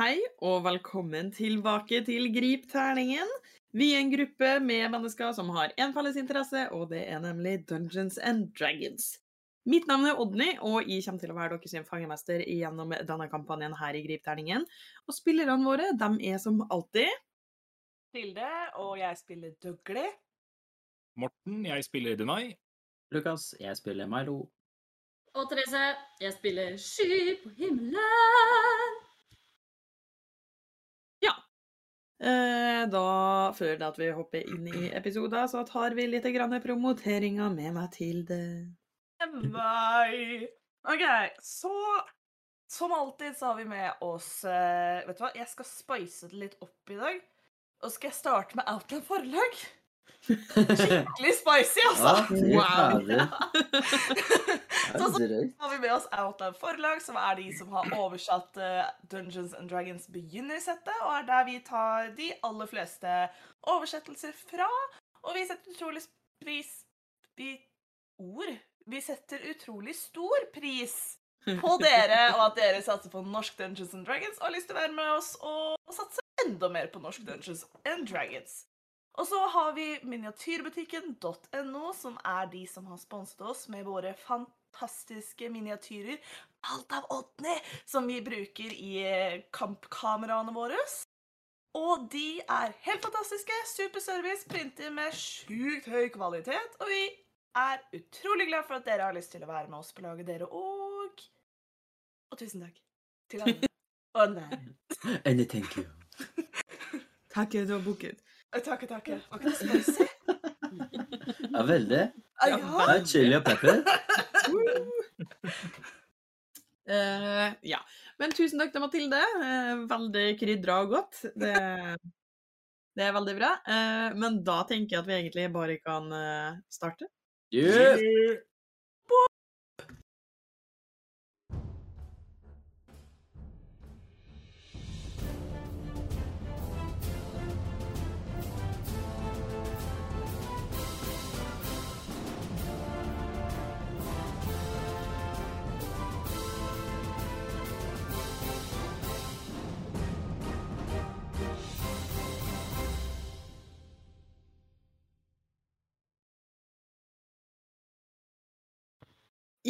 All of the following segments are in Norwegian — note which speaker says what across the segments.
Speaker 1: Hei og velkommen tilbake til Grip terningen. Vi er en gruppe med mennesker som har en felles interesse, og det er nemlig Dungeons and Dragons. Mitt navn er Odny, og jeg kommer til å være deres fangemester gjennom denne kampanjen her i Grip terningen. Og spillerne våre, dem er som alltid
Speaker 2: Tilde, og jeg spiller Dougley.
Speaker 3: Morten, jeg spiller Denai.
Speaker 4: Lukas, jeg spiller Milo.
Speaker 5: Og Therese, jeg spiller sky på himmelen.
Speaker 1: Eh, Da, før det at vi hopper inn i episoden, så tar vi litt grann promoteringa med meg til det.
Speaker 2: Nei. OK, så som alltid så har vi med oss eh, Vet du hva, jeg skal spice det litt opp i dag. Og skal jeg starte med Outland forlag? Skikkelig spicy, altså!
Speaker 4: Ja, fy
Speaker 1: Wow.
Speaker 4: fader. Det
Speaker 2: Sånn
Speaker 4: er
Speaker 2: som
Speaker 4: drøyt.
Speaker 2: har vi med oss Outland Forlag, som er de som har oversatt eh, Dungeons and Dragons begynnersettet, og er der vi tar de aller fleste oversettelser fra. Og vi setter utrolig s- pris Vi ord. Vi setter utrolig stor pris på dere, og at dere satser på norsk Dungeons and Dragons og har lyst til å være med oss og satse enda mer på norsk Dungeons and Dragons. Og så har vi miniatyrbutikken.no, som er de som har sponset oss med våre fantastiske miniatyrer. Alt av Odny, som vi bruker i eh, kampkameraene våre. Og de er helt fantastiske. Superservice, printer med sjukt høy kvalitet. Og vi er utrolig glad for at dere har lyst til å være med oss på laget, dere òg. Og tusen takk til alle. Og enhver.
Speaker 4: Any thank you.
Speaker 1: Takk, du har booket.
Speaker 2: Takk, takk. Var ikke det spicy?
Speaker 4: Ja, veldig.
Speaker 2: Ja,
Speaker 4: Det er chili og pepper.
Speaker 1: Eh, ja. Men tusen takk til Mathilde. Eh, veldig krydra og godt. Det, det er veldig bra. Eh, men da tenker jeg at vi egentlig bare kan eh, starte.
Speaker 4: Yeah.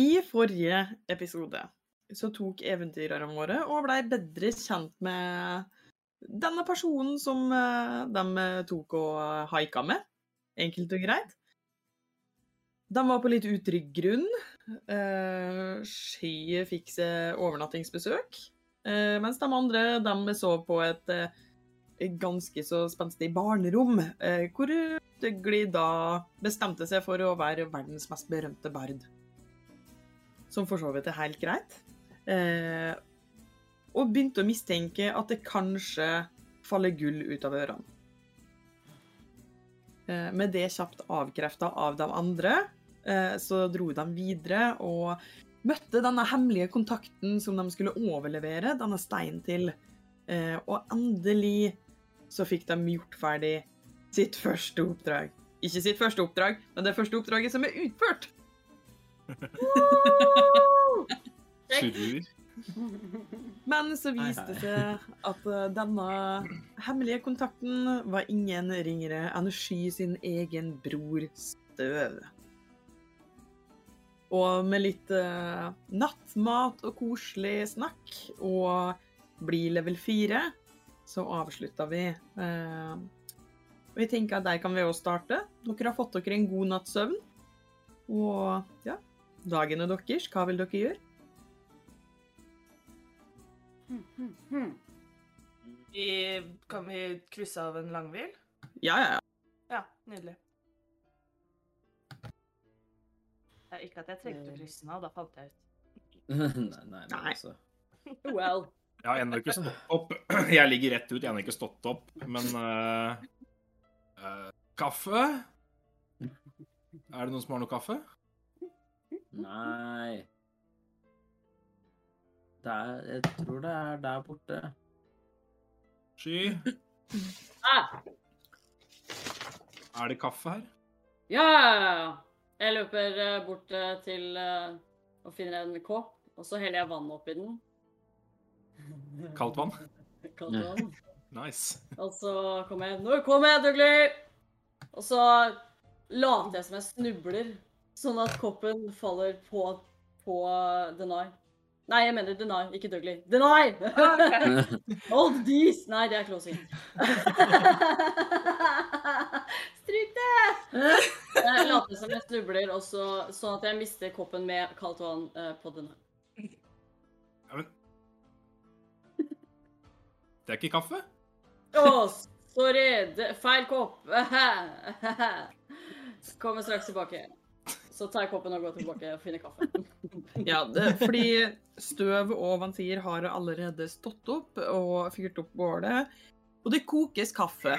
Speaker 1: I forrige episode så tok eventyrerne våre og blei bedre kjent med denne personen som eh, de eh, tok og haika med, enkelt og greit. De var på litt utrygg grunn. Eh, Sky fikk seg overnattingsbesøk. eh, Mens de andre de sov på et eh, ganske så spenstig barnerom, eh, hvor Dougley da bestemte seg for å være verdens mest berømte bard som for så vidt er helt greit. Eh, og begynte å mistenke at det kanskje faller gull ut av ørene. Eh, med det kjapt avkrefta av de andre, eh, så dro de videre og møtte denne hemmelige kontakten som de skulle overlevere denne steinen til. Eh, og endelig så fikk de gjort ferdig sitt første oppdrag. Ikke sitt første oppdrag, men det første oppdraget som er utført.
Speaker 3: Surrer.
Speaker 1: Men så
Speaker 4: Hei,
Speaker 1: viste
Speaker 4: hei.
Speaker 1: det seg at eh, denne hemmelige kontakten var ingen ringere enn Sky sin egen bror Støv. Og med litt eh, nattmat og koselig snakk og bli level 4, så avslutta vi. Eh, og jeg tenker at der kan vi òg starte. Dere har fått dere en god natts søvn. Og ja, dagen er deres. Hva vil dere gjøre?
Speaker 2: Vi, kan vi krysse av en langhvil?
Speaker 1: Ja, ja, ja.
Speaker 2: Ja, nydelig. Det er ikke at jeg trengte å krysse den av, da fant jeg ut.
Speaker 4: Nei, nei, men
Speaker 1: Nei.
Speaker 4: altså.
Speaker 5: Well.
Speaker 3: Jeg har ennå ikke stått opp. Jeg ligger rett ut, jeg har ennå ikke stått opp, men eh, eh, Kaffe? Er det noen som har noe kaffe?
Speaker 4: Nei. Det er, jeg tror det er der borte.
Speaker 3: Sky?
Speaker 5: Ah,
Speaker 3: Er det kaffe her?
Speaker 5: ja! Jeg løper eh, bort eh, til eh, og finner en kopp, og så heller jeg vann oppi den.
Speaker 3: Kaldt vann?
Speaker 5: kalte han.
Speaker 3: Nice.
Speaker 5: Og så kom jeg Nå kommer jeg, Dougley! Og så later jeg som jeg snubler, sånn at koppen faller på, på Denai. Nei, jeg mener Denai, ikke Dougley. Denai! Old Dees! Nei, det er closing. Stryk det! Jeg later som jeg snubler, og så, sånn at jeg mister koppen med kaldt vann eh, på Denai.
Speaker 3: Det er ikke kaffe?
Speaker 5: Å, sorry! Det, feil kopp! Kommer straks tilbake. Så tar jeg koppen og går tilbake og finner kaffe.
Speaker 1: Ja, det, fordi støv og vantier har allerede stått opp og fyrt opp bålet. Og det kokes kaffe.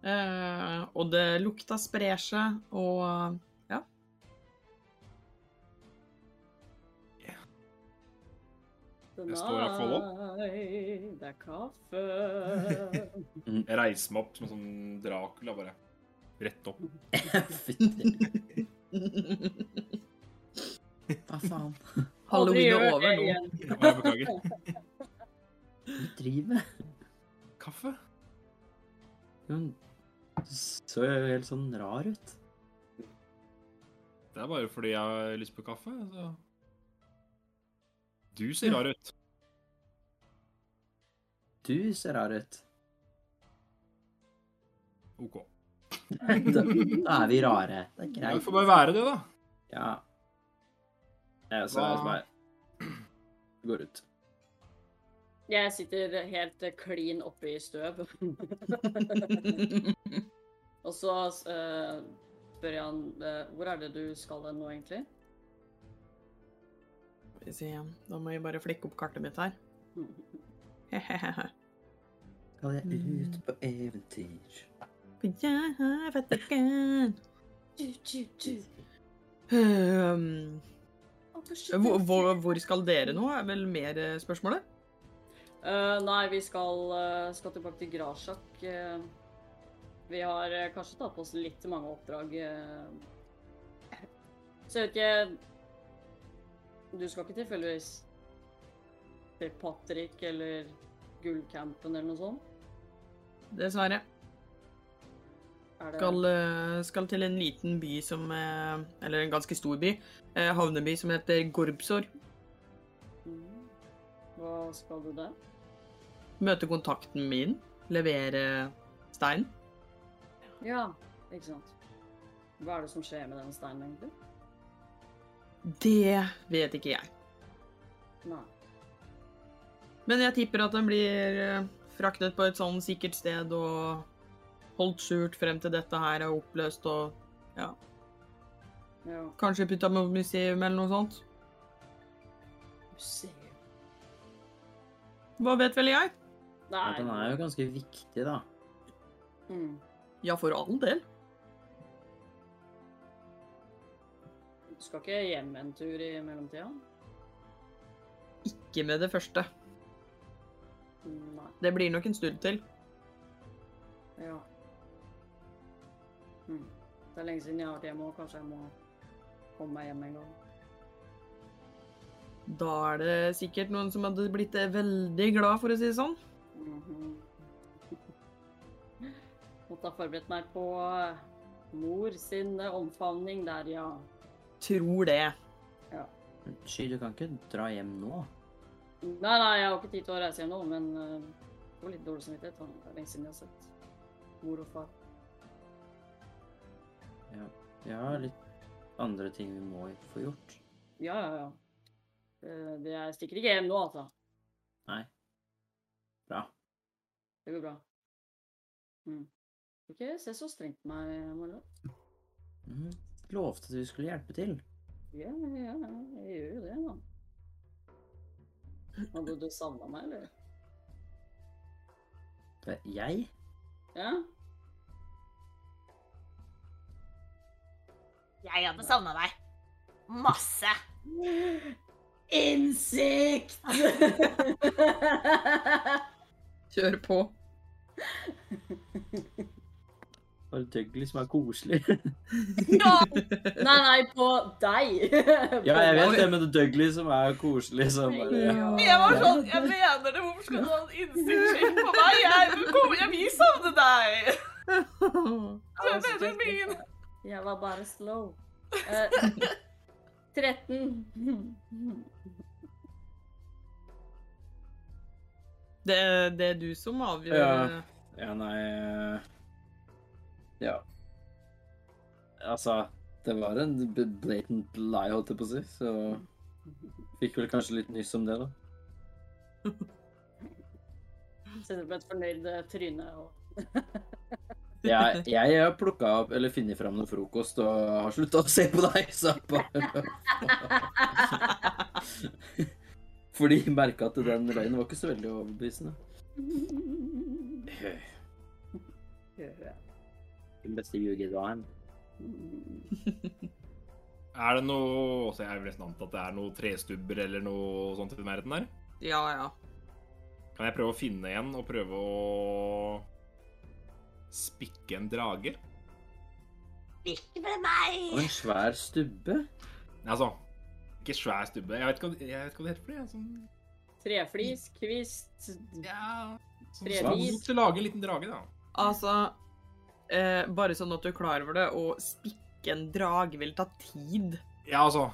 Speaker 1: Eh, og det lukta sprer seg, og
Speaker 5: Tonight,
Speaker 3: står og får
Speaker 5: Det er kaffe.
Speaker 3: Jeg reiser meg opp som en sånn Dracula, bare. Rett opp.
Speaker 4: Fytti. Hva faen?
Speaker 5: Aldri
Speaker 1: halloween
Speaker 5: gjør
Speaker 1: er
Speaker 5: det
Speaker 1: over nå.
Speaker 5: igjen.
Speaker 3: Å, jeg beklager.
Speaker 4: Du driver
Speaker 3: Kaffe?
Speaker 4: Hun så jo helt sånn rar ut.
Speaker 3: Det er bare fordi jeg har lyst på kaffe. Så. Du ser rar ut.
Speaker 4: Du ser rar ut.
Speaker 3: OK.
Speaker 4: Da, da er vi rare.
Speaker 3: Ja,
Speaker 4: Det er
Speaker 3: Vi
Speaker 4: greit.
Speaker 3: får bare være det, da.
Speaker 4: Ja. Jeg så
Speaker 3: Hva-
Speaker 4: bare går ut.
Speaker 5: Jeg sitter helt eh, klin oppe i støv. Og så eh, spør jeg han eh, Hvor er det du skal hen nå, egentlig?
Speaker 1: Skal vi se, Da må jeg bare flikke opp kartet mitt her.
Speaker 4: Skal jeg ut på eventyr?
Speaker 1: For jeg har fått det gøy.
Speaker 5: Du, du, du.
Speaker 1: Ehm,
Speaker 5: Å, beskytt
Speaker 1: hvor,
Speaker 5: meg.
Speaker 1: hvor, hvor skal dere nå, er vel mer eh, spørsmålet?
Speaker 5: Eh, nei, vi skal, eh, skal tilbake til Grasjak. eh. vi har eh, kanskje tatt på oss litt mange oppdrag. eh. så jeg vet ikke Du skal ikke tilfeldigvis til Patrick eller Gullcampen eller noe sånt?
Speaker 1: Dessverre.
Speaker 5: Er det
Speaker 1: Skal, eh, skal til en liten by som eh, Eller en ganske stor by. eh, Havneby som heter Gorbsor.
Speaker 5: Mm. Hva skal du der?
Speaker 1: Møte kontakten min. Levere stein.
Speaker 5: Ja, ikke sant. Hva er det som skjer med den steinen, egentlig?
Speaker 1: Det vet ikke jeg.
Speaker 5: Nei.
Speaker 1: Men jeg tipper at den blir eh, fraktet på et sånn sikkert sted og holdt skjult frem til dette her er oppløst og
Speaker 5: Ja.
Speaker 1: kanskje putta på museum eller noe sånt.
Speaker 5: Museum
Speaker 1: Hva vet vel jeg?
Speaker 5: Nei.
Speaker 4: Ja, den er jo ganske viktig, da.
Speaker 5: Mm.
Speaker 1: Ja, for all del.
Speaker 5: Du skal ikke hjem en tur i mellomtida?
Speaker 1: Ikke med det første.
Speaker 5: Nei.
Speaker 1: Det blir nok en stund til.
Speaker 5: Ja. Mm. Det er lenge siden jeg har vært hjemme òg. Kanskje jeg må komme meg hjem en gang.
Speaker 1: Da er det sikkert noen som hadde blitt eh, veldig glad, for å si det sånn.
Speaker 5: Mhm. Måtte ha forberedt meg på eh, mor sin eh, omfavning der, ja.
Speaker 1: Tror det.
Speaker 4: Sky, du kan ikke dra hjem nå.
Speaker 5: Nei, nei, jeg har ikke tid til å reise hjem nå, men eh, det var litt dårlig samvittighet. da. Det er lenge siden jeg har sett mor og far.
Speaker 4: Vi har litt andre ting vi må få gjort.
Speaker 5: Ja, ja, ja. Eh, det- Jeg stikker ikke hjem nå, altså.
Speaker 4: Nei. Bra.
Speaker 5: Det går bra. Mm. Ikke se så strengt på meg, Marlon.
Speaker 4: Mhm. Lovte at vi skulle hjelpe til.
Speaker 5: Ja, ja, ja, jeg gjør jo det, da. Hadde du savna meg, eller?
Speaker 4: Det- Jeg?
Speaker 5: Ja?
Speaker 2: Jeg hadde savna deg. Masse.
Speaker 5: Innsikt!
Speaker 1: Kjør på.
Speaker 4: Bare Dougley som er koselig.
Speaker 2: Ja,
Speaker 5: Nei, nei, på deg.
Speaker 4: Ja, jeg vet det, men det er Dougley som er koselig, så bare
Speaker 2: jeg var sånn Jeg mener det, hvorfor skal du ha en innsiktskikk på meg? Jeg, kom, jeg vil savne deg! Du er vennen min!
Speaker 5: Jeg var bare slow. Eh, 13.
Speaker 1: Det, det er du som avgjør.
Speaker 4: Ja. Ja, nei eh, Ja. Altså, det var en b- blatant lie, holdt jeg på å si, så fikk vel kanskje litt nyss om det, da.
Speaker 5: Setter på et fornøyd eh, tryne og
Speaker 4: Jeg, jeg har plukka opp eller funnet fram noe frokost og har slutta å se på deg, så bare Fordi jeg merka at den løgnen var ikke så veldig overbevisende. Den beste ljugedagen.
Speaker 3: Er det noe så Jeg vil nesten anta at det er noe trestubber eller noe sånt i nærheten der.
Speaker 1: ja, ja.
Speaker 3: Kan jeg prøve å finne en og prøve å spikke en drage?
Speaker 2: Ikke med meg!
Speaker 4: Og en svær stubbe.
Speaker 3: Nei, altså Ikke svær stubbe. Jeg vet ikke hva, jeg vet ikke hva det heter for det. jeg. Sånn,
Speaker 5: Treflis, kvist
Speaker 3: ja, sånn
Speaker 5: Trevis.
Speaker 3: Til å lage en liten drage, da.
Speaker 1: Altså, eh, bare sånn at du er klar over det, å spikke en drage vil ta tid.
Speaker 3: Ja, altså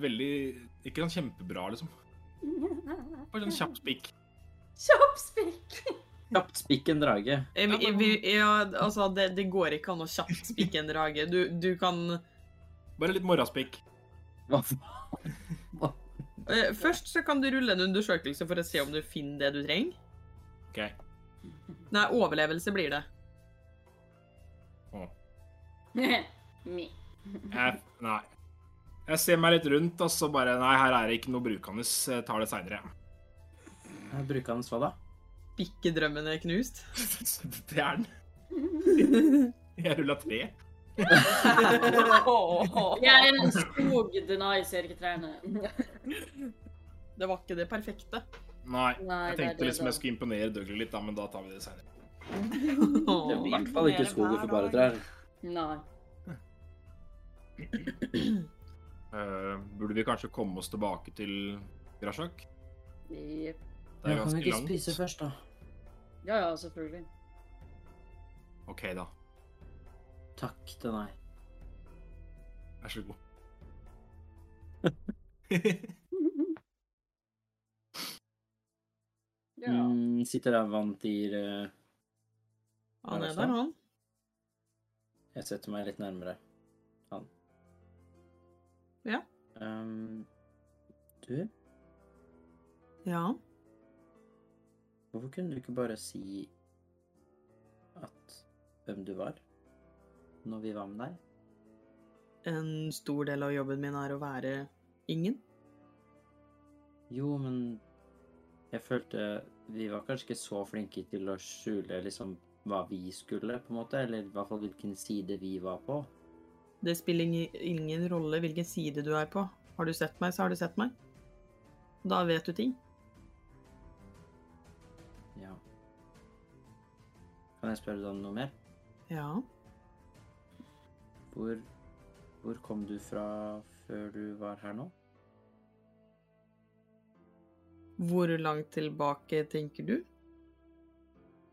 Speaker 3: Veldig Ikke sånn kjempebra, liksom. Bare sånn kjapp spikk.
Speaker 5: Kjapp spikk!
Speaker 4: Kjapt spikk en drage.
Speaker 1: Jeg, jeg, vi- ja, altså, det, det går ikke an å kjapt spikke en drage. Du, du kan
Speaker 3: Bare litt morgenspikk.
Speaker 4: Hva faen?
Speaker 1: eh, Først så kan du rulle en undersøkelse for å se om du finner det du trenger.
Speaker 3: OK.
Speaker 1: Nei, overlevelse blir det.
Speaker 3: Å.
Speaker 5: Me.
Speaker 3: Jeg, nei. Jeg ser meg litt rundt, og så bare Nei, her er det ikke noe brukende. Jeg tar det seinere.
Speaker 4: Jeg bruker hans hva da?
Speaker 1: Spikke drømmen er knust.
Speaker 3: Det er den. Jeg rulla tre.
Speaker 5: Jeg er en skog, Denai ser ikke trærne.
Speaker 1: Det var ikke det perfekte.
Speaker 3: Nei.
Speaker 5: Nei,
Speaker 3: Jeg
Speaker 5: det er
Speaker 3: tenkte
Speaker 5: det
Speaker 3: liksom
Speaker 5: da.
Speaker 3: jeg skulle imponere Dougley litt, da, men da tar vi det seinere.
Speaker 4: Det var i
Speaker 1: Åh.
Speaker 4: hvert fall ikke skogen for bare trær.
Speaker 5: Nei.
Speaker 3: Eh, burde vi kanskje komme oss tilbake til Grashak?
Speaker 5: Jep.
Speaker 3: Det er ganske langt.
Speaker 4: først, da?
Speaker 5: Ja, ja, selvfølgelig.
Speaker 3: OK, da.
Speaker 4: Takk til nei.
Speaker 3: Vær så god.
Speaker 5: Ja.
Speaker 4: Mm, sitter der Vantir eh,
Speaker 1: Han er der, han.
Speaker 4: Jeg setter meg litt nærmere han.
Speaker 1: Ja.
Speaker 4: Ehm, du,
Speaker 1: Ja.
Speaker 4: hvorfor kunne du ikke bare si at hvem du var når vi var med deg?
Speaker 1: En stor del av jobben min er å være ingen.
Speaker 4: Jo, men jeg følte vi var kanskje ikke så flinke til å skjule liksom hva vi skulle, på en måte, eller i hvert fall hvilken side vi var på.
Speaker 1: Det spiller ingen- ingen rolle hvilken side du er på. Har du sett meg, så har du sett meg. Da vet du ting.
Speaker 4: Ja. Kan jeg spørre deg om noe mer?
Speaker 1: Ja.
Speaker 4: Hvor, hvor kom du fra før du var her nå?
Speaker 1: Hvor langt tilbake tenker du?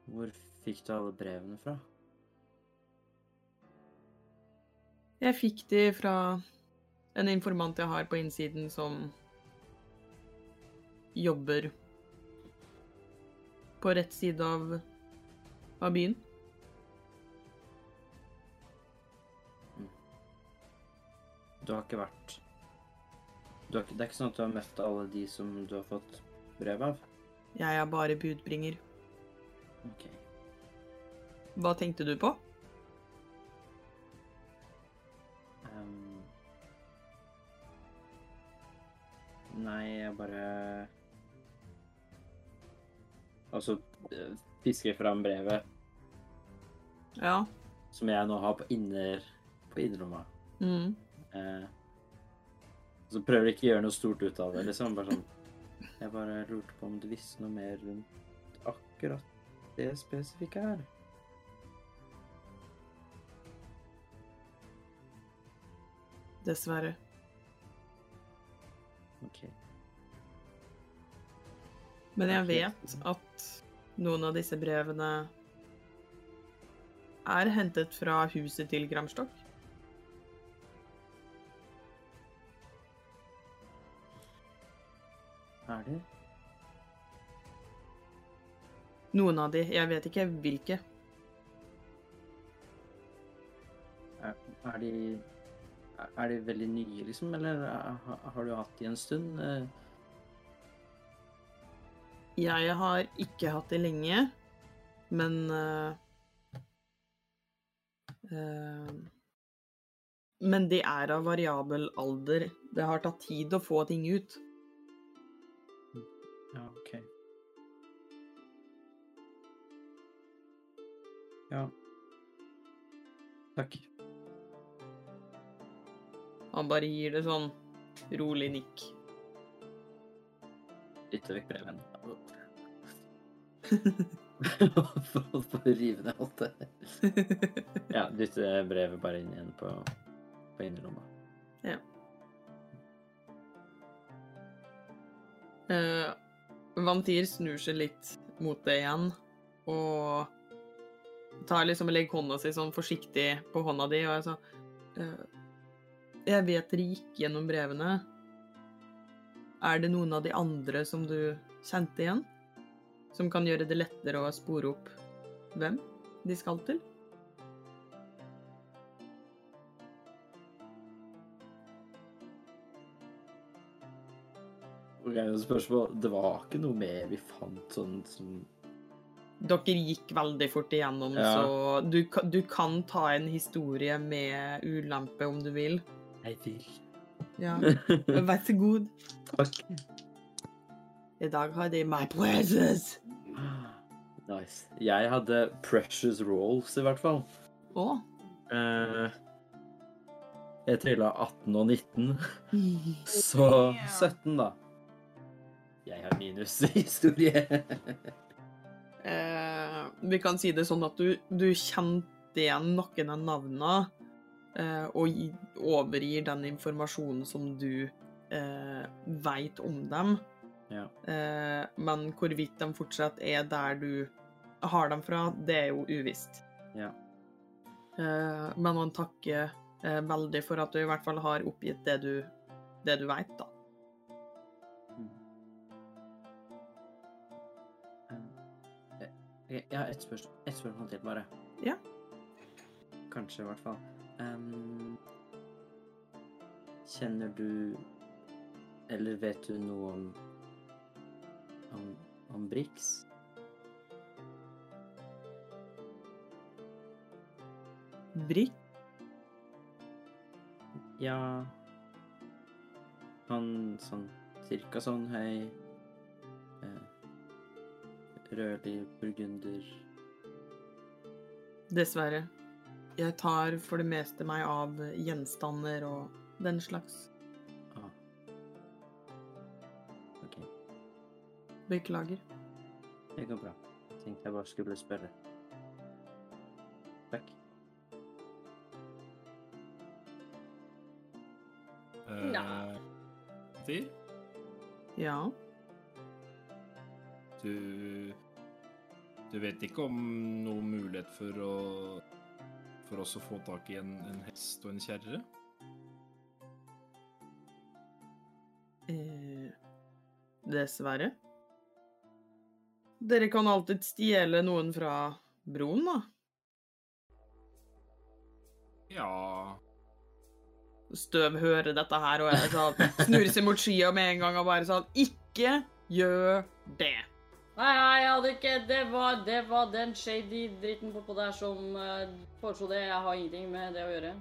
Speaker 4: Hvor fikk du alle brevene fra?
Speaker 1: Jeg fikk de fra en informant jeg har på innsiden som jobber på rett side av, av byen.
Speaker 4: Du har ikke vært du har ikke, Det er ikke sånn at du har møtt alle de som du har fått brev av?
Speaker 1: Jeg er bare budbringer.
Speaker 4: Ok.
Speaker 1: Hva tenkte du på?
Speaker 4: Ehm. Nei, jeg bare Altså eh, fisker fram brevet
Speaker 1: Ja.
Speaker 4: som jeg nå har på inner på innerlomma.
Speaker 1: Mm.
Speaker 4: Eh, så prøver jeg ikke å gjøre noe stort ut av det, liksom. Bare sånn Jeg bare lurte på om du visste noe mer rundt akkurat det spesifikke her.
Speaker 1: dessverre.
Speaker 4: Ok.
Speaker 1: Men jeg
Speaker 4: Ok.
Speaker 1: vet at noen av disse brevene er hentet fra huset til Gramstokk.
Speaker 4: Er det?
Speaker 1: Noen av de, jeg vet ikke hvilke.
Speaker 4: Er, er de er- Er de veldig nye, liksom? Eller er- ha- har du hatt de en stund? Eh,
Speaker 1: Jeg har ikke hatt det lenge, men eh, eh, Men de er av variabel alder. Det har tatt tid å få ting ut.
Speaker 4: Ja, ok. Ja. Takk.
Speaker 1: Han bare gir det sånn rolig nikk.
Speaker 4: Dytter vekk brevet. Holdt på å rive ned alt det. Ja, dytter brevet bare inn igjen på, på innerlomma.
Speaker 1: Eh, Vantir snur seg litt mot det igjen, og tar liksom og legger hånda si sånn forsiktig på hånda di, og er sånn eh, Jeg vet dere gikk gjennom brevene. Er det noen av de andre som du kjente igjen? Som kan gjøre det lettere å spore opp hvem de skal til?
Speaker 4: Ok, og spørsmål. Det var ikke noe mer vi fant sånn som
Speaker 1: Dere gikk veldig fort igjennom,
Speaker 4: Ja.
Speaker 1: så du, ka- du kan ta en historie med ulempe om du vil.
Speaker 4: Jeg vil.
Speaker 1: Ja. Vær så god.
Speaker 4: Takk.
Speaker 1: I dag har de My Places.
Speaker 4: Nice. Jeg hadde precious rolls, i hvert fall.
Speaker 1: Å.
Speaker 4: Eh, jeg trilla 18 og 19, så 17, da. Jeg har minus i historie.
Speaker 1: Eh, vi kan si det sånn at du, du kjente igjen noen av navnene, eh, og gi, overgir den informasjonen som du eh, veit om dem.
Speaker 4: Ja.
Speaker 1: Eh, men hvorvidt de fortsatt er der du har dem fra, det er jo uvisst.
Speaker 4: Ja.
Speaker 1: Eh, men han takker eh, veldig for at du i hvert fall har oppgitt det du, det du veit, da.
Speaker 4: Mm. Eh, Jeg jeg har ett spørsmål, ett spørsmål til, bare.
Speaker 1: Ja.
Speaker 4: Kanskje, i hvert fall. Em, kjenner du Eller vet du noe om om, om Brix?
Speaker 1: Brikk.
Speaker 4: Ja Han sånn cirka sånn høy eh, Rødlig burgunder
Speaker 1: Dessverre. Jeg tar for det meste meg av gjenstander og den slags.
Speaker 4: ah. OK.
Speaker 1: Beklager.
Speaker 4: Det går bra. Tenkte jeg bare skulle spørre. Takk.
Speaker 5: Nei.
Speaker 3: Eh, Tyr,
Speaker 1: Ja.
Speaker 3: du Du vet ikke om noen mulighet for å For oss å få tak i en, en hest og en kjerre?
Speaker 1: Eh, dessverre. Dere kan alltid stjele noen fra broen, da.
Speaker 3: Ja
Speaker 1: Støv hører dette her og er sånn, snur seg mot skia med en gang og bare sånn Ikke gjør det!
Speaker 5: Nei, nei, jeg hadde ikke Det var, det var den shady dritten bortpå der som eh, foreslo det. Jeg har ingenting med det å gjøre.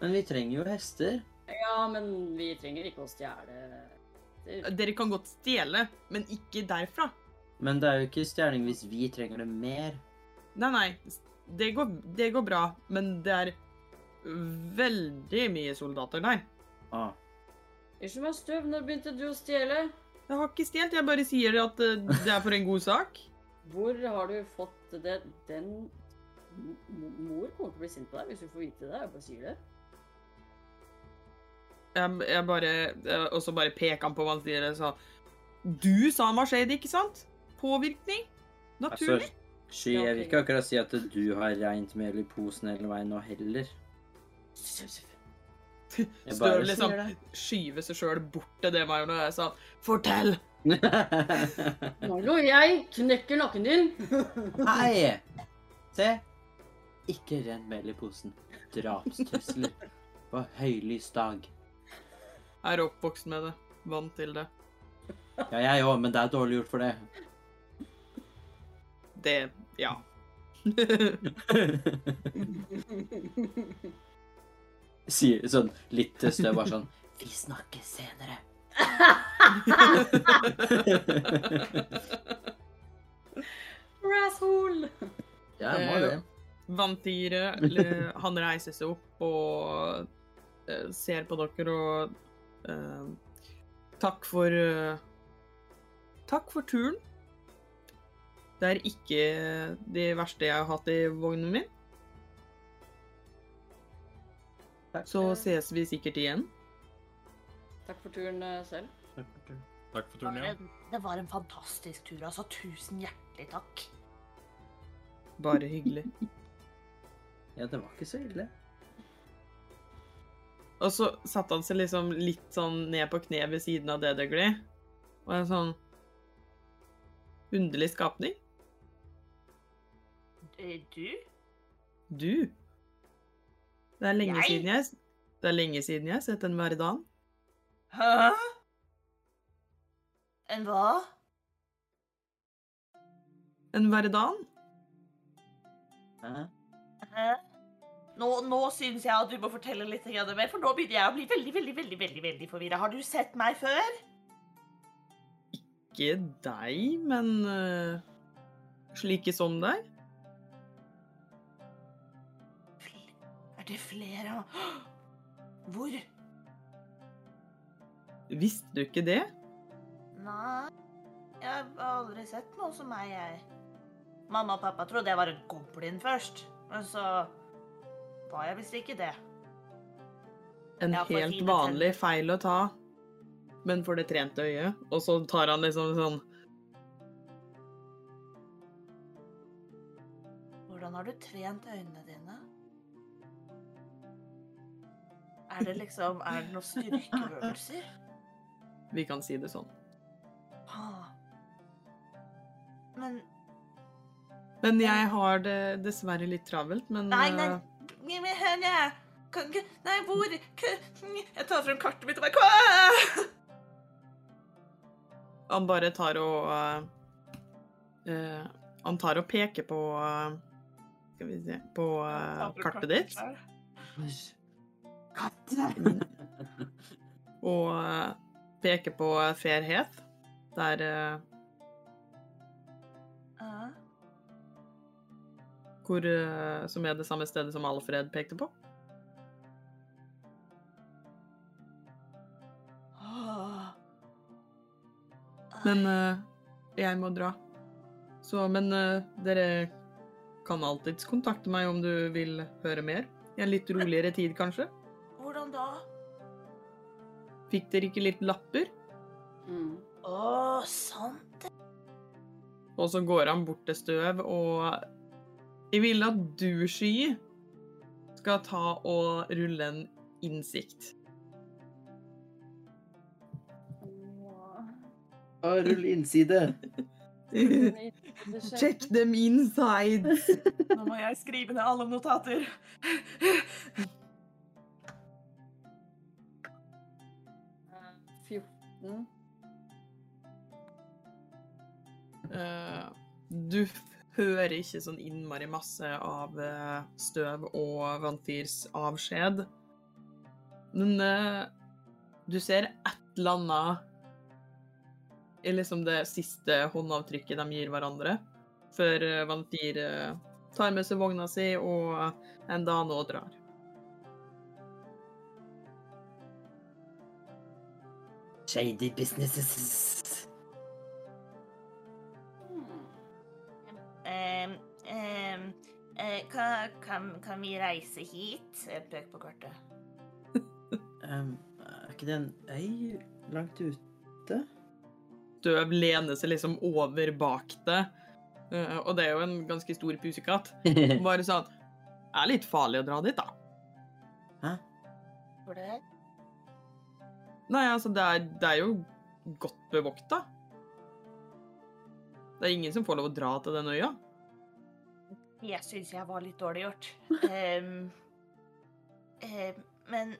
Speaker 4: Men vi trenger jo hester.
Speaker 5: Ja, men vi trenger ikke å stjele Det-
Speaker 1: Dere kan godt stjele, men ikke derfra.
Speaker 4: Men det er jo ikke stjerning hvis vi trenger det mer.
Speaker 1: Nei, nei. Det går, det går bra, men det er veldig mye soldater der.
Speaker 4: Ah,
Speaker 5: Unnskyld meg, Støv, når begynte du å stjele?
Speaker 1: Jeg har ikke stjålet, jeg bare sier at eh, det er for en god sak.
Speaker 5: Hvor har du fått det Den mo- Mor kommer til å bli sint på deg hvis du får vite det. Jeg bare sier det.
Speaker 1: Jeg, jeg bare eh, Og så bare peker han på vanskeligere og sa Du sa han var shady, ikke sant? Påvirkning?
Speaker 4: Altså,
Speaker 1: Naturlig?
Speaker 4: sky, jeg vil ikke akkurat si at du har rent mel i posen hele veien nå heller. Jeg
Speaker 1: Støv
Speaker 4: bare
Speaker 1: liksom
Speaker 4: sier
Speaker 1: skyver seg sjøl bort til det meg når jeg sa Fortell!
Speaker 4: det.
Speaker 5: Marlo, jeg knekker nakken din.
Speaker 4: Hei! Se! Ikke renn mel i posen. Drapstrusler på høylys dag.
Speaker 1: Jeg er oppvokst med det. Vant til det.
Speaker 4: Ja, jeg òg, men det er dårlig gjort for det.
Speaker 1: Det Ja.
Speaker 4: Sier sånn litt støv, bare sånn Vi snakkes senere.
Speaker 5: Rasshole!
Speaker 4: Eh, ja,
Speaker 1: jeg må det. Vantire eller- han reiser seg opp og eh, ser på dere og eh, Takk for eh, Takk for turen. Det er ikke det verste jeg har hatt i vognen min.
Speaker 4: Takk.
Speaker 1: Så ses vi sikkert igjen.
Speaker 5: Takk for turen eh, selv.
Speaker 3: Takk for turen, ja.
Speaker 2: Det var en fantastisk tur, altså. Tusen hjertelig takk.
Speaker 1: Bare hyggelig.
Speaker 4: Ja, det var ikke så ille.
Speaker 1: Og så satte han seg liksom litt sånn ned på kne ved siden av det Dougley. Og en sånn underlig skapning.
Speaker 2: Eh, Du?
Speaker 1: Du? Det er lenge
Speaker 2: Jeg?
Speaker 1: siden jeg Det er lenge siden jeg har sett en verdan.
Speaker 2: Hæ? En hva?
Speaker 1: En verdan?
Speaker 4: Hæ?
Speaker 2: Hæ? Nå, nå syns jeg at du må fortelle litt grann mer, for nå begynner jeg å bli veldig veldig, veldig, veldig, veldig forvirra. Har du sett meg før?
Speaker 1: Ikke deg, men øh, slike som deg.
Speaker 2: Fl- Er det flere av Hvor?
Speaker 1: Visste du ikke det?
Speaker 2: Nei Jeg har aldri sett noe som meg, jeg. Mamma og pappa trodde jeg var en goblin først, men så var jeg visst ikke det.
Speaker 1: En
Speaker 2: Ja, for
Speaker 1: helt
Speaker 2: fine
Speaker 1: vanlig feil å ta, men for det trente øyet. Og så tar han liksom sånn
Speaker 2: Hvordan har du trent øynene dine? Er det liksom Er det noen styrkeøvelser?
Speaker 1: Vi kan si det sånn.
Speaker 2: Ah. Men
Speaker 1: Men jeg har det dessverre litt travelt, men
Speaker 2: Nei, nei.
Speaker 1: øh,
Speaker 2: gi meg henne! Kan ikke Nei, hvor K- Jeg tar frem kartet mitt og bare Kå!
Speaker 1: Han bare tar og eh, eh, Han tar og peker på eh, Skal vi se På eh,
Speaker 2: Ta frem
Speaker 1: kartet ditt.
Speaker 2: der.
Speaker 4: Katter!
Speaker 1: Og eh, peker på Fairheath. Der eh,
Speaker 2: Ja.
Speaker 1: hvor eh, Som er det samme stedet som Alfred pekte på.
Speaker 2: Åh.
Speaker 1: Men eh, jeg må dra. Så Men eh, dere kan alltids kontakte meg om du vil høre mer. I en litt roligere tid, kanskje.
Speaker 2: Hvordan da?
Speaker 1: Fikk dere ikke litt lapper?
Speaker 5: Mm.
Speaker 2: Å, sant det.
Speaker 1: Og så går han bort til støv, og jeg vil at du, Sky, skal ta og rulle en innsikt.
Speaker 4: Rull innside.
Speaker 1: Check them inside!
Speaker 2: Nå må jeg skrive ned alle notater.
Speaker 5: Eh, 14.
Speaker 1: Eh, du f- hører ikke sånn innmari masse av eh, støv og Vantirs avskjed. Men eh, du ser et eller annet i liksom det siste håndavtrykket de gir hverandre, før eh, Vantir eh, tar med seg vogna si og en dame og drar.
Speaker 4: Shady businesses.
Speaker 5: Hmm.
Speaker 2: Ehm, ehm, eh, kan, kan, kan vi reise hit? Jeg peker på kartet.
Speaker 4: Um, ikke det en øy langt ut?
Speaker 1: Støv lener seg liksom over bak det. Eh, og det er jo en ganske stor pusekatt. Bare sånn Det er litt farlig å dra dit, da.
Speaker 2: For det?
Speaker 1: Nei, altså, det er, det er jo godt bevokta. Det er ingen som får lov å dra til den øya.
Speaker 2: Jeg syns jeg var litt dårlig gjort. Ehm, ehm, men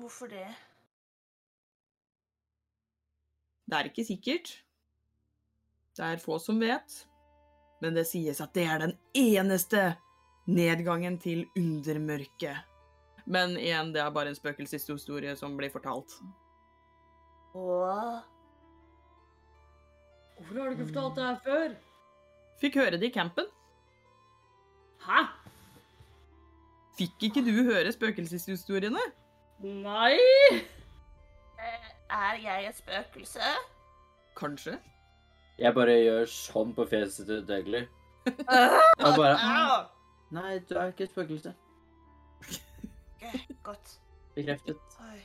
Speaker 2: Hvorfor det?
Speaker 1: Det er ikke sikkert. Det er få som vet. Men det sies at det er den eneste nedgangen til undermørket. Men igjen, det er bare en spøkelseshistorie som blir fortalt.
Speaker 2: Åh,
Speaker 5: Hvorfor har du ikke fortalt det her før?
Speaker 1: Fikk høre det i campen.
Speaker 5: Hæ?
Speaker 1: Fikk ikke du høre spøkelseshistoriene?
Speaker 5: Nei!
Speaker 2: eh, er jeg et spøkelse?
Speaker 1: Kanskje.
Speaker 4: Jeg bare gjør sånn på fjeset til Dougley. Jeg bare
Speaker 2: Au!
Speaker 4: Nei, du er ikke et spøkelse.
Speaker 2: Ok, Godt.
Speaker 4: Bekreftet.
Speaker 2: Oi.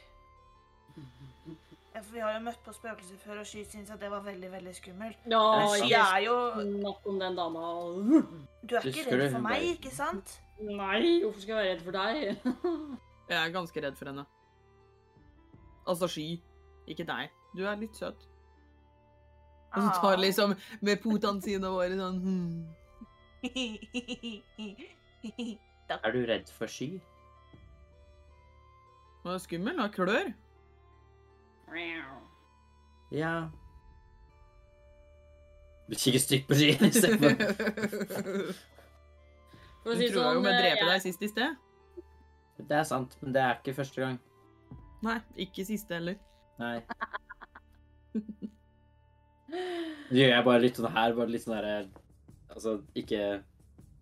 Speaker 2: Ja, for vi har jo møtt på spøkelser før, og Sky syns at det var veldig veldig skummelt.
Speaker 5: Ja,
Speaker 4: Nei,
Speaker 2: Sky
Speaker 5: ikke
Speaker 2: er jo
Speaker 5: snakk om den dama.
Speaker 2: Du er
Speaker 4: Du
Speaker 2: ikke
Speaker 4: skulle-
Speaker 2: redd for
Speaker 4: hun
Speaker 2: meg,
Speaker 4: bare-
Speaker 2: ikke sant?
Speaker 5: Nei, hvorfor skal jeg være redd for deg?
Speaker 1: Jeg er ganske redd for henne. Altså Sky. Ikke deg. Du er litt søt. Og så tar liksom med potene sine og bare sånn hmm.
Speaker 2: Nei,
Speaker 4: Er du redd for sky?
Speaker 1: Hun er skummel. Hun har klør.
Speaker 4: Ja. Du kikker stygt på sky. istedenfor.
Speaker 5: For å
Speaker 1: Hun
Speaker 5: si
Speaker 1: tror jo
Speaker 5: sånn,
Speaker 1: om jeg dreper
Speaker 5: jeg,
Speaker 1: deg sist i sted.
Speaker 4: Det er sant, men det er ikke første gang.
Speaker 1: Nei, ikke siste heller.
Speaker 4: Nei. Nå gjør jeg bare litt sånn her, bare litt sånn derre Altså, ikke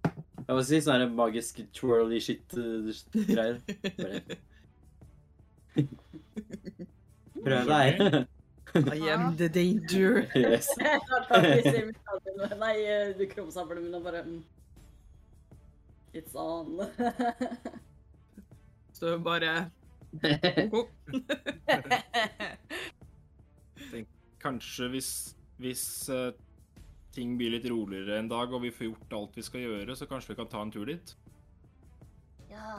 Speaker 4: Jeg må si sånn her magisk twirly eh, shit-greier. Bare. Prøv deg.
Speaker 1: I am the danger.
Speaker 4: Yes.
Speaker 5: Jeg tar ikke simulatorene. Nei, eh, du krumsablene mine og bare mm. It's on.
Speaker 1: Så bare OK.
Speaker 3: Kanskje hvis, hvis eh, ting blir litt roligere en dag, og vi får gjort alt vi skal gjøre, så kanskje vi kan ta en tur dit?
Speaker 2: ja.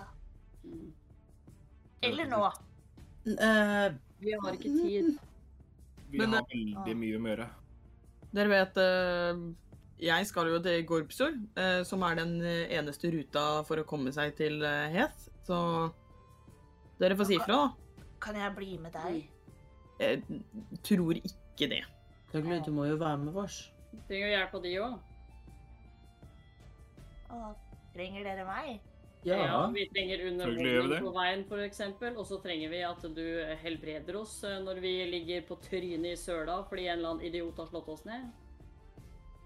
Speaker 2: Eller nå.
Speaker 4: Eh,
Speaker 5: Vi har ikke tid.
Speaker 3: Vi
Speaker 1: Men,
Speaker 3: har veldig mye med å gjøre.
Speaker 1: Dere vet eh, Jeg skal jo til Gorpsor, eh, som er den eneste ruta for å komme seg til eh, Heth. Så dere får si ifra, da.
Speaker 2: Kan jeg bli med deg?
Speaker 1: Mm. Jeg tror ikke det.
Speaker 4: Dougley, du må jo være med oss.
Speaker 5: Trenger jo hjelp av de òg.
Speaker 2: Å, trenger dere meg?
Speaker 4: Ja.
Speaker 5: vi trenger
Speaker 3: Selvfølgelig gjør vi det.
Speaker 5: underholdning på veien, f.eks. Og så trenger vi at du helbreder oss eh, når vi ligger på trynet i søla fordi en eller annen idiot har slått oss ned.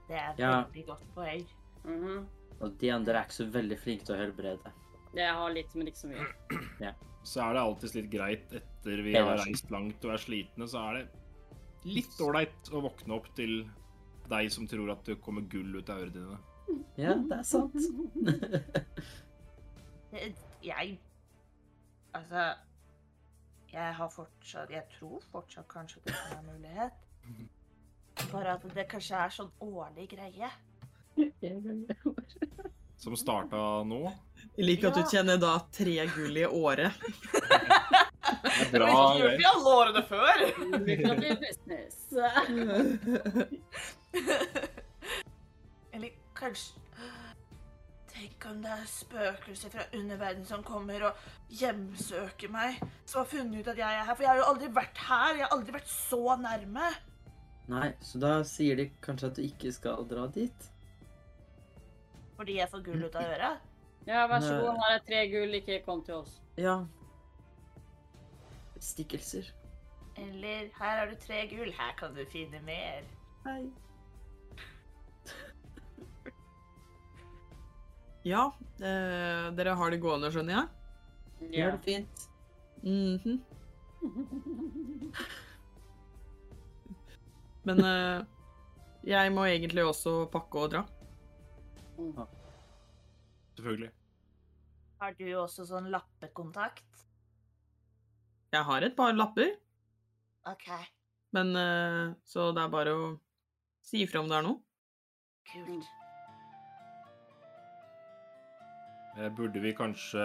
Speaker 2: Det er et
Speaker 4: Ja.
Speaker 2: veldig godt poeng.
Speaker 5: Mhm.
Speaker 4: Og de andre er ikke så veldig flinke til å helbrede.
Speaker 5: Det har litt, liksom men ikke så mye.
Speaker 3: Så er det alltid litt greit etter vi
Speaker 4: Ja,
Speaker 3: har
Speaker 4: det er sant.
Speaker 3: reist langt og er slitne, så er det litt ålreit å våkne opp til deg som tror at det kommer gull ut av ørene dine.
Speaker 4: Ja, det er sant.
Speaker 2: Det- Jeg Altså Jeg har fortsatt Jeg tror fortsatt kanskje det kan være mulighet. Bare at det kanskje er sånn årlig greie.
Speaker 3: Som starta nå.
Speaker 1: Jeg liker at
Speaker 2: Ja.
Speaker 1: du kjenner da tre gull i året.
Speaker 3: Bra,
Speaker 2: vi alle årene før!
Speaker 5: Lucrative business.
Speaker 2: Eller kanskje Tenk om det er spøkelser fra underverdenen som kommer og hjemsøker meg. Som har funnet ut at jeg er her. For jeg har jo aldri vært her. Jeg har aldri vært så nærme.
Speaker 4: Nei, så da sier de kanskje at du ikke skal dra dit?
Speaker 2: Fordi jeg får gull ut av øret.
Speaker 5: Ja, vær så
Speaker 4: Nei.
Speaker 5: god. Her er tre gull, ikke kom til oss.
Speaker 4: Ja. Stikkelser.
Speaker 2: Eller her har du tre gull. Her kan du finne mer.
Speaker 4: Hei.
Speaker 1: ja, eh, dere har det gående, skjønner jeg.
Speaker 4: Gjør det fint.
Speaker 1: Mhm. Men eh, jeg må egentlig også pakke og dra.
Speaker 3: selvfølgelig.
Speaker 2: Har du også sånn lappekontakt?
Speaker 1: Jeg har et par lapper,
Speaker 2: OK,
Speaker 1: men eh, Så det er bare å si ifra om det er noe.
Speaker 2: kult.
Speaker 3: Eh, Burde vi kanskje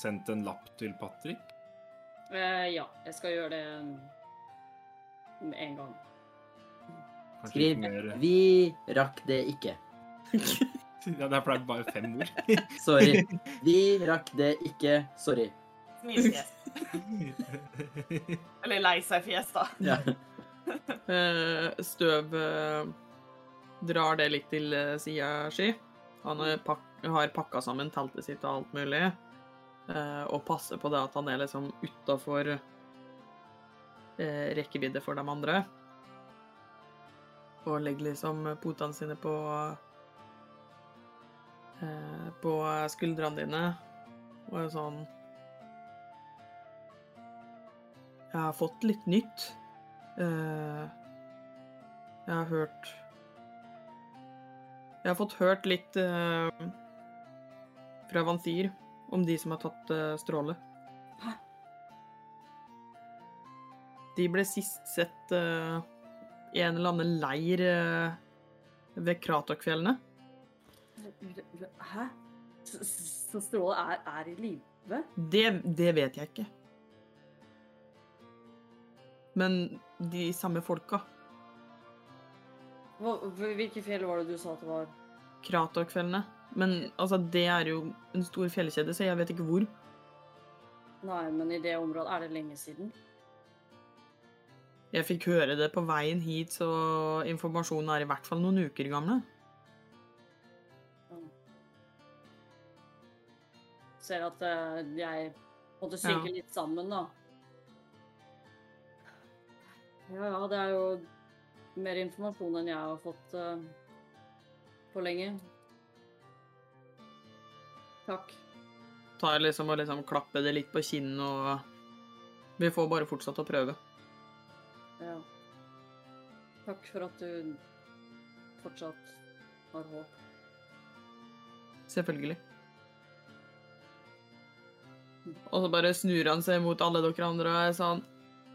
Speaker 3: sendt en lapp til Patrick?
Speaker 5: Eh, ja, jeg skal gjøre det um, med en gang.
Speaker 3: Kanskje
Speaker 4: Skriv
Speaker 3: litt mer-
Speaker 4: 'Vi rakk det ikke'.
Speaker 3: Ja, det er fordi det er bare fem ord.
Speaker 4: Sorry. Vi rakk det ikke. Sorry.
Speaker 2: Smilefjes. Eller lei seg-fjes, da.
Speaker 4: Ja.
Speaker 1: Eh, Støv eh, drar det litt til eh, sida si. Han er pak har pakka sammen teltet sitt og alt mulig. eh, og passer på det at han er liksom utafor eh, rekkevidde for de andre. Og legger liksom potene sine på eh, på skuldrene dine. Og er sånn Jeg har fått litt nytt. Eh, jeg har hørt Jeg har fått hørt litt eh, fra Vanthir om de som har tatt eh, stråle.
Speaker 5: Hæ?
Speaker 1: De ble sist sett eh, i en eller annen leir eh, ved Kratokfjellene.
Speaker 5: Hæ? Så, så Stråle er, er i live?
Speaker 1: Det, det vet jeg ikke. Men de samme folka.
Speaker 5: Hva, hvilke fjell var det du sa at det var?
Speaker 1: Kratokfjellene. Men altså, det er jo en stor fjellkjede, så jeg vet ikke hvor.
Speaker 5: Nei, men i det området er det lenge siden.
Speaker 1: Jeg fikk høre det på veien hit, så informasjonen er i hvert fall noen uker gamle.
Speaker 5: Ser at eh, jeg måtte synke litt sammen, da. Ja, ja, det er jo mer informasjon enn jeg har fått eh, på lenge. Takk.
Speaker 1: Tar liksom og liksom klapper det litt på kinnet og Vi får bare fortsette å prøve.
Speaker 5: Ja. Takk for at du fortsatt har håp.
Speaker 1: Selvfølgelig. Og så bare snur han seg mot alle dere andre og er sånn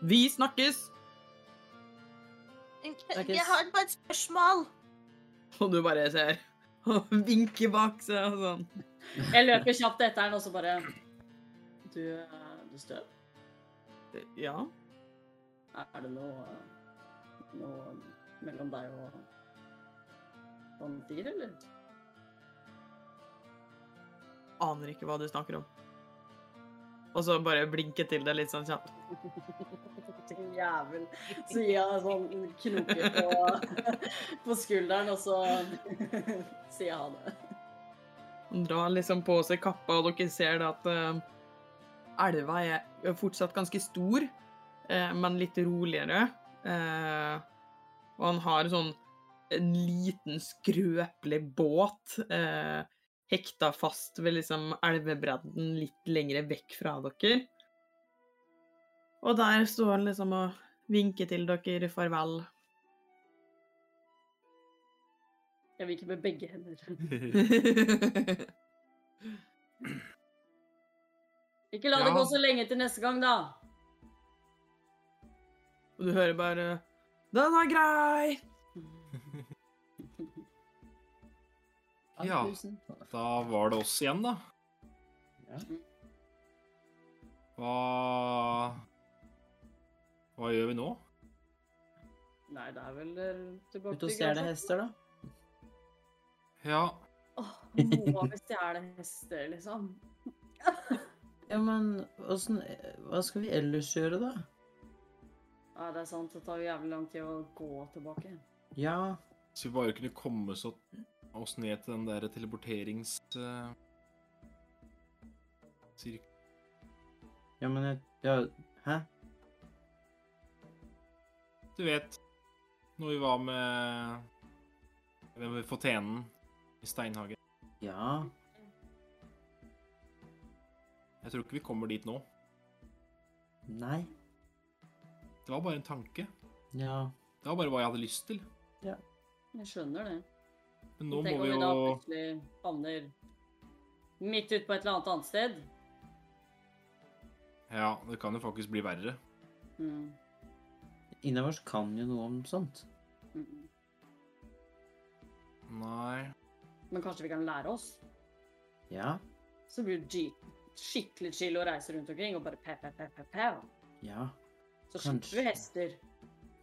Speaker 1: Vi snakkes!
Speaker 2: Jeg har bare et spørsmål.
Speaker 1: Og du bare ser og vinker bak seg og sånn.
Speaker 5: Jeg løper kjapt etter den, og så bare Du, eh, du støv?
Speaker 1: Ja.
Speaker 5: Er det noe, noe mellom deg og Bandir, eller?
Speaker 1: Aner ikke hva du snakker om. Og så bare blinke til det litt sånn kjapt.
Speaker 5: Din jævel. Så gir jeg en sånn knoke på, på skulderen, og så sier jeg ha det.
Speaker 1: Han drar liksom på seg kappa, og dere ser det at eh, elva er fortsatt ganske stor, eh, men litt roligere. Eh, og han har sånn en liten, skrøpelig båt eh, hekta fast ved liksom elvebredden litt lengre vekk fra dere. Og der står han liksom og vinker til dere farvel.
Speaker 5: Jeg vinker med begge hender. Ikke la det
Speaker 3: Ja.
Speaker 5: gå så lenge til neste gang, da.
Speaker 1: Og du hører bare 'Den er grei!'
Speaker 3: Ja. Da var det oss igjen, da.
Speaker 4: Ja.
Speaker 3: Hva Hva gjør vi nå?
Speaker 5: Nei, det er vel eh, tilbake
Speaker 4: Ut og stjele hester, da.
Speaker 3: Ja,
Speaker 5: Åh, Må vi stjele hester, liksom?
Speaker 4: Ja, men åssen Hva skal vi ellers gjøre, da?
Speaker 5: Ja, det er sant. Det tar jo jævlig lang tid å gå tilbake.
Speaker 4: Ja,
Speaker 3: så vi bare kunne komme så, oss ned til den der teleporterings... eh, sirk-
Speaker 4: ja men jeg ja, Hæ?
Speaker 3: Du vet, når vi var med Hvem var Fontenen i Steinhagen.
Speaker 4: Ja.
Speaker 3: Jeg tror ikke vi kommer dit nå.
Speaker 4: Nei.
Speaker 3: Det var bare en tanke.
Speaker 4: Ja.
Speaker 3: Det var bare hva jeg hadde lyst til.
Speaker 5: Jeg skjønner det.
Speaker 3: Men nå må
Speaker 5: Tenk om
Speaker 3: vi
Speaker 5: vi
Speaker 3: jo
Speaker 5: da plutselig havner midt ut på et eller annet annet sted.
Speaker 3: Ja, det kan jo faktisk bli verre.
Speaker 5: Mm.
Speaker 4: Innavers kan jo noe om sånt.
Speaker 5: Mm.
Speaker 3: Nei
Speaker 5: Men kanskje vi kan lære oss?
Speaker 4: Ja,
Speaker 5: Så blir det gi- skikkelig chill å reise rundt omkring og bare pæ, pæ, pæ, pæ, pæ.
Speaker 4: ja,
Speaker 5: Så skyter vi
Speaker 4: Kanskje.
Speaker 5: hester.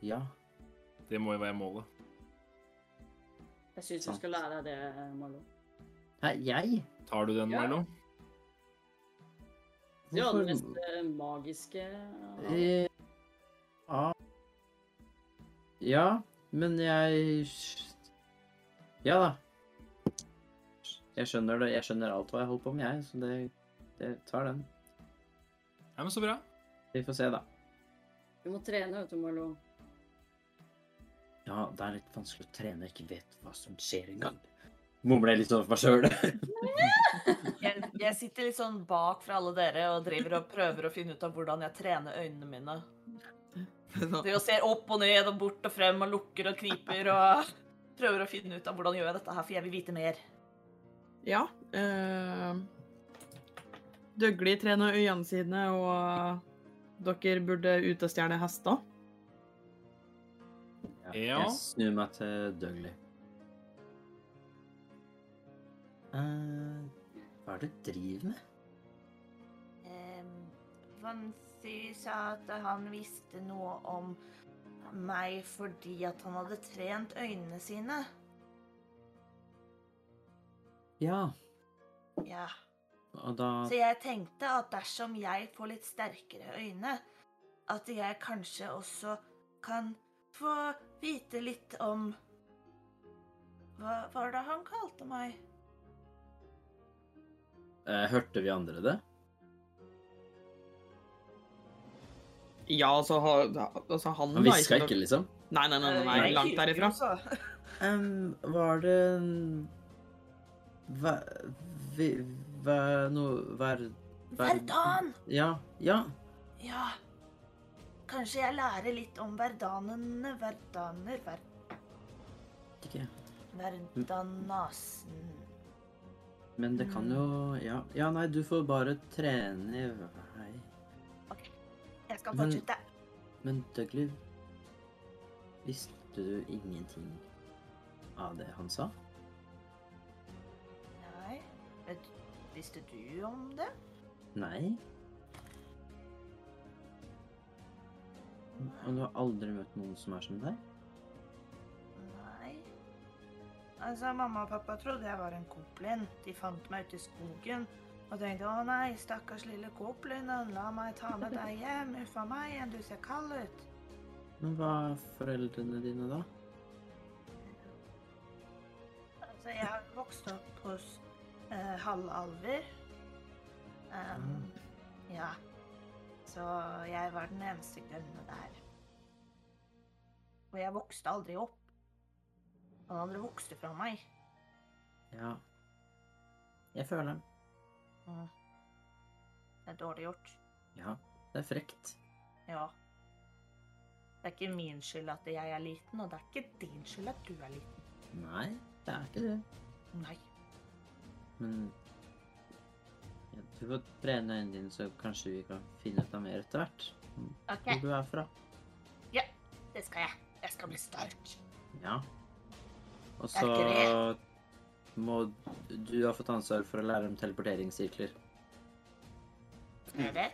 Speaker 4: ja.
Speaker 3: Det må jo være målet.
Speaker 5: Jeg syns du
Speaker 4: Sant.
Speaker 5: skal lære deg det, Marlo.
Speaker 4: Hæ, jeg?
Speaker 3: Tar du den,
Speaker 5: Ja.
Speaker 3: Milo?
Speaker 5: Du har
Speaker 4: Hvorfor-
Speaker 5: den mest eh, magiske
Speaker 4: Eh, Ja. Ja, men jeg Ja da. Jeg skjønner det. Jeg skjønner alt hva jeg holder på med, jeg, så det, det tar den.
Speaker 3: Ja, men så bra.
Speaker 4: Vi får se, da.
Speaker 5: Du må trene, vet du, Marlo.
Speaker 4: Ja, det er litt vanskelig å trene og ikke vet hva som skjer engang. Mumler jeg litt over meg sjøl.
Speaker 2: Jeg, jeg sitter litt sånn bak fra alle dere og driver og prøver å finne ut av hvordan jeg trener øynene mine.
Speaker 1: Sånn.
Speaker 2: Driver og ser opp og ned og bort og frem og lukker og kniper og prøver å finne ut av hvordan gjør jeg dette her, for jeg vil vite mer.
Speaker 1: Ja. Uh, Døgli trener øynene sine, og dere burde ut og stjele hester.
Speaker 3: Ja.
Speaker 4: Jeg snur meg til Dougley. Eh, hva er det du driver med?
Speaker 2: Ehm, Vansi sa at han visste noe om meg fordi at han hadde trent øynene sine.
Speaker 4: Ja,
Speaker 2: Ja.
Speaker 4: og da
Speaker 2: Så jeg tenkte at dersom jeg får litt sterkere øyne, at jeg kanskje også kan få vite litt om Hva var det han kalte meg?
Speaker 4: eh, Hørte vi andre det?
Speaker 1: Ja, altså, ha, altså han var
Speaker 4: Han hviska
Speaker 1: noe-
Speaker 4: ikke, liksom?
Speaker 1: Nei, nei, nei, nei, nei,
Speaker 2: Eh, Jeg
Speaker 1: langt
Speaker 2: hyler
Speaker 1: derifra.
Speaker 2: også.
Speaker 4: Em, var det en- Hva vi, Hva Noe Hver
Speaker 2: Verdan!
Speaker 4: Ja. Ja.
Speaker 2: Ja. Kanskje jeg lærer litt om verdanene, verdaner, ver,
Speaker 4: Ikke.
Speaker 2: verdanasen
Speaker 4: Men det kan jo ja. ja, nei, du får bare trene i vei.
Speaker 2: Jeg skal
Speaker 4: Men-
Speaker 2: fortsette.
Speaker 4: Men Dougley Visste du ingenting av det han sa?
Speaker 2: Nei. Vet- Visste du om det?
Speaker 4: Nei. Og du har aldri møtt noen som er som deg?
Speaker 2: Nei. Altså, mamma og pappa trodde jeg var en goblin. De fant meg ute i skogen og tenkte 'Å nei, stakkars lille goblinen, la meg ta med deg hjem'. Uffa meg, enn du ser kald ut.
Speaker 4: Men hva er foreldrene dine, da?
Speaker 2: Altså, jeg har vokst opp hos eh, halvalver. Um, ja. Så jeg var den eneste grønne der. Og jeg vokste aldri opp. Alle andre vokste fra meg.
Speaker 4: Ja. Jeg føler den.
Speaker 2: Mm. Det er dårlig gjort.
Speaker 4: Ja, det er frekt.
Speaker 2: Ja. Det er ikke min skyld at jeg er liten, og det er ikke din skyld at du er liten.
Speaker 4: Nei, det er ikke det.
Speaker 2: Nei.
Speaker 4: Men ja, du får trene øynene dine, så kanskje vi kan finne ut av mer etter hvert.
Speaker 2: OK,
Speaker 4: Hvor du er fra.
Speaker 2: det skal jeg. Jeg skal bli sterk.
Speaker 4: Ja. Og
Speaker 2: Det er
Speaker 4: så må du ha fått ansvar for å lære om teleporteringssirkler.
Speaker 2: Er det?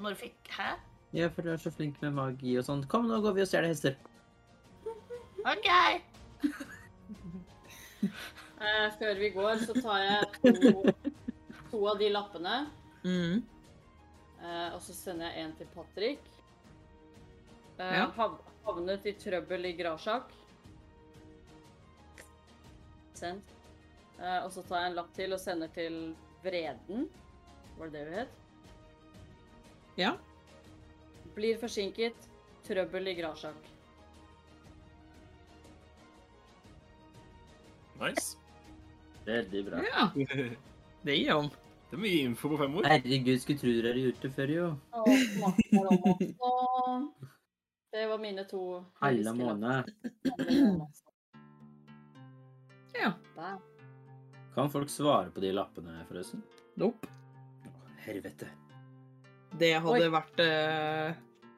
Speaker 2: Når du fikk Hæ?
Speaker 4: Ja, for du er så flink med magi og sånn. Kom, nå går vi og stjeler hester.
Speaker 2: OK!
Speaker 5: Eh, før vi går, så tar jeg to, to av de lappene.
Speaker 1: Mm.
Speaker 5: Eh, og så sender jeg en til Patrick. Eh,
Speaker 1: Ja.
Speaker 5: hav havnet i trøbbel i Grasjak. Send. Eh, og så tar jeg en lapp til og sender til Vreden. Var det det du het?
Speaker 1: Ja.
Speaker 5: Blir forsinket. Trøbbel i Grasjak.
Speaker 3: Nice.
Speaker 4: Veldig bra.
Speaker 1: ja.
Speaker 3: det
Speaker 1: Det gir om.
Speaker 3: er mye info på fem ord.
Speaker 4: Herregud, skulle tro dere gjorde det før, jo.
Speaker 5: Og smaker om også. Det var mine to.
Speaker 4: Halla måne.
Speaker 1: Ja.
Speaker 5: Der.
Speaker 4: Kan folk svare på de lappene, forresten?
Speaker 1: Nope.
Speaker 4: helvete.
Speaker 1: Det hadde
Speaker 5: Oi.
Speaker 1: vært eh,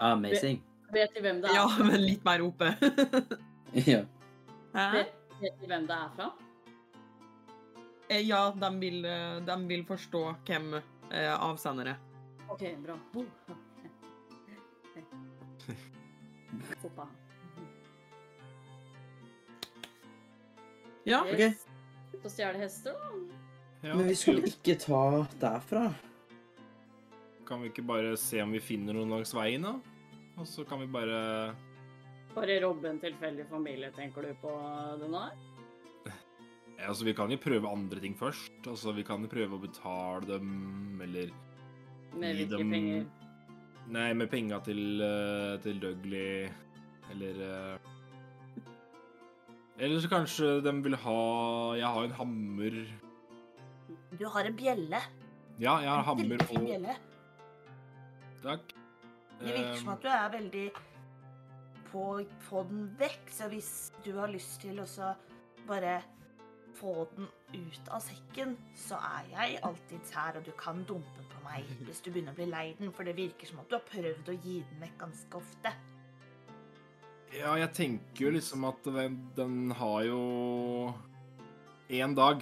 Speaker 4: Amazing.
Speaker 5: Vet de hvem det er?
Speaker 1: Ja, men litt mer oppe.
Speaker 4: ja.
Speaker 1: Hæ?
Speaker 5: Vet, vet de hvem det er fra?
Speaker 1: Eh, Ja, de vil, eh, de vil forstå hvem eh, avsendere.
Speaker 5: OK, bra. Foppa.
Speaker 1: Ja.
Speaker 4: Ok.
Speaker 5: Yes. Ut og stjele hester, da.
Speaker 3: Ja,
Speaker 4: Men vi skulle ikke ta derfra.
Speaker 3: Kan vi ikke bare se om vi finner noen langs veien, da? Og så kan vi bare
Speaker 5: Bare robbe en tilfeldig familie, tenker du på den her?
Speaker 3: ja, Altså, vi kan jo prøve andre ting først. Altså, vi kan jo prøve å betale dem, eller
Speaker 5: Med
Speaker 3: gi
Speaker 5: hvilke
Speaker 3: dem
Speaker 5: penger?
Speaker 3: Nei, med penga til, eh, til Dougley, eller eh, Eller så kanskje de vil ha Jeg har en hammer
Speaker 2: Du har en bjelle.
Speaker 3: Ja, jeg har
Speaker 2: En
Speaker 3: hammer
Speaker 2: veldig fin
Speaker 3: og
Speaker 2: bjelle.
Speaker 3: Takk.
Speaker 2: Det virker som at du er veldig på å få den vekk, så hvis du har lyst til å så bare få den ut av sekken, så er jeg alltid her, og du kan dumpe den på meg hvis du begynner å bli lei den, for det virker som at du har prøvd å gi den vekk ganske ofte.
Speaker 3: Ja, jeg tenker jo liksom at den, den har jo En dag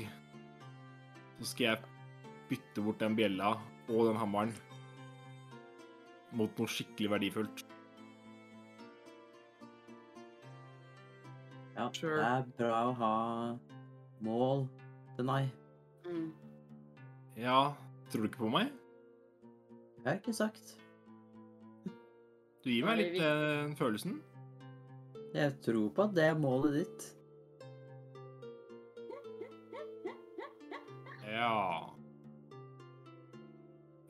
Speaker 3: så skal jeg bytte bort den bjella og den hammeren mot noe skikkelig verdifullt.
Speaker 4: Ja,
Speaker 1: Sure.
Speaker 4: Det er bra å ha mål til nei.
Speaker 5: Mm.
Speaker 3: Ja, tror du ikke på meg?
Speaker 4: Det har jeg ikke sagt.
Speaker 3: Du gir meg
Speaker 5: Nei,
Speaker 3: litt
Speaker 5: vi-
Speaker 3: eh, den følelsen.
Speaker 4: Jeg tror på at det er målet ditt.
Speaker 3: Ja.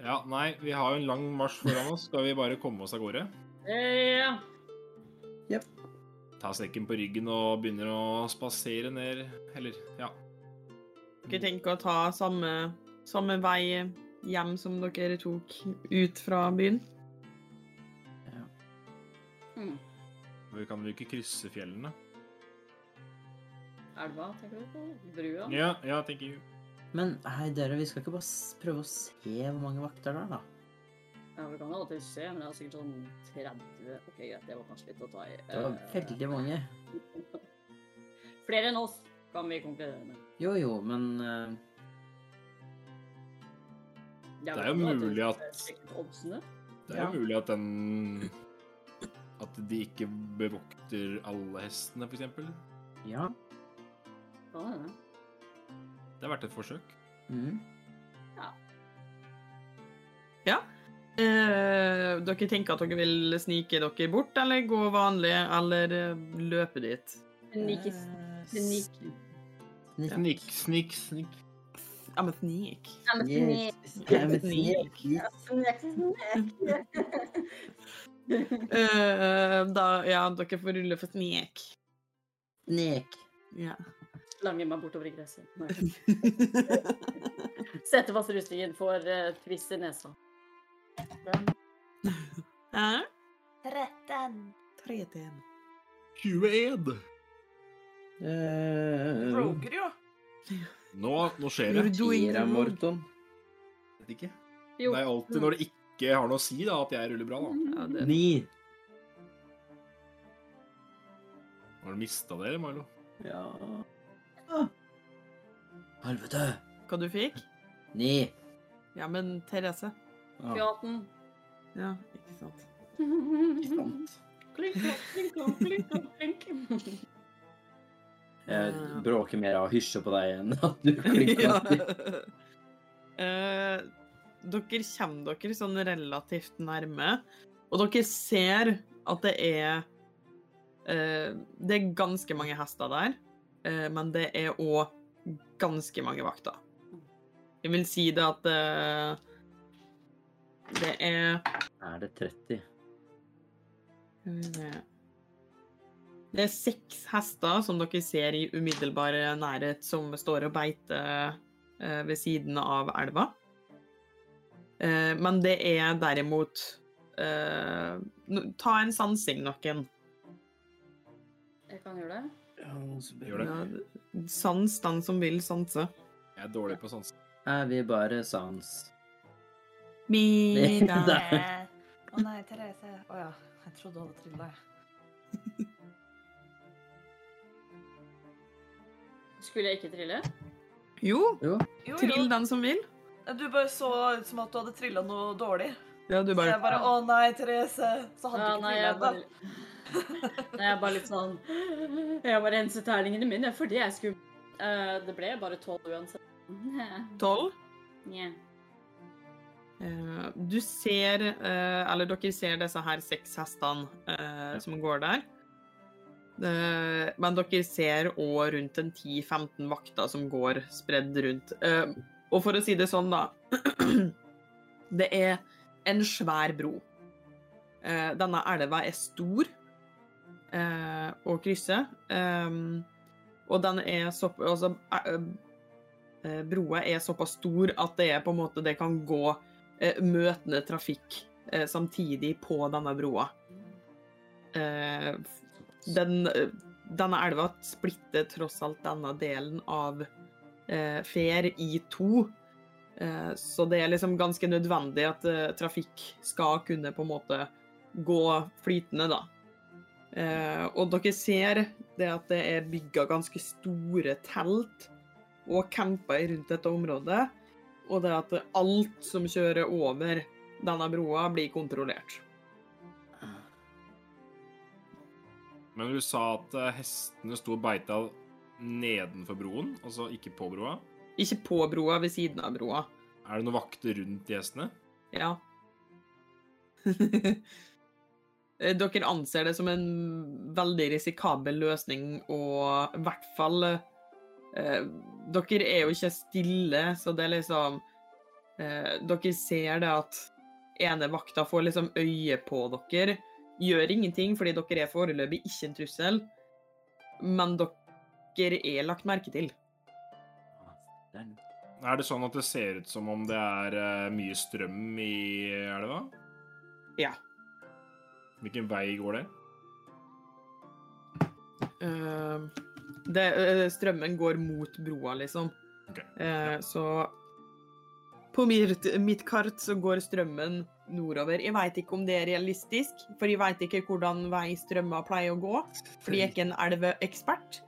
Speaker 3: Ja, nei, vi har jo en lang marsj foran oss. Skal vi bare komme oss av gårde?
Speaker 5: Eh, ja.
Speaker 3: Ta sekken på ryggen og begynner å spasere ned Eller, ja.
Speaker 1: Dere tenker å ta samme, samme vei hjem som dere tok ut fra byen?
Speaker 5: Mm.
Speaker 3: Vi kan jo ikke krysse fjellene.
Speaker 5: Elva, tenker du på? Brua?
Speaker 3: Ja, ja, tenker jeg.
Speaker 4: Men hei, dere, vi skal ikke bare s- prøve å se hvor mange vakter det er, da?
Speaker 5: Ja, vi kan jo alltid se, men det er sikkert sånn 30 OK, greit, det var kanskje litt å ta i.
Speaker 4: Det var
Speaker 5: Eh,
Speaker 4: veldig mange.
Speaker 5: Flere enn oss kan vi konkludere med.
Speaker 4: Jo, jo, men eh,
Speaker 3: Det er jo mulig at-
Speaker 5: sikkert Oddsene.
Speaker 3: Det er jo
Speaker 4: Ja.
Speaker 3: mulig at den At de ikke bevokter alle hestene, f.eks.
Speaker 4: ja.
Speaker 5: Kan hende.
Speaker 3: Det er verdt et forsøk.
Speaker 4: Mm.
Speaker 1: Eh, dere tenker at dere vil snike dere bort, eller gå vanlig, eller eh, løpe dit?
Speaker 5: Snik,
Speaker 4: Eh,
Speaker 5: snik.
Speaker 4: Snikk.
Speaker 3: Snikk, snikk, snikk.
Speaker 1: Ja, men snik.
Speaker 4: Yes.
Speaker 1: Ja,
Speaker 4: men
Speaker 1: snik.
Speaker 4: snik. Yes.
Speaker 1: Eh, da, ja, dere får rulle for snek.
Speaker 4: Snik.
Speaker 1: Ja.
Speaker 5: Slanger meg bortover i gresset. Nei. Setter fast rustningen, får eh, tvist i nesa.
Speaker 1: Hæ?
Speaker 2: Retten.
Speaker 3: 21! Mm.
Speaker 4: Eh,
Speaker 2: Roger, jo.
Speaker 3: Nå, nå skjer det.
Speaker 1: You're doing
Speaker 4: Fire,
Speaker 1: the work.
Speaker 4: Morton.
Speaker 3: Jeg vet ikke. Det
Speaker 5: Jo,
Speaker 3: er alltid når det ikke har noe å si, da, at jeg ruller bra, da.
Speaker 1: Ja, det-
Speaker 4: Ni.
Speaker 3: Har du mista dere, Milo?
Speaker 4: Ja. Ah. Helvete.
Speaker 1: Hva du fikk?
Speaker 4: Ni.
Speaker 1: Ja, men Therese.
Speaker 4: Ah,
Speaker 5: Fjaten.
Speaker 1: Ja, ikke sant.
Speaker 4: ikke sant.
Speaker 5: Klink, klink, klink, klink, klink.
Speaker 4: Jeg bråker mer av å hysje på deg enn at du klinker.
Speaker 1: Eh, dere kommer dere sånn relativt nærme, og dere ser at det er eh, Det er ganske mange hester der, eh, men det er òg ganske mange vakter. Jeg vil si det at eh, det er
Speaker 4: Er det 30?
Speaker 1: skal vi se. Mm, Det er seks hester som dere ser i umiddelbar nærhet, som står og beiter eh, ved siden av elva. Eh, Men det er derimot eh, no- Ta en sansing, noen.
Speaker 5: Jeg kan gjøre det.
Speaker 3: Gjør det.
Speaker 1: Ja, Sans den som vil sanse.
Speaker 3: Jeg er dårlig på sånt.
Speaker 4: Er vi bare sans?
Speaker 1: Middag.
Speaker 4: Middag.
Speaker 2: Eh, Å nei, Therese. Å ja. Jeg trodde hun hadde trilla.
Speaker 5: Skulle jeg ikke trille?
Speaker 1: Jo,
Speaker 2: Jo, jo.
Speaker 1: trill den som vil.
Speaker 2: Du bare så ut som at du hadde trilla noe dårlig.
Speaker 1: Ja, du
Speaker 2: Så jeg
Speaker 1: bare
Speaker 2: bare Å nei, Therese. Så hadde
Speaker 5: Ja,
Speaker 2: du
Speaker 5: nei,
Speaker 2: ikke
Speaker 5: jeg
Speaker 2: trilla
Speaker 5: bare
Speaker 2: ennå.
Speaker 5: Nei, jeg er bare litt sånn Jeg må rense terningene mine fordi jeg skulle Eh, Det ble bare tolv uansett. Nja.
Speaker 1: tolv.
Speaker 5: Nja.
Speaker 1: Eh, Du ser, eh, eller dere ser disse her seks hestene eh, som går der. Eh, Men dere ser òg rundt en 10-15 vakter som går spredd rundt. Eh, Og for å si det sånn, da Det er en svær bro. Eh, Denne elva er stor eh, å krysse. Eh, Og den er så Altså, eh, eh, broa er såpass stor at det er på en måte Det kan gå eh, møtende trafikk eh, samtidig på denne broa. Eh, den, eh, denne elva splitter tross alt denne delen av eh, Fer i to. Eh, så det er liksom ganske nødvendig at eh, trafikk skal kunne på en måte gå flytende, da. Eh, og dere ser det at det er bygga ganske store telt og camper rundt dette området. Og det at alt som kjører over denne broa, blir kontrollert.
Speaker 3: Men du sa at eh, hestene sto og beita nedenfor broen, altså ikke på broa.
Speaker 1: Ikke på broa, ved siden av broa.
Speaker 3: Er det noen vakter rundt de hestene?
Speaker 1: Ja. Eh, Dere anser det som en veldig risikabel løsning, og i hvert fall eh, Dere er jo ikke stille, så det er liksom eh, Dere ser det at ene vakta får liksom øye på dere. Gjør ingenting, fordi dere er foreløpig ikke en trussel. Men dere er lagt merke til.
Speaker 4: Det er Ah, den.
Speaker 3: Er det sånn at det ser ut som om det er eh, mye strøm i elva?
Speaker 1: Ja.
Speaker 3: Hvilken vei går det?
Speaker 1: Eh, det, eh, strømmen går mot broa, liksom.
Speaker 3: Ok,
Speaker 1: Eh, Så på mitt, mitt kart så går strømmen nordover. Jeg veit ikke om det er realistisk, for jeg veit ikke hvordan vei strømma pleier å gå. Fordi jeg er ikke en elveekspert.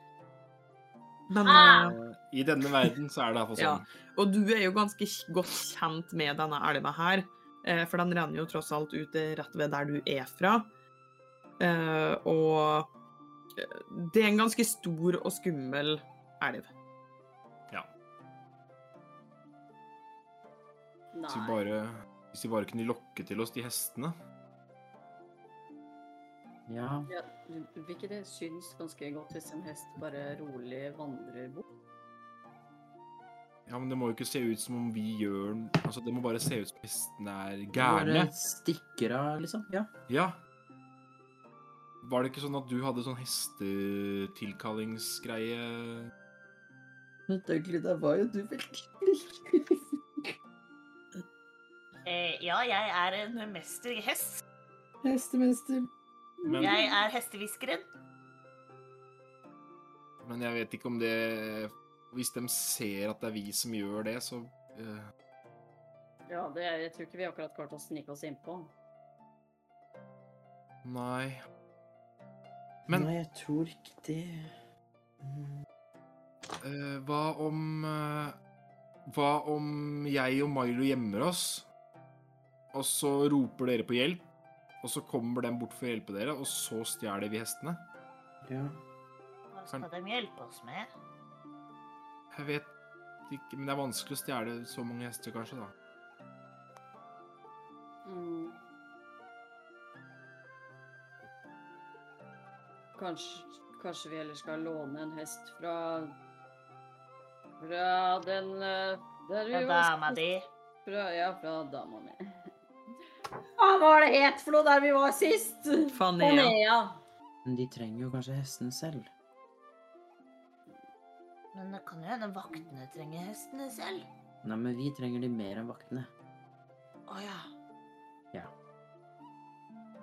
Speaker 1: Men
Speaker 5: Ah!
Speaker 1: eh,
Speaker 3: I denne verden så er det iallfall
Speaker 1: Ja.
Speaker 3: sånn.
Speaker 1: Og du er jo ganske kj- godt kjent med denne elva her, eh, for den renner jo tross alt ut eh, rett ved der du er fra. Eh, Og eh, det er en ganske stor og skummel elv.
Speaker 3: Hvis vi
Speaker 5: Nei.
Speaker 3: bare, hvis vi bare kunne lokke til oss de hestene.
Speaker 4: Ja.
Speaker 5: Ja, vil ikke det synes ganske godt hvis en hest bare rolig vandrer bort?
Speaker 3: Ja, men det må jo ikke se ut som om vi gjør Altså, det må bare se ut som hestene er gærne.
Speaker 4: Bare stikker av, liksom. Ja.
Speaker 3: Ja. Var det ikke sånn at du hadde sånn hestetilkallingsgreie
Speaker 4: Men egentlig, det var jo du veldig
Speaker 2: eh, ja, jeg er en mesterhest.
Speaker 4: Hestemester.
Speaker 3: Men-
Speaker 2: Jeg er hestehviskeren.
Speaker 3: Men jeg vet ikke om det Hvis de ser at det er vi som gjør det, så eh,
Speaker 5: Ja, det, jeg tror ikke vi akkurat klarte å snike oss innpå.
Speaker 3: Nei. Men
Speaker 4: Nei, jeg tror ikke det. Mm.
Speaker 3: eh, hva om eh, Hva om jeg og Milo gjemmer oss, og så roper dere på hjelp, og så kommer de bort for å hjelpe dere, og så stjeler vi hestene?
Speaker 4: Ja.
Speaker 2: Hva skal de hjelpe oss med?
Speaker 3: Jeg vet ikke, men det er vanskelig å stjele så mange hester, kanskje, da.
Speaker 5: Mm. Kanskje, kanskje vi heller skal låne en hest fra Fra den eh, der vi
Speaker 2: Ja,
Speaker 5: var-
Speaker 2: dama di.
Speaker 5: Fra, ja, fra dama mi. Hva var det het for noe der vi var sist?
Speaker 1: Fanea.
Speaker 5: Panea.
Speaker 4: Men de trenger jo kanskje hestene selv.
Speaker 2: Men det kan jo hende vaktene trenger hestene selv.
Speaker 4: Nei, men vi trenger de mer enn vaktene.
Speaker 2: Å ja.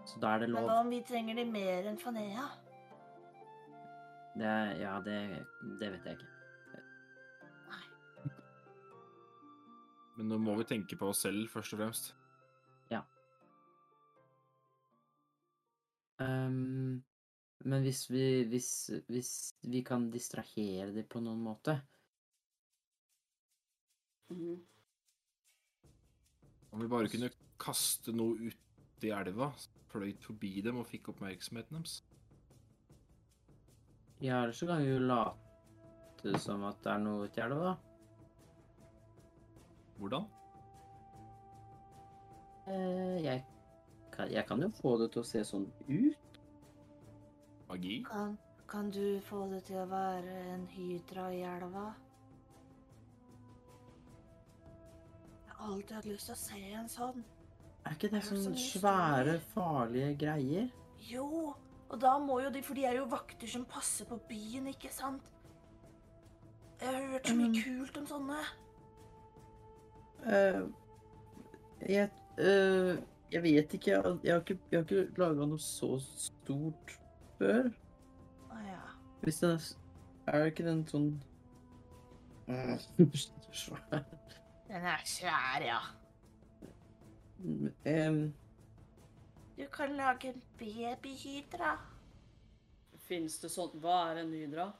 Speaker 4: Så da er det
Speaker 2: Men
Speaker 4: lov.
Speaker 2: hva om vi trenger de mer enn Fanea?
Speaker 4: Det, ja, det, det vet jeg ikke.
Speaker 3: Men nå må vi tenke på oss selv, først og fremst.
Speaker 4: Ehm, men hvis vi, hvis, hvis vi kan distrahere det på noen måte
Speaker 5: Mhm.
Speaker 3: Om vi bare kunne kaste noe ut i elva, som fløyt forbi dem og fikk oppmerksomheten deres.
Speaker 4: Ja, ellers så kan vi jo late som at det er noe uti elva, da.
Speaker 3: Hvordan?
Speaker 4: Eh, jeg, kan, jeg kan jo få det til å se sånn ut.
Speaker 3: Magi?
Speaker 2: Kan, kan du få det til å være en hydra i elva? Jeg har alltid hatt lyst til å se en sånn.
Speaker 4: Er ikke det
Speaker 2: Er det så
Speaker 4: sånn
Speaker 2: mye
Speaker 4: svære,
Speaker 2: større?
Speaker 4: farlige greier?
Speaker 2: Jo, og da må jo de, for de er jo vakter som passer på byen, ikke sant? Jeg har hørt så mye
Speaker 1: Mm.
Speaker 2: kult om sånne.
Speaker 4: Eh, jeg, eh, jeg vet ikke. Jeg, har- jeg har ikke, jeg har ikke laga noe så stort før.
Speaker 2: Å ja.
Speaker 4: Hvis den er s- Er ikke den sånn Mm, svær?
Speaker 2: Den er svær, ja.
Speaker 4: Em,
Speaker 2: Du kan lage en babyhydra.
Speaker 5: Finnes det sånn Hva er en hydra?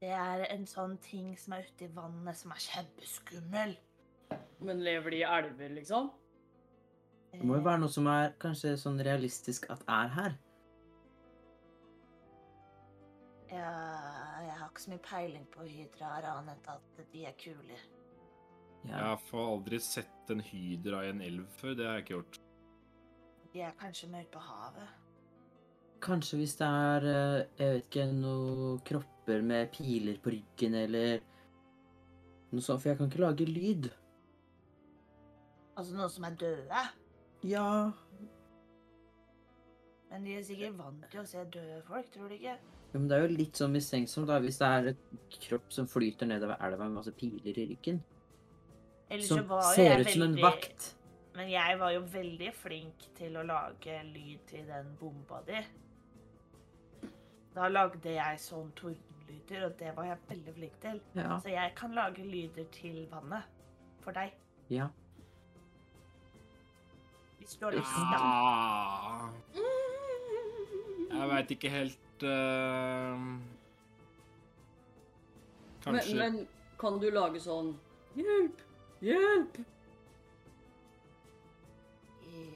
Speaker 2: Det er en sånn ting som er ute i vannet som er kjempeskummel.
Speaker 5: Men lever de i elver, liksom?
Speaker 4: det må jo være noe som er kanskje sånn realistisk at er her.
Speaker 2: Ja, jeg har ikke så mye peiling på hydraer annet enn at de er kule.
Speaker 3: Jeg har fa- aldri sett en hydra i en elv før. Det har jeg ikke gjort.
Speaker 2: De er kanskje mer ute på havet.
Speaker 4: Kanskje hvis det er eh, jeg vet ikke, noen kropper med piler på ryggen eller noe sånt, for jeg kan ikke lage lyd.
Speaker 2: Altså noen som er døde.
Speaker 4: Ja.
Speaker 2: Men de er sikkert vant til å se døde folk, tror du ikke?
Speaker 4: Jo, men det er jo litt sånn mistenksomt da, hvis det er et kropp som flyter nedover elva med masse piler i ryggen.
Speaker 2: Ellers så
Speaker 4: Som
Speaker 2: var jo
Speaker 4: ser
Speaker 2: jeg
Speaker 4: ut som en
Speaker 2: veldig-
Speaker 4: vakt.
Speaker 2: Men jeg var jo veldig flink til å lage lyd til den bomba di. Da lagde jeg sånn tordenlyder, og det var jeg veldig flink til.
Speaker 4: Ja.
Speaker 2: Så jeg kan lage lyder til vannet. For deg.
Speaker 4: ja.
Speaker 2: Hvis du har lyst. da.
Speaker 3: Ah, jeg veit ikke helt eh,
Speaker 5: Men,
Speaker 3: Kanskje
Speaker 5: men kan du lage sånn Hjelp! Hjelp!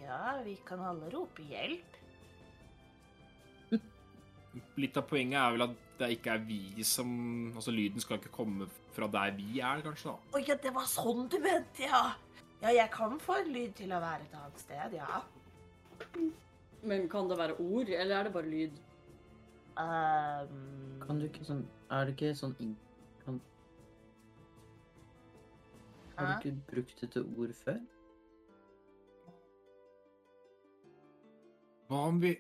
Speaker 2: Ja, vi kan alle rope hjelp.
Speaker 3: Litt av poenget er vel at det ikke er vi som Altså, lyden skal ikke komme fra der vi er, kanskje, da.
Speaker 2: Å ja, det var sånn du mente, ja. Ja, jeg kan få en lyd til å være et annet sted, ja.
Speaker 5: Men kan det være ord, eller er det bare lyd?
Speaker 2: Ehm,
Speaker 4: Kan du ikke sånn Er det ikke sånn in- kan, Har du
Speaker 2: Hæ?
Speaker 4: ikke brukt det til ord før?
Speaker 3: Hva om vi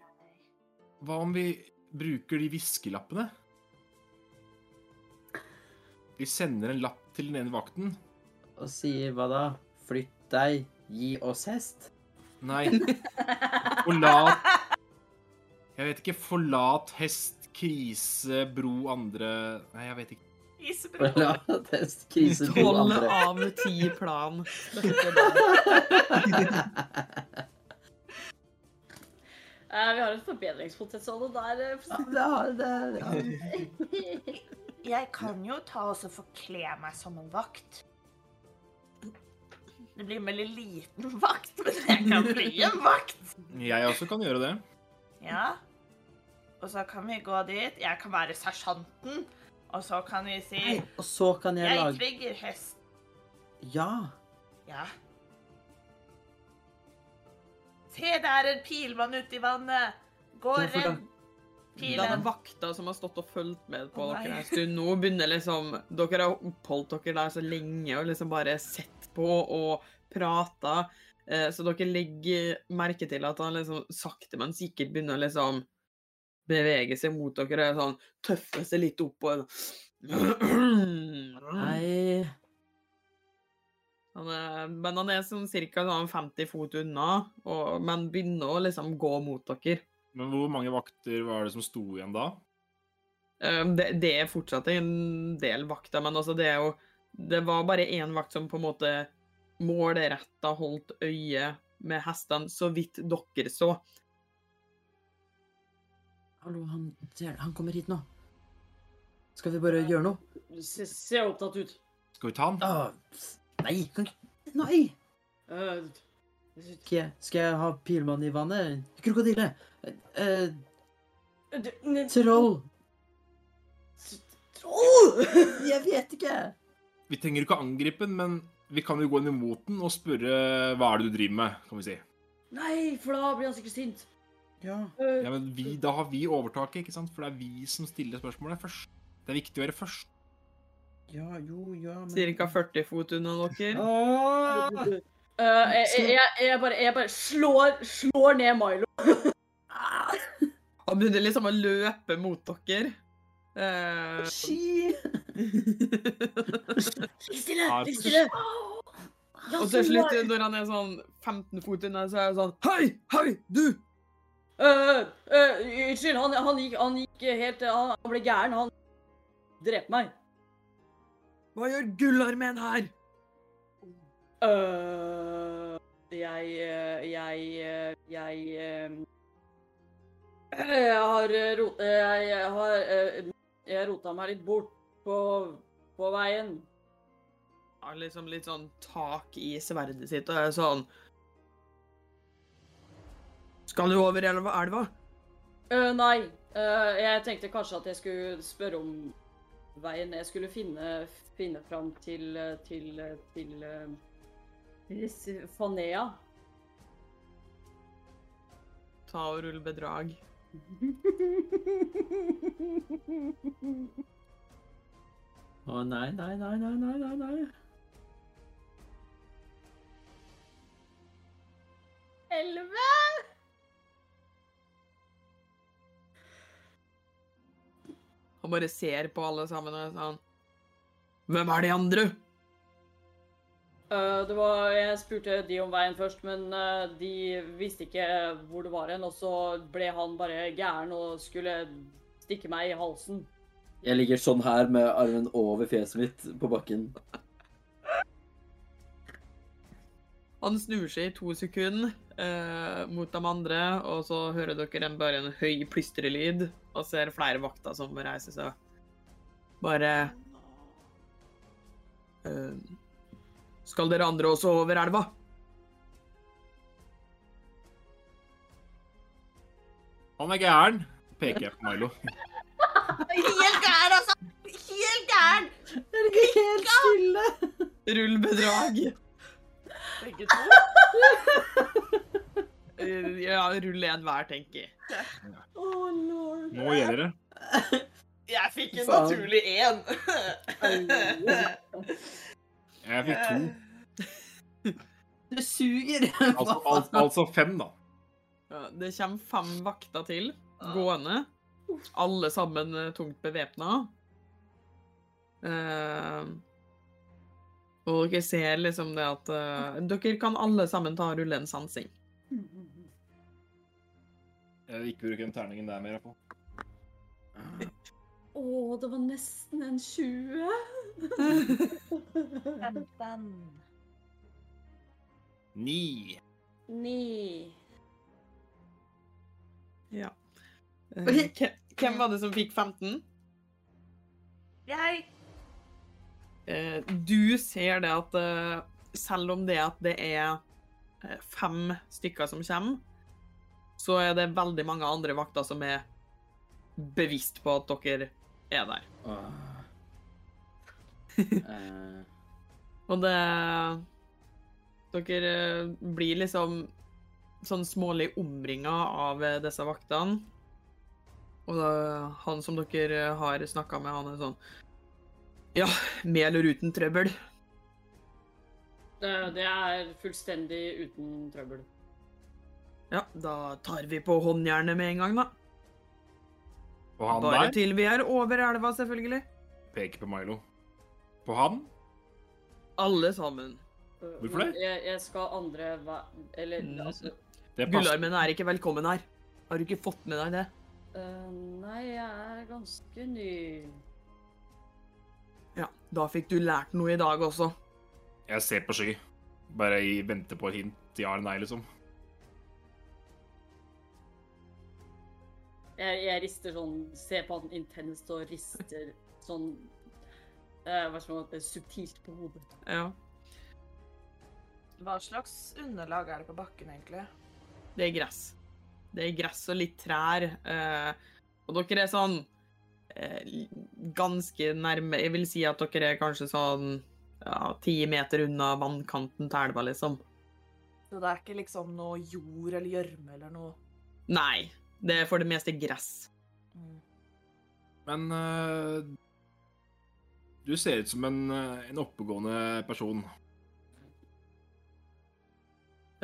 Speaker 3: Hva om vi bruker de viskelappene? Vi sender en lapp til den ene vakten.
Speaker 4: Og sier hva da? Flytt deg, gi oss hest?
Speaker 3: Nei. Forlat Jeg vet ikke. Forlat hest, krise, bro, andre Nei, jeg vet ikke.
Speaker 6: Isebro.
Speaker 4: La hest krise to
Speaker 1: Tolv
Speaker 4: andre.
Speaker 1: av ti plan. Dette der.
Speaker 5: Eh, vi har et forbedringspotensial der. eh, for
Speaker 4: Ja,
Speaker 5: å si
Speaker 4: det har det. det har det.
Speaker 2: jeg kan jo ta og så forkle meg som en vakt. Det blir en veldig liten vakt, men jeg kan bli en vakt.
Speaker 3: Jeg også kan gjøre det.
Speaker 2: Ja. Og så kan vi gå dit. Jeg kan være sersjanten. Og så kan vi si
Speaker 4: Nei, og så kan jeg
Speaker 2: Jeg
Speaker 4: lage
Speaker 2: trigger hest.
Speaker 4: Ja.
Speaker 2: Ja. Se, det er en pilmann ute i vannet. Gå
Speaker 4: Hvorfor da?
Speaker 2: redd
Speaker 1: Den
Speaker 2: pilen.
Speaker 1: vakta som har stått og fulgt med på
Speaker 2: Å, nei.
Speaker 1: dere en stund nå, begynner liksom Dere har oppholdt dere der så lenge og liksom bare sett på og prata. eh, Så dere legger merke til at han liksom sakte, men sikkert begynner å liksom bevege seg mot dere. Sånn tøffe seg litt opp og sånn.
Speaker 4: Nei
Speaker 1: han er, men han er sånn ca. 50 fot unna, og, men begynner å liksom gå mot dere.
Speaker 3: Men hvor mange vakter var det som sto igjen da?
Speaker 1: Um, Det, det er fortsatt en del vakter, men altså det er jo Det var bare én vakt som på en måte målretta holdt øye med hestene så vidt dere så.
Speaker 4: Hallo, han ser Han kommer hit nå. Skal vi bare gjøre noe?
Speaker 5: Du Ah, se- ser opptatt ut.
Speaker 3: Skal vi ta den?
Speaker 4: Ah, nei, kan ikke Nei!
Speaker 5: Eh,
Speaker 4: Skal jeg, skal jeg ha pilmann i vannet? Krokodille! Eh,
Speaker 5: det- ne-
Speaker 4: troll!
Speaker 5: Troll!
Speaker 4: Jeg vet ikke!
Speaker 3: Vi trenger ikke å angripe den, men vi kan jo gå inn imot den og spørre hva er det du driver med, kan vi si.
Speaker 5: Nei, for da blir han sikkert sint.
Speaker 4: Ja.
Speaker 5: Eh,
Speaker 3: Ja, men vi, da har vi overtaket, ikke sant? For det er vi som stiller spørsmålet først. Det er viktig å være først.
Speaker 4: Ja, jo, ja, men
Speaker 1: Cirka 40 fot unna dere.
Speaker 4: Åh!
Speaker 5: eh, jeg, jeg, jeg bare, jeg bare slår, slår ned Milo.
Speaker 4: Ah,
Speaker 1: Han begynner liksom å løpe mot dere. Eh,
Speaker 4: Ski!
Speaker 5: Ligg stille!
Speaker 3: Har-
Speaker 5: Ligg stille! Ah! Ja,
Speaker 1: og til
Speaker 5: så
Speaker 1: slutt,
Speaker 5: var-
Speaker 1: når han er sånn 15 fot unna, så er det sånn Hei! Hei! Du!
Speaker 5: Eh, eh, Unnskyld, han, han, gikk, han gikk helt Han, han ble gæren. Han drepte meg.
Speaker 1: Hva gjør gullarmeen her?
Speaker 5: Eh, jeg eh, Jeg eh, Jeg eh, Jeg har eh, rot... eh, Jeg, jeg har eh, Jeg rota meg litt bort på, på veien.
Speaker 1: Har liksom litt sånn tak i sverdet sitt og er sånn Skal du over elva? elva?
Speaker 5: Eh, nei. Eh, jeg tenkte kanskje at jeg skulle spørre om veien. Jeg skulle finne, finne fram til eh, til eh, til, eh, til s- Fanea.
Speaker 1: Ta og rull bedrag.
Speaker 4: Å nei, nei, nei, nei, nei, nei, nei.
Speaker 5: Elleve!
Speaker 1: Han bare ser på alle sammen og er sånn Hvem er de andre?
Speaker 5: Eh, det var, jeg spurte de om veien først, men eh, de visste ikke hvor det var hen. Og så ble han bare gæren og skulle stikke meg i halsen.
Speaker 4: Jeg ligger sånn her med armen over fjeset mitt på bakken.
Speaker 1: Han snur seg i to sekunder eh, mot de andre, og så hører dere en, bare en høy plystrelyd, og ser flere vakter som reiser seg. Bare eh, Skal dere andre også over elva?
Speaker 3: Han er gæren, peker jeg på Milo.
Speaker 7: Helt gæren, altså! Helt gæren!
Speaker 4: Er det ikke helt stille?
Speaker 1: Rull bedrag.
Speaker 2: Begge to.
Speaker 1: Eh, ja, rull en hver, tenker jeg.
Speaker 5: Oh, lord.
Speaker 3: Nå gjelder det.
Speaker 2: Jeg fikk en
Speaker 4: Faen.
Speaker 2: naturlig én.
Speaker 3: Jeg fikk to.
Speaker 4: Du suger!
Speaker 3: Altså, al altså fem, da.
Speaker 1: Ja, Det kommer fem vakter til gående. Alle sammen eh, tungt bevæpna. Eh, og dere ser liksom det at eh, Dere kan alle sammen ta og rulle en sansing.
Speaker 3: Jeg vil Eh, ikke bruke den terningen der mer. På.
Speaker 5: Å, det var nesten en 20.
Speaker 3: Ni.
Speaker 5: Ni.
Speaker 1: Eh, hvem- hvem var det som fikk 15?
Speaker 7: Jeg
Speaker 1: Eh, du ser det at eh, selv om det at det er eh, fem stykker som kommer, så er det veldig mange andre vakter som er bevisst på at dere er der.
Speaker 4: Eh,
Speaker 1: Og det Dere eh, blir liksom sånn smålig omringa av eh, disse vaktene. Og da, han som dere eh, har snakka med, han er sånn Ja, med eller uten trøbbel.
Speaker 5: Det, Eh, det er fullstendig uten trøbbel.
Speaker 1: Ja, da tar vi på håndjernet med en gang, da.
Speaker 3: På han
Speaker 1: Bare
Speaker 3: der
Speaker 1: til vi er over elva, selvfølgelig.
Speaker 3: peker på Milo. På han?
Speaker 1: Alle sammen.
Speaker 3: Hvorfor det?
Speaker 5: Jeg, jeg skal andre vei... Eller
Speaker 1: Mm.
Speaker 5: altså
Speaker 3: Det passer.
Speaker 1: Gullarmen er ikke velkommen her. Har du ikke fått med deg det?
Speaker 5: eh, Nei, jeg er ganske ny.
Speaker 1: Ja, da fikk du lært noe i dag også.
Speaker 3: Jeg ser på sky. Bare i vente på et hint. Ja eller nei, liksom.
Speaker 5: Jeg, Jeg, jeg rister sånn, ser på han intenst og rister sånn eh, Hva skal man si Subtilt på hodet.
Speaker 1: Ja.
Speaker 2: Hva slags underlag er det på bakken, egentlig?
Speaker 1: Det er gress. Det er gress og litt trær. eh, og dere er sånn eh, ganske nærme Jeg vil si at dere er kanskje sånn ja, ti meter unna vannkanten til elva, liksom.
Speaker 2: Så det er ikke liksom noe jord eller gjørme eller noe?
Speaker 1: Nei. Det er for det meste gress.
Speaker 2: Mm.
Speaker 3: Men eh, du ser ut som en, eh, en oppegående person.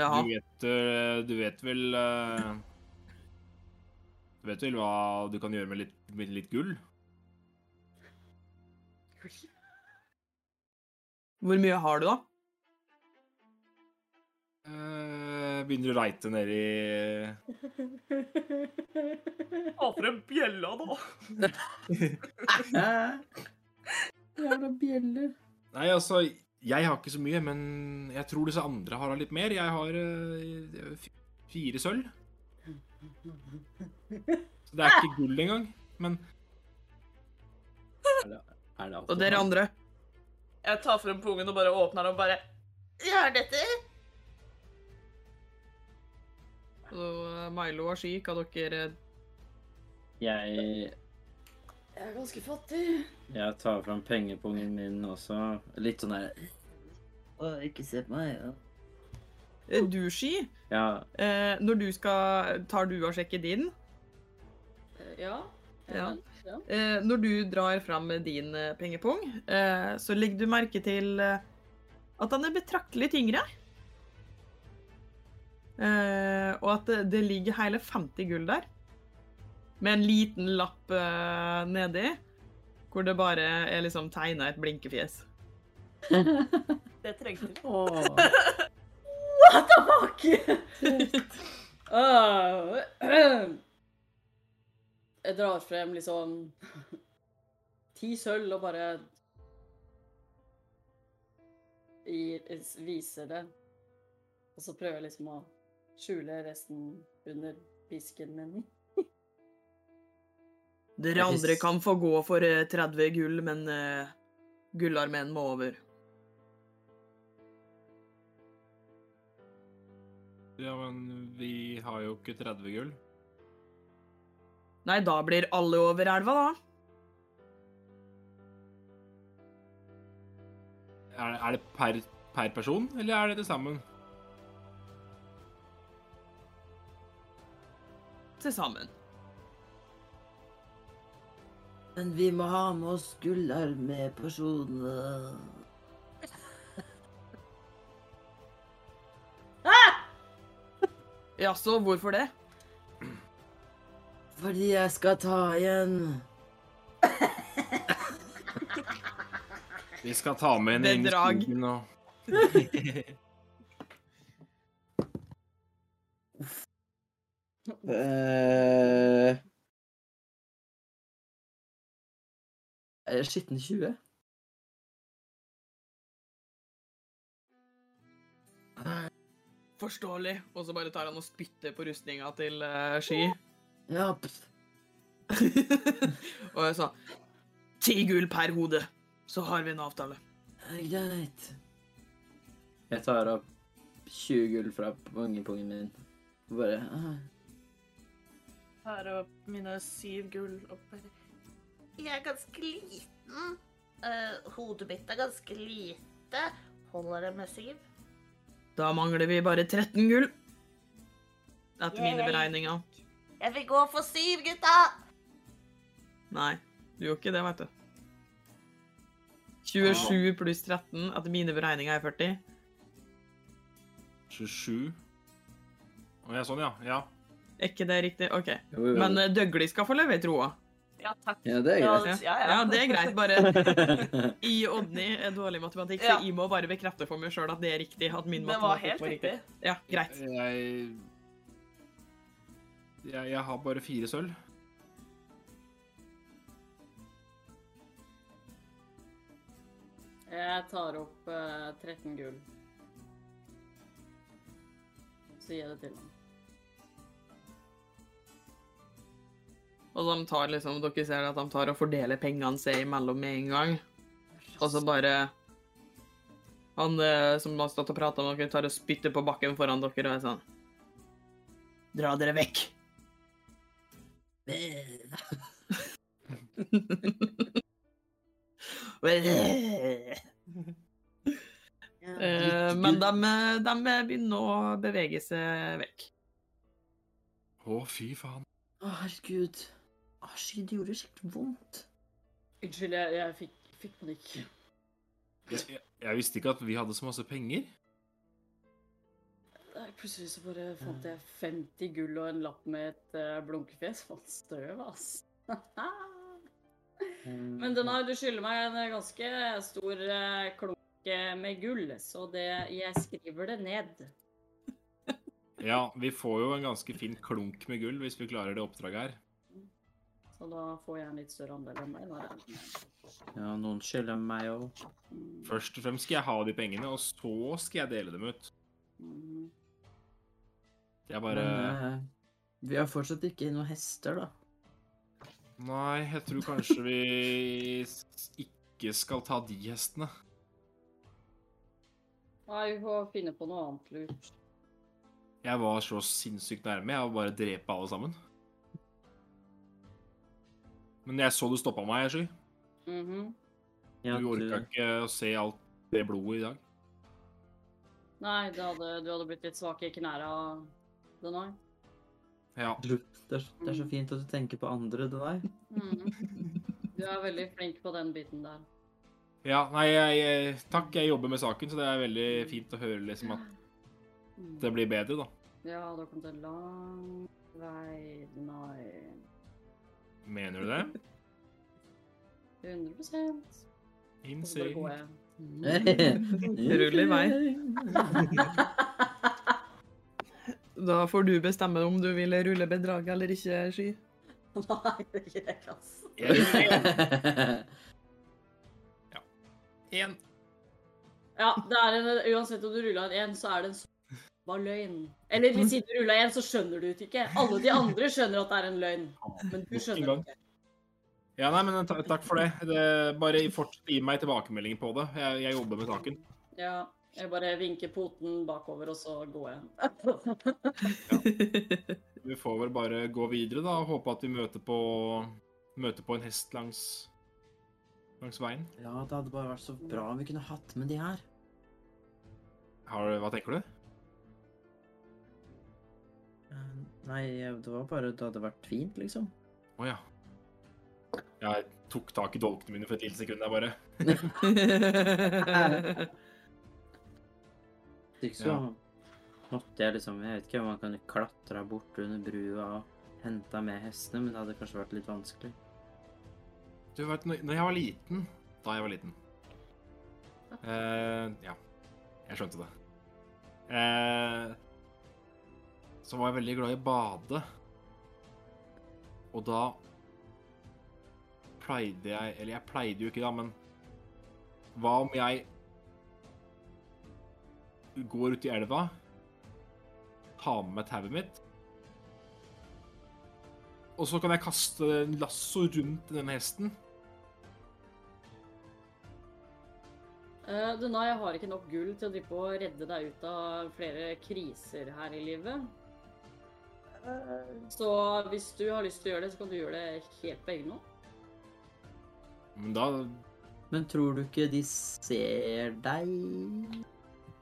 Speaker 1: Jaha.
Speaker 3: Du, vet, eh, du vet vel eh, Du vet vel hva du kan gjøre med litt, med litt gull?
Speaker 1: Hvor mye har du, da?
Speaker 3: Eh, begynner å reite nedi
Speaker 2: Ta frem bjella, da!
Speaker 4: Jævla bjeller.
Speaker 3: Nei, altså, jeg har ikke så mye, men jeg tror disse andre har litt mer. Jeg har eh, f- fire sølv. Så det er ikke gull engang. Men
Speaker 4: Er det alltid
Speaker 1: Og dere andre?
Speaker 2: Jeg tar frem pungen og bare åpner den og bare
Speaker 7: Ja, dette
Speaker 1: Og Milo var syk, og dere
Speaker 4: Jeg,
Speaker 5: Jeg er ganske fattig.
Speaker 4: jeg tar fram pengepungen min også. Litt sånn der Å, ikke se på meg. Ja.
Speaker 1: Eh, Du, Sky,
Speaker 4: ja,
Speaker 1: eh, når du skal Tar du og sjekker din?
Speaker 5: Eh, Ja.
Speaker 1: Ja.
Speaker 5: ja.
Speaker 1: Eh, når du drar fram din eh, pengepung, eh, så legger du merke til eh, at den er betraktelig tyngre. Eh, og at det, det ligger hele 50 gull der. Med en liten lapp eh, nedi, hvor det bare er liksom tegna et blinkefjes.
Speaker 2: Det trengte vi.
Speaker 5: What the fuck? Øh, øh. jeg drar frem liksom ti sølv og bare gir, viser det. Og så prøver jeg liksom å skjule resten under pisken min.
Speaker 1: Dere
Speaker 4: Jeg
Speaker 1: andre
Speaker 4: synes-
Speaker 1: kan få gå for eh, 30 gull, men eh, gullarmeen må over.
Speaker 3: Ja, men vi har jo ikke 30 gull.
Speaker 1: Nei, da blir alle over elva, da.
Speaker 3: Er, er det per, per person, eller er det til sammen?
Speaker 1: Til sammen.
Speaker 8: Men vi må ha med oss gullarmepersonene.
Speaker 1: Jaså, hvorfor det?
Speaker 8: Fordi jeg skal ta igjen.
Speaker 3: Vi skal ta med en gjeng i
Speaker 1: Bedrag.
Speaker 3: skogen og
Speaker 4: Eh.
Speaker 8: Uh... Er det skitten 20?
Speaker 1: Forståelig. Og så bare tar han og spytter på rustninga til eh, Sky.
Speaker 8: Ja, pff.
Speaker 1: og jeg sa ti gull per hode, så har vi en avtale.
Speaker 8: er greit.
Speaker 4: jeg tar opp 20 gull fra pengepungen min.
Speaker 8: Bare ah,
Speaker 2: Her og mine syv gull og bare
Speaker 7: Jeg er ganske liten. Eh, hodet mitt er ganske lite. Holder det med syv?
Speaker 1: Da mangler vi bare 13 gull. Etter mine
Speaker 7: Yay.
Speaker 1: beregninger.
Speaker 7: Jeg vil gå for syv, gutta!
Speaker 1: Nei, du gjorde ikke det, veit du. 27 pluss 13 etter mine beregninger er 40.
Speaker 3: 27. Å ja, sånn, ja. Ja.
Speaker 1: Er ikke det riktig? OK.
Speaker 4: Jo, jo.
Speaker 1: Men eh, Dougley skal få leve i troa.
Speaker 2: Ja, takk.
Speaker 4: Ja, det er greit.
Speaker 2: Ja, ja, ja.
Speaker 1: Ja, det er greit. Bare I Odny er dårlig i matematikk, så
Speaker 2: Ja.
Speaker 1: jeg må bare bekrefte for meg sjøl at det er riktig. At min
Speaker 2: Det var
Speaker 1: matematikk
Speaker 2: helt
Speaker 1: var riktig.
Speaker 2: riktig.
Speaker 1: Ja, greit.
Speaker 3: Jeg, jeg Jeg har bare fire sølv.
Speaker 5: Jeg tar opp eh, 13 gull. Så gir jeg det til ham.
Speaker 1: Og de tar liksom, dere ser at de tar og fordeler pengene seg imellom med en gang. Og så bare Han eh, som har stått og prata med dere, tar og spytter på bakken foran dere og er sånn Dra dere vekk. Eh, Men de, de begynner å bevege seg vekk.
Speaker 3: Å, fy faen.
Speaker 8: Å, herregud. Å, shit, det gjorde skikkelig vondt.
Speaker 5: Unnskyld, jeg, jeg fikk, fikk panikk.
Speaker 3: Jeg, jeg, jeg visste ikke at vi hadde så masse penger.
Speaker 5: Nei, Plutselig så bare fant jeg 50 gull og en lapp med et eh, blunkefjes. Faen, støv, ass.
Speaker 4: Mm.
Speaker 5: Men Denai, du skylder meg en ganske stor eh, klunk eh, med gull, så det, jeg skriver det ned.
Speaker 3: Ja, vi får jo en ganske fin klunk med gull hvis vi klarer det oppdraget her.
Speaker 5: Så da får jeg en litt større andel enn deg. Nei,
Speaker 4: Ja, noen skylder meg òg.
Speaker 5: Mm,
Speaker 3: Først og fremst skal jeg ha de pengene, og så skal jeg dele dem ut.
Speaker 5: mm.
Speaker 3: Jeg
Speaker 4: Men
Speaker 3: bare
Speaker 4: eh, vi har fortsatt ikke noen hester, da.
Speaker 3: Nei, jeg tror kanskje vi s- ikke skal ta de hestene.
Speaker 5: Nei, vi får finne på noe annet lurt.
Speaker 3: Jeg var så sinnssykt nærme. Jeg var bare drepe alle sammen. Men jeg så du stoppa meg, Sky.
Speaker 5: Mhm.
Speaker 4: Ja,
Speaker 3: Du orka ikke å se alt det blodet i dag.
Speaker 5: Nei, det hadde, du hadde blitt litt svak i knærne, Denai.
Speaker 3: Ja.
Speaker 4: Det er, det er så fint at du tenker på andre, det der.
Speaker 5: Mhm. Du er veldig flink på den biten der.
Speaker 3: ja nei, jeg, jeg, takk. Jeg jobber med saken, så det er veldig fint å høre liksom at
Speaker 5: Mm.
Speaker 3: det blir bedre, da.
Speaker 5: Ja, da kom det lang vei Nei.
Speaker 3: Mener du det?
Speaker 5: 100 Og så bare går
Speaker 3: Insane.
Speaker 5: jeg.
Speaker 1: Rull i vei. Da får du bestemme om du vil rulle bedraget eller ikke, Sky.
Speaker 5: Nei, det gjør jeg ikke, ass.
Speaker 3: Én.
Speaker 5: Ja, det er en, uansett om du rulla en én, så er det en sårbar løgn. Eller hvis ikke du rulla en, så skjønner du det ikke. Alle de andre skjønner at det er en løgn, men du skjønner det ikke.
Speaker 3: Ja, nei, men ta- takk for det. det bare fortsett å gi meg tilbakemeldinger på det. Jeg, jeg jobber med saken.
Speaker 5: Ja, jeg bare vinker poten bakover, og så går jeg.
Speaker 3: Vi får vel bare gå videre, da, og håpe at vi møter på, møter på en hest langs, langs veien.
Speaker 4: Ja, det hadde bare vært så bra om vi kunne hatt med de her.
Speaker 3: Har, du- hva tenker du?
Speaker 4: Eh, Nei, det var bare Det hadde vært fint, liksom.
Speaker 3: Å ja. Jeg tok tak i dolkene mine for et lite sekund der, bare.
Speaker 4: Hvis Ikke så måtte jeg liksom Jeg vet ikke om man kan klatre bort under brua og hente med hestene, men det hadde kanskje vært litt vanskelig.
Speaker 3: Du vet, når når jeg var liten Da jeg var liten. Eh, ja. Jeg skjønte det. Eh, så var jeg veldig glad i å bade. Og da pleide jeg Eller jeg pleide jo ikke, da, men hva om jeg går ut i elva, tar med meg tauet mitt, og så kan jeg kaste en lasso rundt denne hesten?
Speaker 5: Eh, Du, nei, jeg har ikke nok gull til å drive og redde deg ut av flere kriser her i livet. Så hvis du har lyst til å gjøre det, så kan du gjøre det helt på egen hånd.
Speaker 3: Men da
Speaker 4: Men tror du ikke de ser deg?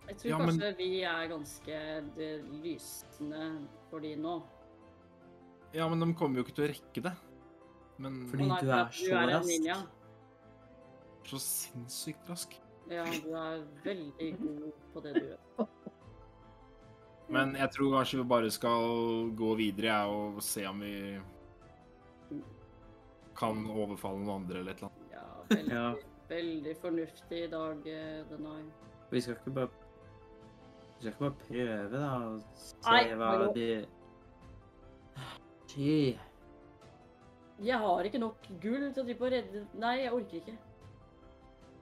Speaker 5: Jeg tror
Speaker 3: Ja, men-
Speaker 5: kanskje vi er ganske eh, lysende for de nå.
Speaker 3: Ja, men de kommer jo ikke til å rekke det. Men
Speaker 4: Fordi
Speaker 5: Og nei,
Speaker 4: du er
Speaker 5: for
Speaker 4: så
Speaker 5: en
Speaker 4: rask.
Speaker 5: ninja.
Speaker 3: så sinnssykt rask.
Speaker 5: Ja, du er veldig god på det du gjør.
Speaker 3: Men jeg tror kanskje vi bare skal gå videre jeg, og se om vi kan overfalle noen andre eller et eller annet.
Speaker 5: Ja, veldig,
Speaker 4: Ja.
Speaker 5: veldig fornuftig i dag, eh, Denai.
Speaker 4: Vi skal ikke bare Vi skal ikke bare prøve, da, og se
Speaker 5: Nei,
Speaker 4: hva
Speaker 5: hallo.
Speaker 4: de Fy.
Speaker 5: Jeg har ikke nok gull til å drive og redde Nei, jeg orker ikke.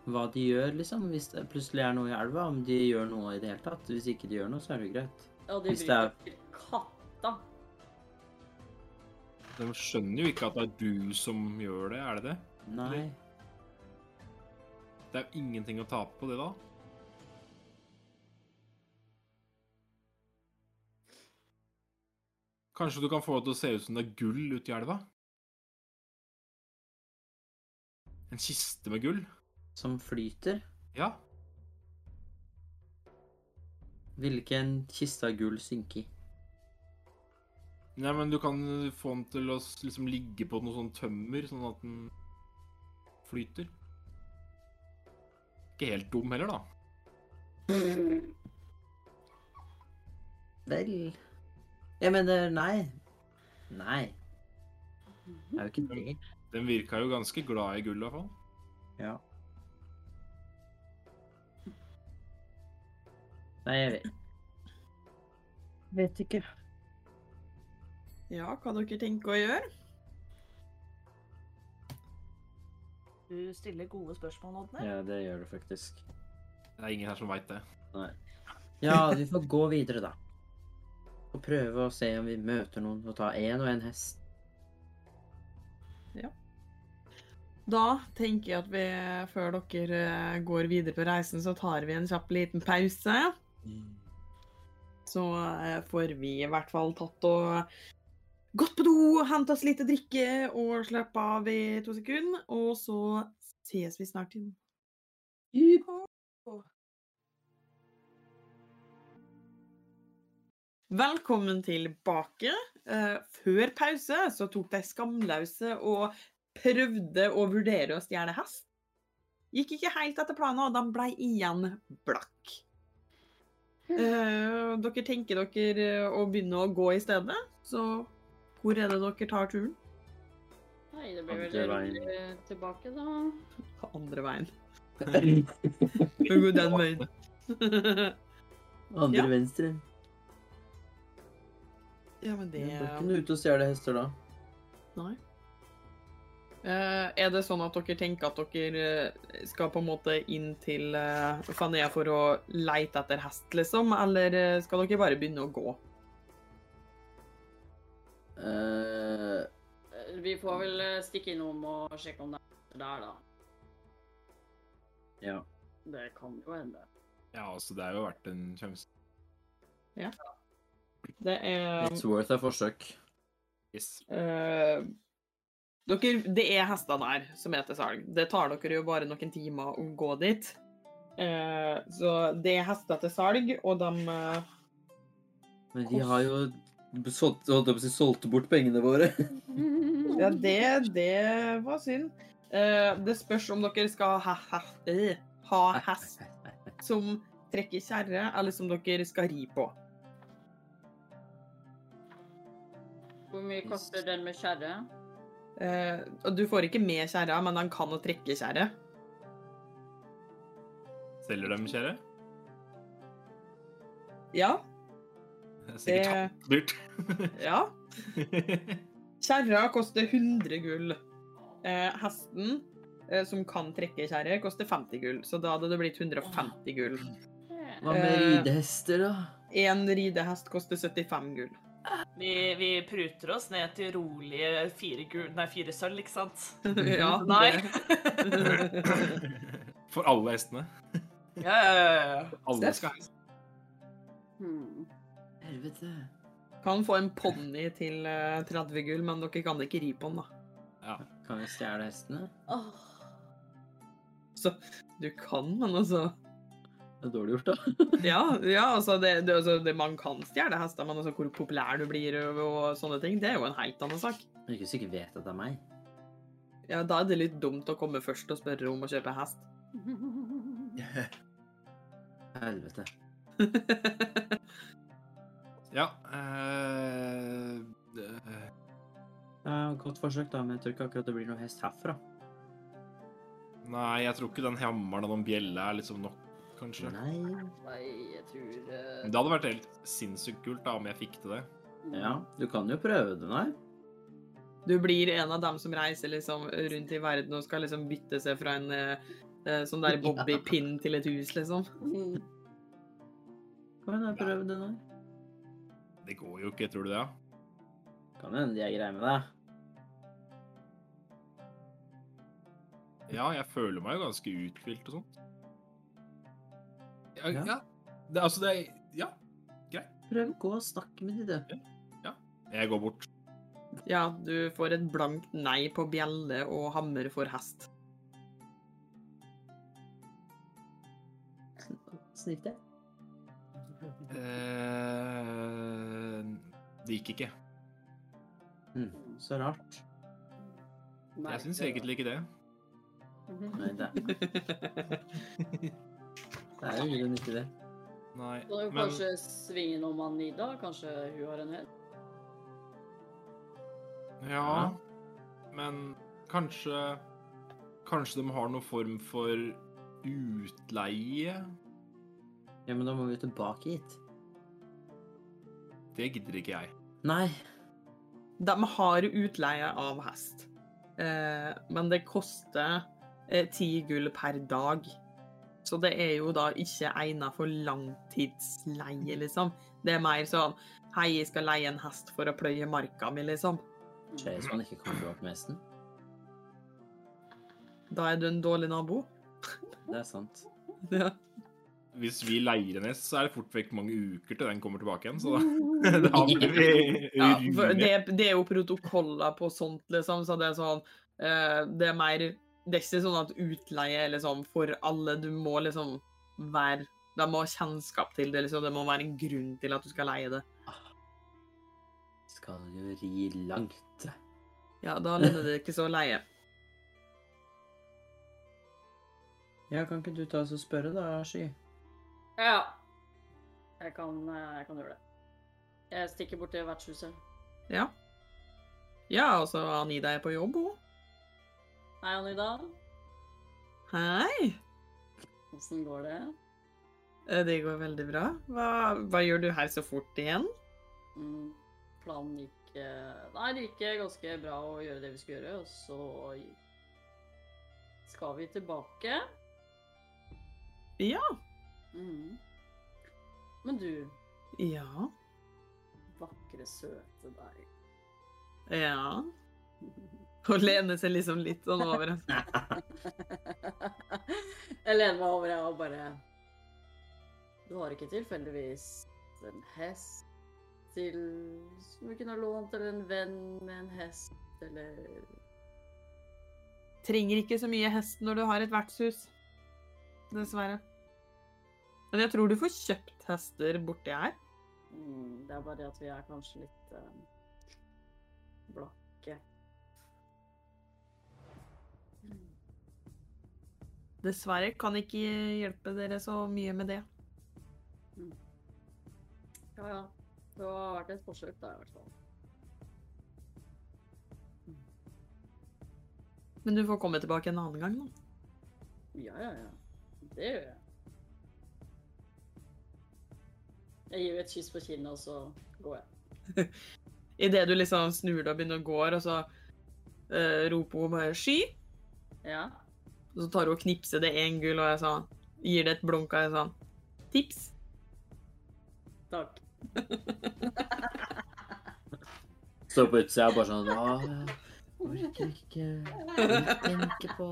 Speaker 4: Hva de gjør, liksom. Hvis det plutselig er noe i elva, om de gjør noe i det hele tatt. Hvis ikke de gjør noe, så er det greit.
Speaker 5: Ja, de
Speaker 4: Hvis det er-
Speaker 5: bryter katta.
Speaker 3: De skjønner jo ikke at det er du som gjør det, er det det?
Speaker 4: Nei.
Speaker 3: Det er jo ingenting å tape på det, da. Kanskje du kan få det til å se ut som det er gull ute i elva? En kiste med gull?
Speaker 4: Som flyter.
Speaker 3: Ja.
Speaker 4: Vil ikke en kiste av gull synke i?
Speaker 3: Nei, men du kan få den til å s- liksom ligge på noe sånn tømmer, sånn at den flyter. Ikke helt dum heller, da.
Speaker 4: Vel Jeg mener, nei. Nei.
Speaker 1: Mhm.
Speaker 4: Det er jo ikke det.
Speaker 3: Den virka jo ganske glad i gull, i hvert fall.
Speaker 4: Ja. Nei, jeg vet
Speaker 8: Vet ikke.
Speaker 1: Ja, hva dere tenker å gjøre?
Speaker 7: Du stiller gode spørsmål, Odne.
Speaker 4: Ja, det gjør det faktisk.
Speaker 3: Det er ingen her som veit det.
Speaker 4: Ja, vi får gå videre, da. Og prøve å se om vi møter noen og ta én og én hest.
Speaker 1: Da tenker jeg at vi, før dere eh, går videre på reisen, så tar vi en kjapp liten pause. Så eh, får vi i hvert fall tatt og gått på do, henta oss litt å drikke og slappe av i to sekunder. Og så ses vi snart igjen. Velkommen tilbake. Eh, Før pause så tok de skamløse og prøvde å vurdere å stjele hest. Gikk ikke helt etter planen, og de ble igjen blakk. Eh, dere tenker dere eh, å begynne å gå i stedet, så hvor er det dere tar turen?
Speaker 5: Nei, det blir vel
Speaker 4: Andre veien.
Speaker 5: ruller tilbake, da.
Speaker 1: Ta andre veien. Skal gå den veien.
Speaker 4: Andre
Speaker 1: Ja.
Speaker 4: venstre.
Speaker 1: ja, men
Speaker 4: Du
Speaker 1: det
Speaker 4: bør kunne ut og stjele hester da.
Speaker 1: Nei. Eh, er det sånn at dere tenker at dere eh, skal på en måte inn til uh, Fanea for å leite etter hest, liksom? Eller eh, skal dere bare begynne å gå?
Speaker 4: Eh,
Speaker 5: Eh, Vi får vel eh, stikke innom og sjekke om det er der, da.
Speaker 4: ja.
Speaker 5: Det kan jo hende.
Speaker 3: Ja, altså, det er jo verdt en sjanse.
Speaker 1: Det er
Speaker 4: It's worth a forsøk.
Speaker 3: Yes.
Speaker 1: eh, dere, Det er hester der som er til salg. Det tar dere jo bare noen timer å gå dit. Eh, så det er hester til salg, og de eh,
Speaker 4: Men vi har jo solgt, holdt jeg på å si, solgte bort pengene våre.
Speaker 1: Ja, det, det var synd. Eh, det spørs om dere skal ha, ha, eh, ha hest som trekker kjerre, eller som dere skal ri på.
Speaker 5: Hvor mye koster den med kjerre?
Speaker 1: Eh, og du får ikke med kjerra, men han kan å trekke kjerre.
Speaker 3: Selger dem, kjære?
Speaker 1: Ja.
Speaker 3: Det er sikkert
Speaker 1: ja.
Speaker 3: dyrt.
Speaker 1: Kjerra koster 100 gull. Eh, hesten, eh, som kan trekke kjerre, koster 50 gull. Så da hadde det blitt 150 gull.
Speaker 4: Hva med
Speaker 1: Eh.
Speaker 4: ridehester, da?
Speaker 1: Én ridehest koster 75 gull.
Speaker 7: Vi, vi pruter oss ned til rolige fire, gul, nei, fire sølv, ikke sant?
Speaker 1: ja,
Speaker 7: Nei.
Speaker 3: For alle hestene.
Speaker 7: Ja, ja, ja, ja.
Speaker 3: Alle
Speaker 1: Steff?
Speaker 3: skal ha hest.
Speaker 5: Hmm.
Speaker 4: Helvete.
Speaker 1: Kan få en ponni til eh, 30 gull, men dere kan ikke ri på den, da.
Speaker 3: Ja.
Speaker 4: Kan vi stjele hestene?
Speaker 1: Du kan, men altså
Speaker 4: Det er dårlig gjort, da.
Speaker 1: Ja, ja altså, det, det, altså det, man kan stjele hester, men altså hvor populær du blir og, og sånne ting, det er jo en helt annen sak.
Speaker 4: Men ikke sikkert vet at det er meg.
Speaker 1: Ja, Da er det litt dumt å komme først og spørre om å kjøpe hest.
Speaker 4: Helvete.
Speaker 3: ja eh, det-
Speaker 4: Ja, godt forsøk, da, men jeg tror ikke akkurat det blir noe hest herfra.
Speaker 3: nei, jeg tror ikke den hammeren og den bjella er liksom nok, kanskje.
Speaker 4: Nei.
Speaker 5: Nei, jeg tror eh,
Speaker 3: Men Det hadde vært helt sinnssykt kult da, om jeg fikk til det.
Speaker 4: Ja, du kan jo prøve det, nei.
Speaker 1: Du blir en av dem som reiser liksom rundt i verden og skal liksom bytte seg fra en eh, eh, sånn der bobbypin til et hus, liksom.
Speaker 5: Hmm.
Speaker 4: Kan hende jeg prøver det nå.
Speaker 3: Det går jo ikke, tror du det? ja?
Speaker 4: Kan hende de er greie med deg.
Speaker 3: Ja, jeg føler meg jo ganske uthvilt og sånt. Ja.
Speaker 4: Ja.
Speaker 3: ja. Det, altså, det er Ja.
Speaker 8: Prøv å gå og snakke med de, du.
Speaker 3: Jeg går bort.
Speaker 1: Ja, du får et blankt nei på bjelle og hammer for hest.
Speaker 8: Snilt det.
Speaker 3: Eh, det gikk ikke.
Speaker 4: Mm, så rart.
Speaker 3: Jeg syns egentlig ikke det.
Speaker 4: Nei, det, det er jo i grunnen ikke det.
Speaker 3: Nei.
Speaker 5: Kan jo
Speaker 3: Men
Speaker 5: kanskje svinge innom Anida? Kanskje hun har en hel?
Speaker 3: Ja. Men kanskje Kanskje de har noen form for utleie?
Speaker 4: Ja, men da må vi tilbake hit.
Speaker 3: Det gidder ikke jeg.
Speaker 4: Nei.
Speaker 1: De har utleie av hest, eh, men det koster eh, ti gull per dag. Så det er jo da ikke egnet for langtidsleie, liksom. Det er mer sånn Hei, jeg skal leie en hest for å pløye marka mi, liksom.
Speaker 4: Skjer man ikke kommer opp med hesten.
Speaker 1: Da er du en dårlig nabo.
Speaker 4: Det er sant.
Speaker 1: Ja.
Speaker 3: Hvis vi leier en hest, så er det fort vekk mange uker til den kommer tilbake igjen, så da, da blir vi
Speaker 1: Ja, for
Speaker 3: ruinert.
Speaker 1: det, det er jo protokoller på sånt, liksom, så det er sånn eh, Det er mer Det er ikke sånn at utleie er liksom for alle. Du må liksom være De må ha kjennskap til det, liksom. Det må være en grunn til at du skal leie det.
Speaker 4: Skal jo ri langt.
Speaker 1: Ja, da lønner det ikke så å leie.
Speaker 4: Ja, kan ikke du ta oss og spørre da, Sky?
Speaker 5: Ja. Jeg kan, eh, jeg kan gjøre det. Jeg stikker bort til vertshuset.
Speaker 1: Ja. Ja, altså, Anida er på jobb, hun.
Speaker 5: Hei, Anida.
Speaker 1: Hei!
Speaker 5: Åssen går det?
Speaker 1: Eh, Det går veldig bra. Hva, hva gjør du her så fort igjen?
Speaker 5: Mm, planen gikk eh, Nei, det gikk eh, ganske bra å gjøre det vi skulle gjøre, og så gi- skal vi tilbake.
Speaker 1: Ja.
Speaker 5: Mm. Men du,
Speaker 1: Ja.
Speaker 5: vakre, søte deg.
Speaker 1: Ja. Og lener seg liksom litt sånn over henne.
Speaker 5: jeg lener meg over jeg og bare Du har ikke tilfeldigvis en hest til som du kunne ha lånt, eller en venn med en hest, eller
Speaker 1: Trenger ikke så mye hest når du har et vertshus. Dessverre. Men jeg tror du får kjøpt hester borti her.
Speaker 5: mm, Det er bare det at vi er kanskje litt eh, blakke. Mm,
Speaker 1: Dessverre kan ikke hjelpe dere så mye med det.
Speaker 5: mm. Ja ja. Det har vært et forsøk, da, i hvert fall.
Speaker 1: Men du får komme tilbake en annen gang, da.
Speaker 5: Ja ja ja. Det gjør jeg. Jeg gir jo et kyss på kinnet, og så går jeg.
Speaker 1: Idet du liksom snur deg og begynner å gå, og så eh, roper hun bare 'sky',
Speaker 5: Ja.
Speaker 1: og så tar hun og knipser det én gull, og jeg sånn Gir det et blunk og jeg sånn Tips.
Speaker 5: Takk.
Speaker 4: Står på utsida og bare sånn Hva? Orker ikke orker tenke på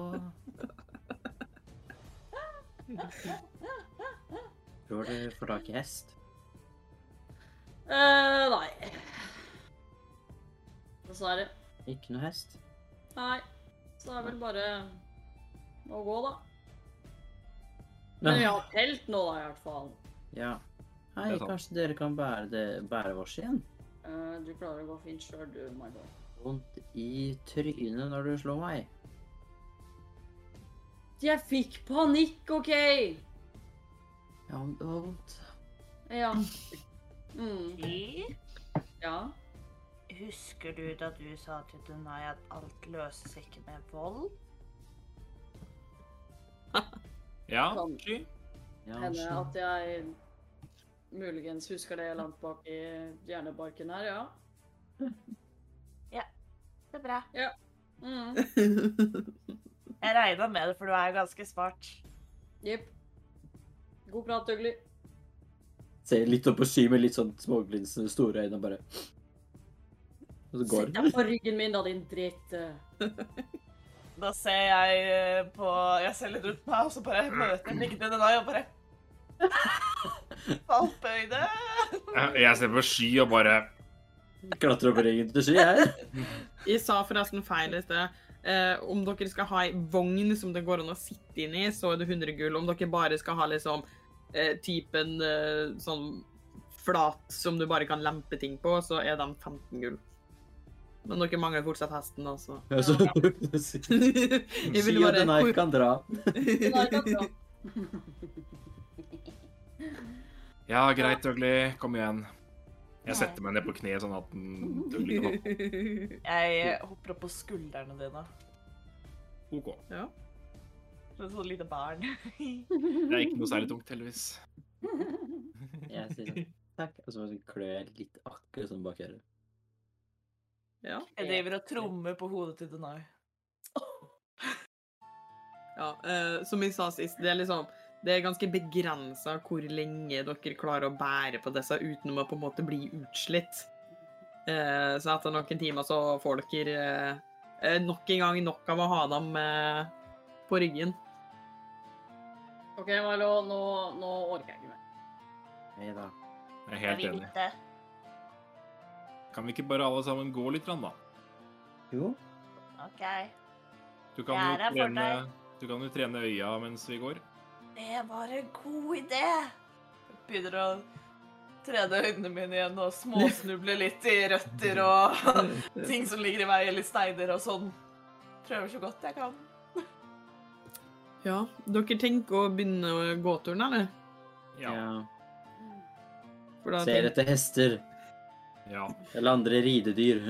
Speaker 4: Tror du får tak i hest?
Speaker 5: eh, nei. Dessverre.
Speaker 4: Ikke noe hest?
Speaker 5: Nei. Så det er vel bare å gå, da. Men vi
Speaker 4: Ja.
Speaker 5: har telt nå, da, i hvert fall.
Speaker 4: ja. Hei,
Speaker 3: Det er sant.
Speaker 4: kanskje dere kan bære, det, bære oss igjen?
Speaker 5: Eh, du klarer å gå fint sjøl, du, Margot.
Speaker 4: Vondt i trynet når du slår meg.
Speaker 5: Jeg fikk panikk, OK?
Speaker 4: Ja, men det var vondt.
Speaker 5: Ja. Mm,
Speaker 7: I?
Speaker 5: ja.
Speaker 7: Husker du da du sa til Dunai at alt løses ikke med vold?
Speaker 3: Ja,
Speaker 5: Sånn.
Speaker 3: sky.
Speaker 4: Ja,
Speaker 5: Hender
Speaker 4: skjønner.
Speaker 5: at jeg muligens husker det langt bak i hjernebarken her, ja.
Speaker 7: Det er bra.
Speaker 5: Mm.
Speaker 7: Jeg regna med det, for du er ganske smart.
Speaker 5: Jepp. God prat, Ugly.
Speaker 4: Ser litt opp på sky med litt sånn småglinsende store øyne og bare Og så går
Speaker 5: Sitt deg på ryggen min, da, din dritt.
Speaker 2: Da ser jeg eh, på Jeg ser litt rundt meg, og så bare møter jeg blikkene denne og bare Fallbøyde.
Speaker 3: Jeg ser på sky og bare
Speaker 4: Klatre opp ryggen til sky her.
Speaker 1: Jeg sa forresten feil i sted. Eh, om dere skal ha ei vogn som det går an å sitte inn i, så er det 100 gull. Om dere bare skal ha liksom eh, typen eh, sånn flat som du bare kan lempe ting på, så er de 15 gull. Men dere mangler fortsatt hesten, da, så
Speaker 4: Ja, så-
Speaker 1: Jeg
Speaker 4: Mm. Si
Speaker 1: ville bare
Speaker 4: at den her kan dra.
Speaker 5: Den er ikke bra.
Speaker 3: Ja, greit, Dougley. Kom igjen. Jeg setter meg ned på kne sånn at den Dougley kan opp.
Speaker 2: Jeg eh, hopper opp på skuldrene dine.
Speaker 3: OK.
Speaker 2: Som et sånt lite barn.
Speaker 3: Det er ikke noe særlig tungt, heldigvis.
Speaker 4: Jeg sier sånn takk, og så klør jeg litt akkurat sånn bak øret.
Speaker 1: ja.
Speaker 2: Jeg driver og trommer på hodet til Denai.
Speaker 1: ja. Eh, som jeg sa sist, det er liksom det er ganske begrensa hvor lenge dere klarer å bære på disse uten å på en måte bli utslitt. Eh, så etter noen timer så får dere eh, eh, nok en gang nok av å ha dem eh, på ryggen.
Speaker 5: OK, Milo, nå, nå orker jeg ikke mer.
Speaker 4: Hei da.
Speaker 3: Jeg er helt enig. Kan vi ikke bare alle sammen gå litt, grann, da?
Speaker 4: Jo.
Speaker 7: OK.
Speaker 3: Du kan,
Speaker 7: Jeg
Speaker 3: jo
Speaker 7: er her for
Speaker 3: trene, du kan jo trene øya mens vi går.
Speaker 7: Det var en god idé.
Speaker 2: Begynner å trene øynene mine igjen og småsnuble litt i røtter og
Speaker 1: Eh,
Speaker 2: ting som ligger i veien, litt steiner og sånn. Prøver så godt jeg kan.
Speaker 1: Ja. Dere tenker å begynne gåturen, eller?
Speaker 3: Ja.
Speaker 4: Ja.
Speaker 1: For da
Speaker 4: Ser
Speaker 1: tenker,
Speaker 4: etter hester
Speaker 3: ja.
Speaker 4: eller andre ridedyr.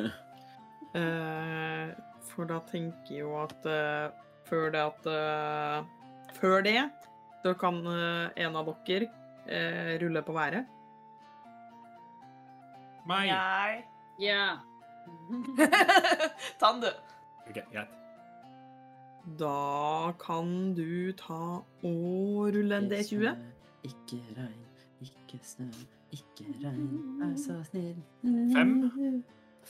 Speaker 1: eh, for da tenker jeg jo at eh, før det at eh, Før det så kan eh, en av dere eh, rulle på været.
Speaker 3: Meg!
Speaker 2: Nei.
Speaker 5: Yeah.
Speaker 2: Tann, du.
Speaker 3: Ok, greit.
Speaker 1: Da kan du ta og rulle en D20.
Speaker 4: Ikke regn, ikke snø, ikke regn,
Speaker 5: vær
Speaker 4: vær så snill.
Speaker 3: Fem.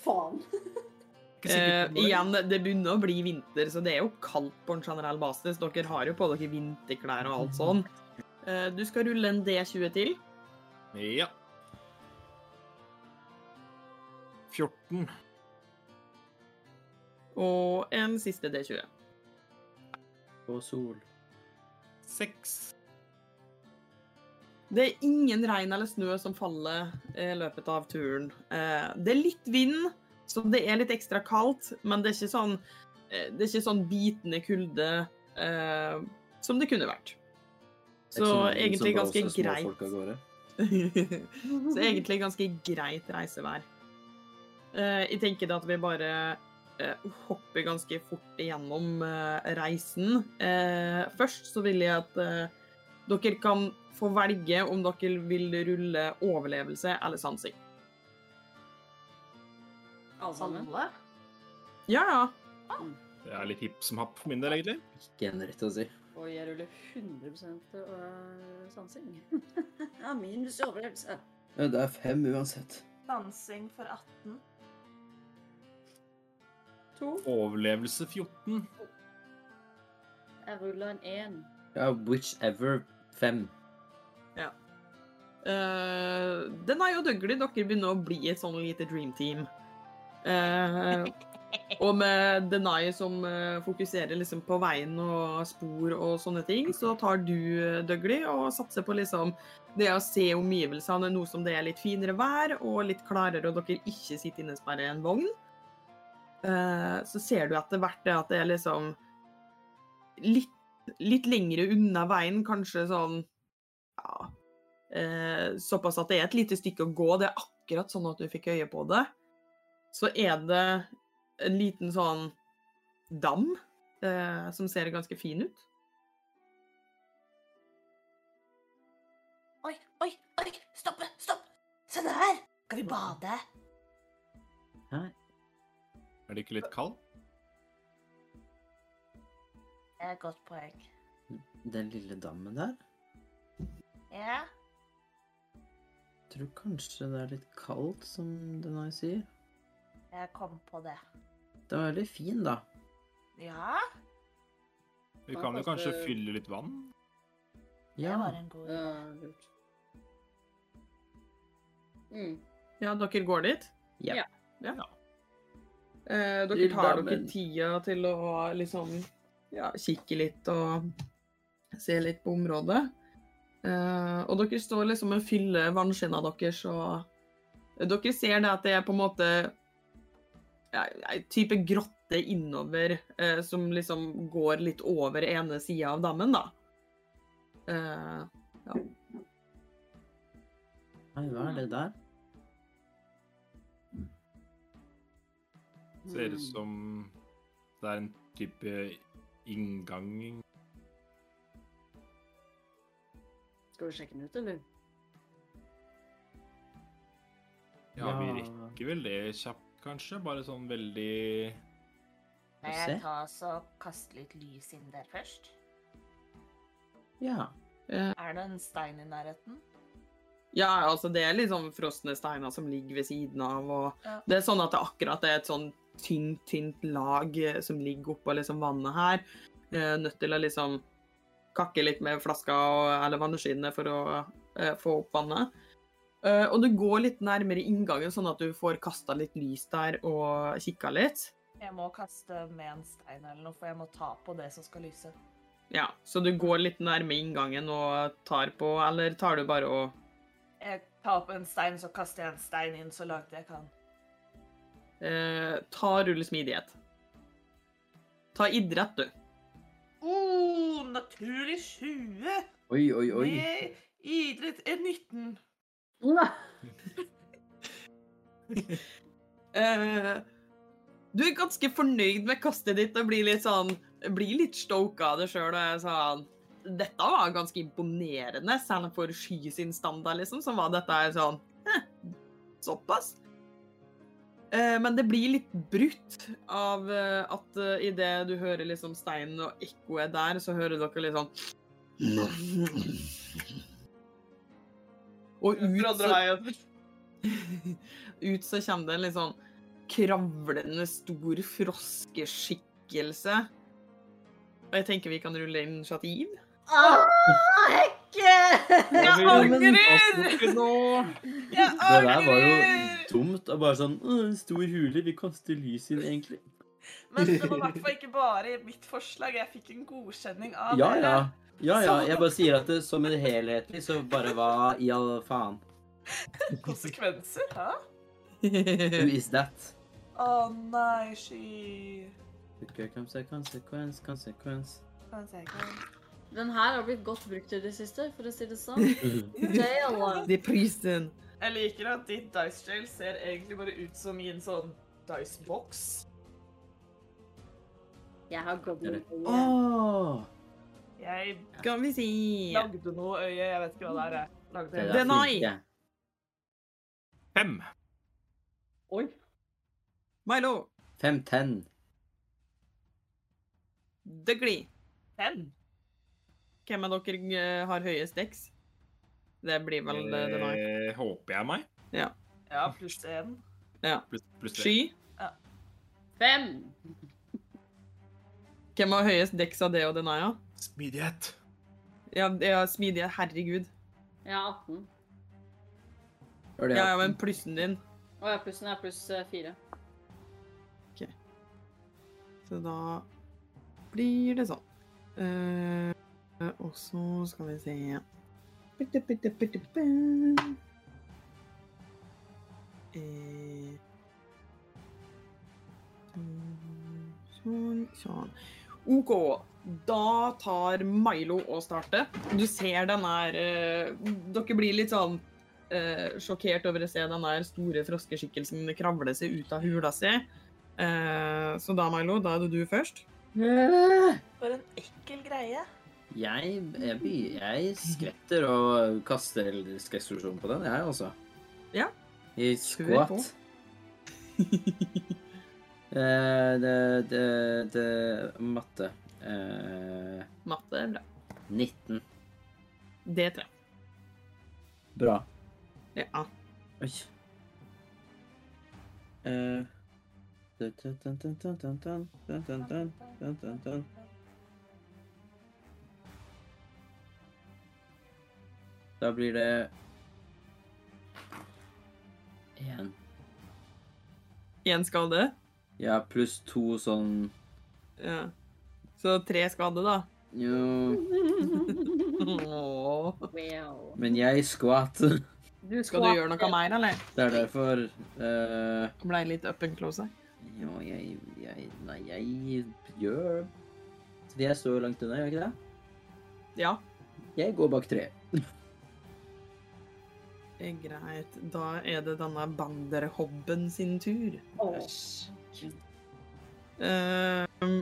Speaker 5: Faen.
Speaker 3: Ikke
Speaker 1: Eh,
Speaker 3: sikkert det går.
Speaker 1: igjen, det begynner å bli vinter, så det er jo kaldt på en generell basis. Dere har jo på dere vinterklær og
Speaker 3: Mhm.
Speaker 1: alt sånn. Eh, du skal rulle en D20 til.
Speaker 3: Ja. 14.
Speaker 1: Og en siste D20.
Speaker 4: Og sol.
Speaker 3: 6.
Speaker 1: Det er ingen regn eller snø som faller eh, i løpet av turen. Eh, det er litt vind, så det er litt ekstra kaldt, men det er ikke sånn, eh, det er ikke sånn bitende kulde eh, som det kunne vært. Så egentlig ganske greit. Så egentlig ganske greit reisevær. Eh, jeg tenker da at vi bare eh, hopper ganske fort igjennom eh, reisen. Eh, først så vil jeg at eh, dere kan få velge om dere vil rulle overlevelse eller sansing.
Speaker 5: Alle sammen.
Speaker 2: Alle?
Speaker 1: Ja, ja.
Speaker 3: Det er litt hipp som happ for min del, egentlig.
Speaker 4: Ikke en rett å si.
Speaker 5: Og jeg ruller 100 øh, sansing. ja, minus overlevelse.
Speaker 4: Ja, Det er fem uansett.
Speaker 2: Dansing for 18.
Speaker 5: To.
Speaker 3: Overlevelse 14.
Speaker 5: Jeg ruller en én.
Speaker 4: Ja, whichever fem.
Speaker 1: Eh, den er jo døglig. Dere begynner å bli et sånn lite dream team. Eh, og med Denai som eh, fokuserer liksom på veien og spor og sånne ting, så tar du eh, Dougley og satser på liksom det å se omgivelsene, noe som det er litt finere vær og litt klarere, og dere ikke sitter innesperret i en vogn. Eh, så ser du etter hvert det at det er liksom litt, litt lengre unna veien, kanskje sånn ja, Eh, såpass at det er et lite stykke å gå. Det er akkurat sånn at du fikk øye på det. Så er det en liten sånn dam eh, som ser ganske fin ut.
Speaker 7: Oi, oi, oi! Stoppe, stopp! Se det her! Skal vi bade?
Speaker 4: Hæ?
Speaker 3: Er det ikke litt kald?
Speaker 7: Det er et godt poeng.
Speaker 4: Den lille dammen der?
Speaker 7: Ja.
Speaker 4: Tror kanskje det er litt kaldt, som den her sier.
Speaker 7: Jeg kom på det.
Speaker 4: Den var veldig fin, da.
Speaker 7: Ja?
Speaker 3: Du
Speaker 5: Nei,
Speaker 3: kan jo kanskje
Speaker 5: kanskje-
Speaker 3: fylle litt vann?
Speaker 7: Det
Speaker 4: Ja.
Speaker 7: var en god
Speaker 5: Det er lurt. Mm.
Speaker 1: Ja, dere går dit?
Speaker 4: Ja.
Speaker 5: Ja.
Speaker 1: Ja. Eh, dere
Speaker 4: Lille
Speaker 1: tar dere
Speaker 4: damen.
Speaker 1: tida til å liksom ja, kikke litt og se litt på området. Eh, og dere står liksom og fyller vannskinna deres, og dere ser det at det er på en måte ja, ei type grotte innover eh, som liksom går litt over ene sida av dammen, da. Eh,
Speaker 4: Nei, hva er det der?
Speaker 3: Ser
Speaker 5: Mm.
Speaker 3: ut som det er en type inngang
Speaker 5: Skal vi sjekke den ut, eller?
Speaker 3: Ja, vi
Speaker 4: Ja.
Speaker 3: rekker vel det kjapt, kanskje? Bare sånn veldig
Speaker 7: Kan
Speaker 4: Få
Speaker 7: jeg
Speaker 4: se.
Speaker 7: ta oss og kaste litt lys inn der først?
Speaker 4: Ja.
Speaker 7: Er det en stein i nærheten?
Speaker 1: eh, Ja, altså det er liksom frosne steiner som ligger ved siden av, og
Speaker 7: Ja.
Speaker 1: det er sånn at det akkurat er et sånn tynt, tynt lag eh, som ligger oppå liksom vannet her. Eh, Nødt til å liksom kakke litt med flaska og, eller vannskinnet for å eh, få opp vannet. Eh, og du går litt nærmere inngangen, sånn at du får kasta litt lys der og kikka litt.
Speaker 7: Jeg må kaste med en stein eller noe, for jeg må ta på det som skal lyse.
Speaker 1: Ja, så du går litt nærme inngangen og tar på, eller tar du bare og
Speaker 7: Jeg tar opp en stein, så kaster jeg en stein inn så langt jeg kan.
Speaker 1: eh, Ta rulle smidighet. Ta idrett, du.
Speaker 7: Oh, naturlig 20!
Speaker 4: Oi, oi, oi.
Speaker 7: Med idrett er 19.
Speaker 1: Eh, du er ganske fornøyd med kastet ditt og blir litt sånn Blir litt stoka av det sjøl og er sånn Dette var ganske imponerende, særlig for Sky sin standard, liksom. Så var dette her sånn «Hæ, Såpass. Eh, men det blir litt brutt av eh, at uh, idet du hører liksom steinen og ekkoet der, så hører dere litt sånn Og ut så ut så kommer det en litt sånn kravlende stor froskeskikkelse. Og jeg tenker vi kan rulle initiativ.
Speaker 5: Ah, Hekke!
Speaker 3: Jeg
Speaker 1: Ikke nå!
Speaker 2: Jeg
Speaker 4: altså, Det der var jo
Speaker 2: angrer!
Speaker 4: dumt. Og bare sånn «Å, en stor hule, vi kaster lys inn, egentlig.
Speaker 2: Men det var i hvert fall ikke bare mitt forslag. Jeg fikk en godkjenning av
Speaker 4: Ja, ja.
Speaker 2: dere.
Speaker 4: Ja, ja. Jeg bare sier at det, som en helhetlig, så bare hva i all faen?
Speaker 2: Konsekvenser, hæ?
Speaker 4: Who is that?
Speaker 2: Å nei, sky.
Speaker 4: Konsekvens, konsekvens, konsekvens.
Speaker 2: Kan jeg se ikke.
Speaker 5: Den her har blitt godt brukt i det siste, for å si det sånn. Dale.
Speaker 1: De prisen.
Speaker 2: Jeg liker at ditt dice jail ser egentlig bare ut som i en sånn dicebox.
Speaker 5: Jeg har goblin.
Speaker 4: Åh!
Speaker 2: Jeg
Speaker 1: Skal vi si
Speaker 2: lagde noe øye, jeg vet ikke hva det er. jeg. Lagde
Speaker 4: Det
Speaker 2: øye.
Speaker 4: der
Speaker 1: Den har jeg.
Speaker 4: funker.
Speaker 3: Fem.
Speaker 5: Oi.
Speaker 1: Milo,
Speaker 4: Fem, ten.
Speaker 1: det glir.
Speaker 2: Fem.
Speaker 1: Hvem av dere eh, har høyest dex? Det blir vel eh, det nå.
Speaker 3: Eh, håper jeg meg.
Speaker 2: Ja, pluss én.
Speaker 3: Pluss, pluss tre.
Speaker 1: Sky.
Speaker 5: Fem.
Speaker 1: Hvem har høyest dex av det og Denaya?
Speaker 3: Smidighet.
Speaker 1: Ja, ja smidige. Herregud.
Speaker 5: Jeg har 18.
Speaker 4: Var det
Speaker 1: Ja, ja, men plussen din.
Speaker 5: Og jeg plussen er pluss eh, fire.
Speaker 1: Så da blir det sånn. Eh, og så skal vi se Bitte, bitte, bitte, bitte. Eh, Sånn, sånn, sånn. OK. Da tar Milo og starter. Du ser den her eh, Dere blir litt sånn eh, sjokkert over å se den her store froskeskikkelsen kravle seg ut av hula si. Eh, så da, Milo, da er det du først.
Speaker 7: For en ekkel greie.
Speaker 4: Jeg, jeg, by- jeg skvetter og kaster elektrisk eksplosjon på den, jeg også.
Speaker 1: Ja.
Speaker 4: I
Speaker 1: Skvett
Speaker 4: skvatt. Eh, det, det, det Matte. Eh,
Speaker 1: Matte er bra.
Speaker 4: 19.
Speaker 1: Det tror jeg.
Speaker 4: Bra.
Speaker 1: Ja.
Speaker 4: Oi. Eh, dun, dun, dun, dun, dun, dun, dun, dun, dun, dun, dun, dun, dun. Da blir det Én.
Speaker 1: Én skade.
Speaker 4: Ja, pluss to sånn
Speaker 1: Ja. Så tre skade, da.
Speaker 4: Jo
Speaker 1: Åh.
Speaker 5: Wow.
Speaker 4: Men jeg skvatt. Det
Speaker 5: Du
Speaker 1: Skal du gjøre noe mer, eller?
Speaker 4: er derfor eh,
Speaker 1: Blei litt up and close. her.
Speaker 4: Jo, jeg, jeg Nei, jeg gjør For jeg står jo langt unna, gjør jeg ikke det?
Speaker 1: Ja.
Speaker 4: Jeg går bak treet.
Speaker 1: Eh, Greit. Da er det denne banderhobben sin tur. Ehm,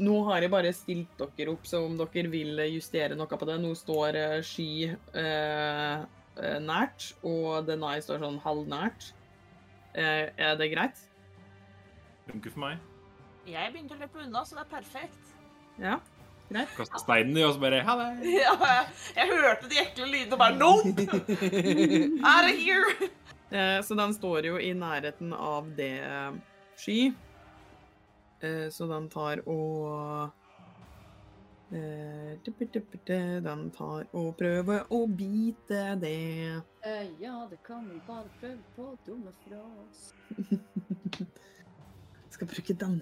Speaker 1: nå har jeg bare stilt dere opp, så om dere vil justere noe på det Nå står eh, Sky eh, eh, nært, og Denai står sånn halvnært. Eh, er det greit?
Speaker 3: Funker for meg.
Speaker 7: Jeg begynte å løpe unna, så det er perfekt.
Speaker 1: Ja.
Speaker 3: Kaste steinen i, og så bare ha det.
Speaker 2: Ja, jeg hørte de ekle lydene og bare Nope! Out of here!
Speaker 1: Eh, så den står jo i nærheten av det eh, sky. Eh, så den tar og eh, duppeduppedu, Den tar og prøver å bite det.
Speaker 5: Eh, ja, det kan vi bare prøve på å dumme fra oss.
Speaker 1: Skal bruke den.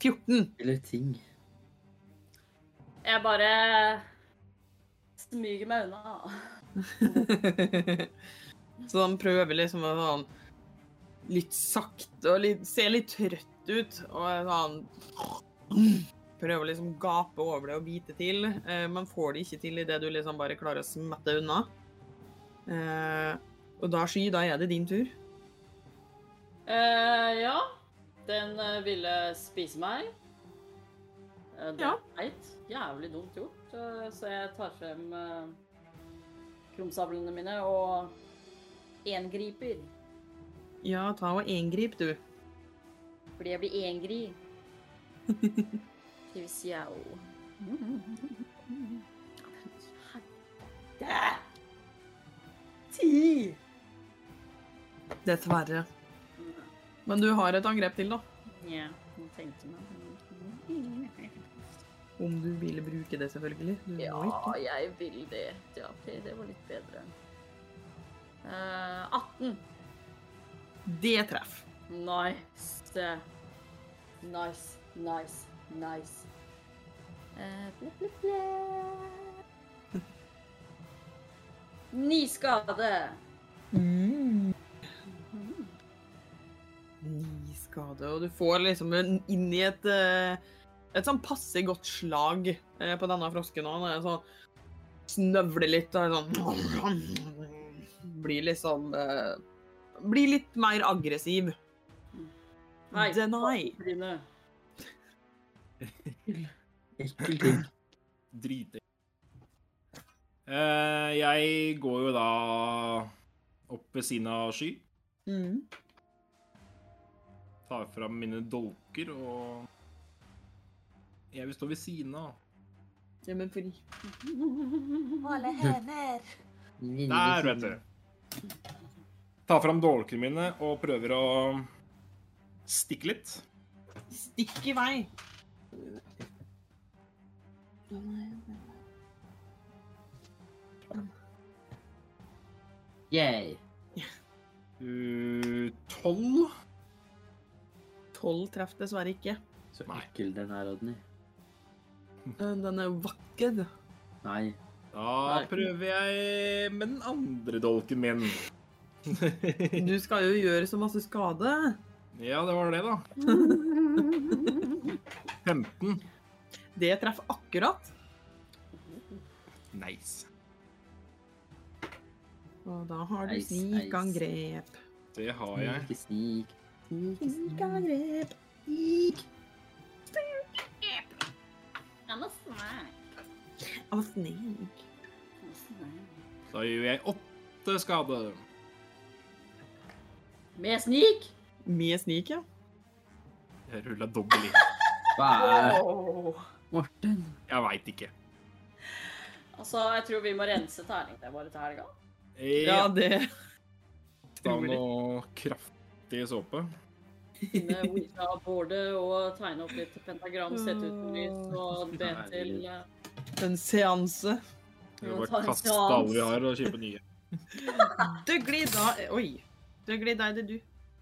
Speaker 1: Fjorten.
Speaker 4: Eller ting.
Speaker 5: Jeg bare smyger meg unna.
Speaker 1: så han prøver liksom å sånn litt sakte og litt, ser litt trøtt ut. Og er sånn Prøver liksom å gape over det og bite til, eh, men får det ikke til idet du liksom bare klarer å smette unna. Eh, og da, Sky, da er det din tur.
Speaker 5: Eh, ja. Den eh, ville spise meg. Eh, det
Speaker 1: Ja.
Speaker 5: er teit. Jævlig dumt gjort. Eh, så jeg tar frem uh, krumsablene mine og engriper.
Speaker 1: Ja, ta og engrip, du.
Speaker 5: Fordi jeg blir engri. Det vil si jeg jo. Mm-hmm. Helvete. Ti!
Speaker 1: Dessverre.
Speaker 5: Mm.
Speaker 1: Men du har et angrep til, da.
Speaker 5: Ja, nå tenkte jeg
Speaker 1: Om du ville bruke det, selvfølgelig. Du må
Speaker 5: Ja,
Speaker 1: ikke.
Speaker 5: jeg vil det. Ja, ok, det var litt bedre. Eh, 18.
Speaker 1: Det treff.
Speaker 5: Nice. Nice, nice, nice. Eh, bla, bla, bla. Ni skade.
Speaker 1: Ni skade, og du får liksom en- inn i et eh, et sånn passe godt slag eh, på denne frosken nå. Den er sånn snøvler litt og er sånn Blir liksom eh, Blir litt mer aggressiv.
Speaker 5: Nei.
Speaker 1: Denai.
Speaker 5: Bryne.
Speaker 4: Ekkel ting.
Speaker 3: Driting. Eh, jeg går jo da opp ved siden av Sky.
Speaker 1: Mm.
Speaker 3: Tar fram mine dolker og Jeg vil stå ved siden av.
Speaker 1: Ja, men fri.
Speaker 7: Male hener.
Speaker 3: Der, vet du. Tar fram dolkene mine og prøver å stikke litt.
Speaker 1: Stikk i vei.
Speaker 4: Yay.
Speaker 3: Uh, 12.
Speaker 1: Tolv treff dessverre ikke.
Speaker 4: Så
Speaker 3: Nei.
Speaker 4: ekkel den er, Odny.
Speaker 1: Eh, Den er vakker.
Speaker 4: Nei.
Speaker 3: Da
Speaker 1: Nei.
Speaker 3: prøver jeg med den andre dolken min.
Speaker 1: Du skal jo gjøre så masse skade.
Speaker 3: ja, det var det, da. 15.
Speaker 1: Det treffer akkurat.
Speaker 3: Nice.
Speaker 1: Og da har du
Speaker 4: Nice, nice.
Speaker 1: snikangrep.
Speaker 3: Det har jeg.
Speaker 1: Mm.
Speaker 4: Ikke snik.
Speaker 1: Snikangrep.
Speaker 5: Han er snack.
Speaker 1: Av snik.
Speaker 5: Han er snack.
Speaker 3: Da gjør jeg åtte skade.
Speaker 5: Med snik?
Speaker 1: Med snik, ja.
Speaker 3: Jeg rulla dobbel i.
Speaker 4: Hva er
Speaker 2: Åh.
Speaker 4: Morten?
Speaker 3: Jeg veit ikke.
Speaker 5: Altså, jeg tror vi må rense terning. Det er bare til helga.
Speaker 1: Ja, det
Speaker 3: Da noe kraftig såpe.
Speaker 5: finne Ouija-bordet og tegne opp litt pentagram, sette ut lys og be til eh,
Speaker 1: En seanse.
Speaker 3: Vi
Speaker 5: Ja,
Speaker 3: må
Speaker 5: ta
Speaker 3: bare
Speaker 5: en
Speaker 3: kaste
Speaker 5: seans.
Speaker 3: alle vi har, og kjøpe nye.
Speaker 1: Dougley, da Oi. Dougley, da er det du.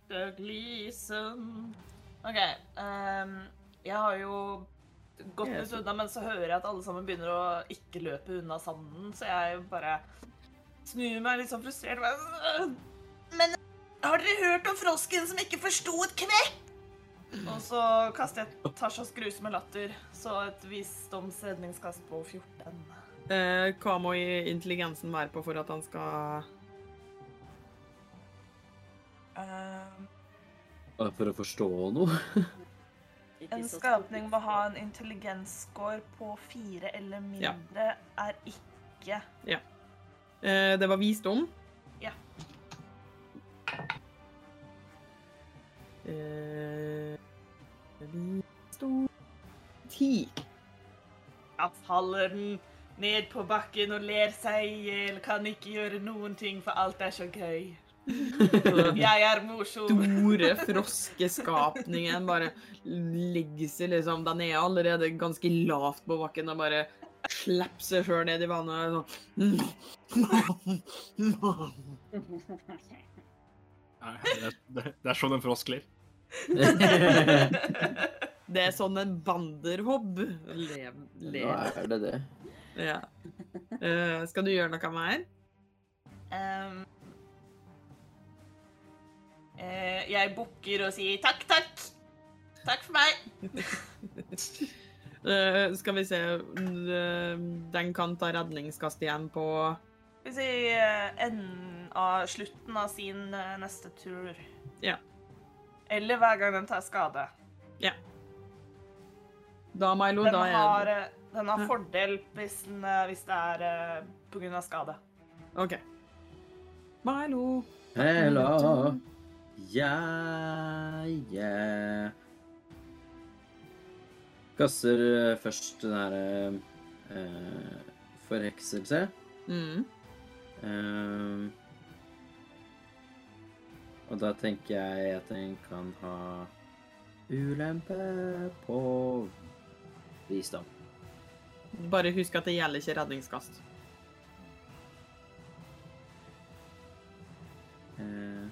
Speaker 2: Doug Leeson. OK. ehm, jeg har jo gått
Speaker 1: Jeg
Speaker 2: litt unna, men så hører jeg at alle sammen begynner å ikke løpe unna sanden, så jeg bare snur meg litt sånn frustrert. bare, «Øh, Men har dere hørt om frosken som ikke forsto et kvekk? Og så kaster jeg Tashas grusomme latter, så et visdomsredningskast på 14.
Speaker 1: Eh, hva må i- intelligensen være på for at han skal
Speaker 2: Ehm,
Speaker 7: Bare For å forstå noe.
Speaker 5: ikke
Speaker 2: En
Speaker 5: så-
Speaker 2: skapning må ha en intelligensscore på fire eller mindre er ikke
Speaker 1: eh, Det var visdom.
Speaker 2: Ja.
Speaker 1: Eh, visdom Ti.
Speaker 2: Da faller den ned på bakken og ler seg i hjel. Kan ikke gjøre noen ting, for alt er så gøy. Jeg er morsom.
Speaker 1: Store froskeskapningen bare legger seg liksom Den er allerede ganske lavt på bakken og bare slipper seg sjøl ned i vannet. Sånn.
Speaker 3: Nei, Det er, det det er sånn en frosk ler.
Speaker 1: Det er sånn en banderhobb. Lev,
Speaker 7: Nå
Speaker 1: lev.
Speaker 7: er det det.
Speaker 1: Ja. Eh, skal du gjøre noe mer?
Speaker 2: Um, eh, jeg bukker og sier takk, takk. Takk for meg.
Speaker 1: Eh, skal vi se eh, Den kan ta redningskast igjen på
Speaker 2: Skal vi si eh, enden av slutten av sin eh, neste tur.
Speaker 1: Ja.
Speaker 2: Eller hver gang den tar skade.
Speaker 1: Da, Milo,
Speaker 2: Den
Speaker 1: da
Speaker 2: har,
Speaker 1: er
Speaker 2: eh, den har
Speaker 1: Ja.
Speaker 2: fordel hvis, den, eh, hvis det er eh, på grunn av skade.
Speaker 1: OK. Milo.
Speaker 7: Hello. Yeah, yeah. Kaster eh, først den her eh, forhekselse.
Speaker 1: Mm.
Speaker 7: Eh, og da tenker jeg at den kan ha ulempe på visdom.
Speaker 1: Bare husk at det gjelder ikke redningskast.
Speaker 7: Eh,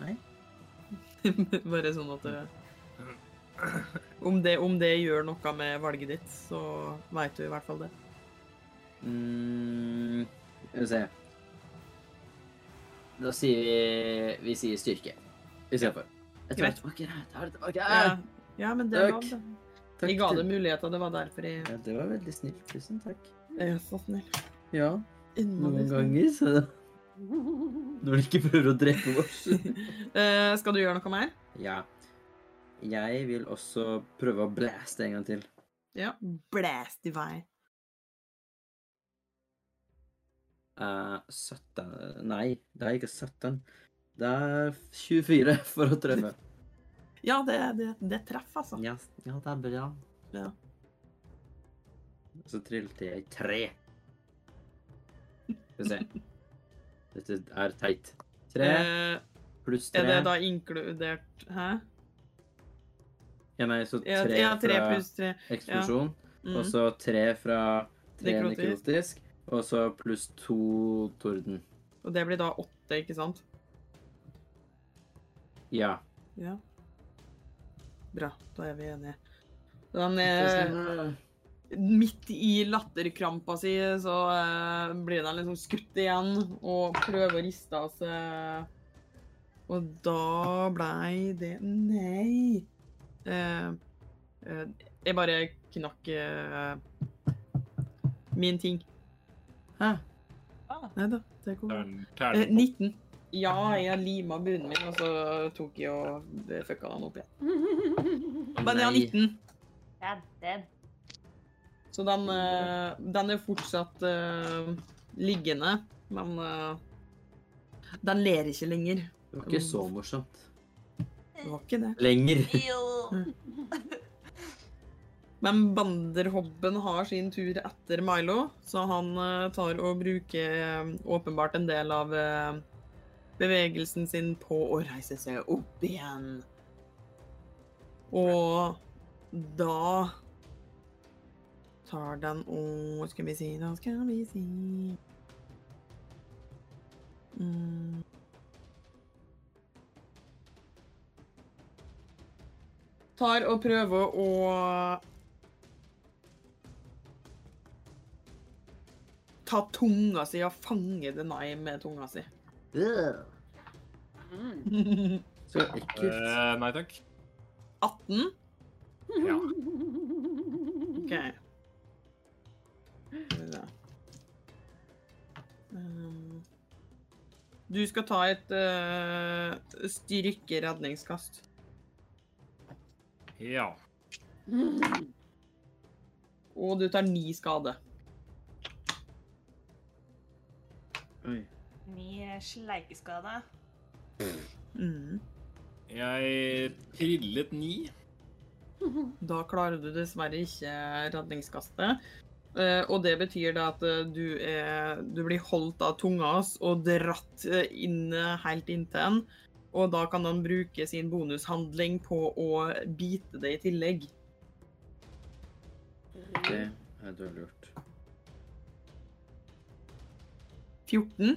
Speaker 7: nei.
Speaker 1: Bare sånn at det om det, om det gjør noe med valget ditt, så veit du i hvert fall det.
Speaker 7: Mm, Skal vi se. Da sier vi Vi sier styrke istedenfor. Jeg tar
Speaker 1: Greit.
Speaker 7: det tilbake. Jeg tar det tilbake.
Speaker 1: Ja, ja men det er lov,
Speaker 7: Takk.
Speaker 1: det.
Speaker 7: Takk
Speaker 1: Jeg ga
Speaker 7: til-
Speaker 1: deg muligheter. Det var derfor jeg
Speaker 7: Ja, det var veldig snilt. Tusen takk.
Speaker 1: Jeg er så snill.
Speaker 7: Ja,
Speaker 1: Innmari
Speaker 4: sånn.
Speaker 7: noen
Speaker 1: snill.
Speaker 7: ganger, så Når de ikke prøver å drepe oss.
Speaker 1: Eh, skal du gjøre noe mer?
Speaker 7: Ja. Jeg vil også prøve å blæste en gang til.
Speaker 1: Ja. Blæst i vei.
Speaker 7: Eh, 17 Nei, det er ikke 17. Det er 24 for å treffe.
Speaker 1: Ja, det, det, det treffer, altså.
Speaker 7: Ja, ja det er bra.
Speaker 1: Ja.
Speaker 7: Så trillte jeg tre. Skal vi se. Dette er teit. Tre
Speaker 1: Eh,
Speaker 7: pluss
Speaker 1: er
Speaker 7: tre.
Speaker 1: det da inkludert Hæ?
Speaker 7: Ja, nei, så
Speaker 1: Ja,
Speaker 7: tre
Speaker 1: ja, tre
Speaker 7: fra
Speaker 1: pluss tre.
Speaker 7: eksplosjon.
Speaker 1: Mm.
Speaker 7: Og så tre fra tre
Speaker 1: Nekrotisk.
Speaker 7: nekrotisk. Og så pluss to torden.
Speaker 1: Og det blir da åtte, ikke sant?
Speaker 7: Ja.
Speaker 1: Ja. Bra. Da er vi enige. Den
Speaker 7: Det
Speaker 1: er
Speaker 4: Ah.
Speaker 7: som
Speaker 1: Midt i latterkrampa si så eh, blir den liksom skutt igjen og prøver å riste av seg. Og da blei det Nei! Eh, eh, jeg bare knakk eh, min ting.
Speaker 7: Hæ?
Speaker 1: Nei da, det går bra.
Speaker 3: Tern-
Speaker 1: Eh,
Speaker 3: terningkast.
Speaker 1: 19. Ja, jeg lima bunnen min, og så tok jeg og eh, fucka den opp igjen.
Speaker 7: er-
Speaker 1: Men jeg har
Speaker 7: Nei.
Speaker 1: 19.
Speaker 9: Ja, den.
Speaker 1: Så den, eh, den er fortsatt eh, liggende, men eh, den ler ikke lenger.
Speaker 7: Det var ikke så morsomt.
Speaker 1: Det var ikke det.
Speaker 7: Lenger.
Speaker 2: Jo.
Speaker 1: Men banderhobben har sin tur etter Milo, så han eh, tar og bruker eh, åpenbart en del av eh, bevegelsen sin på å reise seg opp igjen. Og da tar den og Skal vi si, da skal vi si mm. Tar og prøver å Ta tunga si og fange Denai med tunga si.
Speaker 5: Mm.
Speaker 1: 18.
Speaker 4: Så ekkelt.
Speaker 3: Eh, nei takk. Ja.
Speaker 1: OK. Skal vi se. Um, Du skal ta et eh, styrkeredningskast.
Speaker 3: Ja.
Speaker 1: Og du tar ni skade.
Speaker 4: Oi.
Speaker 7: Ni sleikeskade.
Speaker 3: Jeg trillet ni.
Speaker 1: Da klarer du dessverre ikke redningskastet. Eh, og det betyr da at eh, du, er, du blir holdt av tunga hans og dratt eh, inn eh, helt inntil den. Og da kan han bruke sin bonushandling på å bite det i tillegg.
Speaker 4: Det er dårlig gjort.
Speaker 1: 14.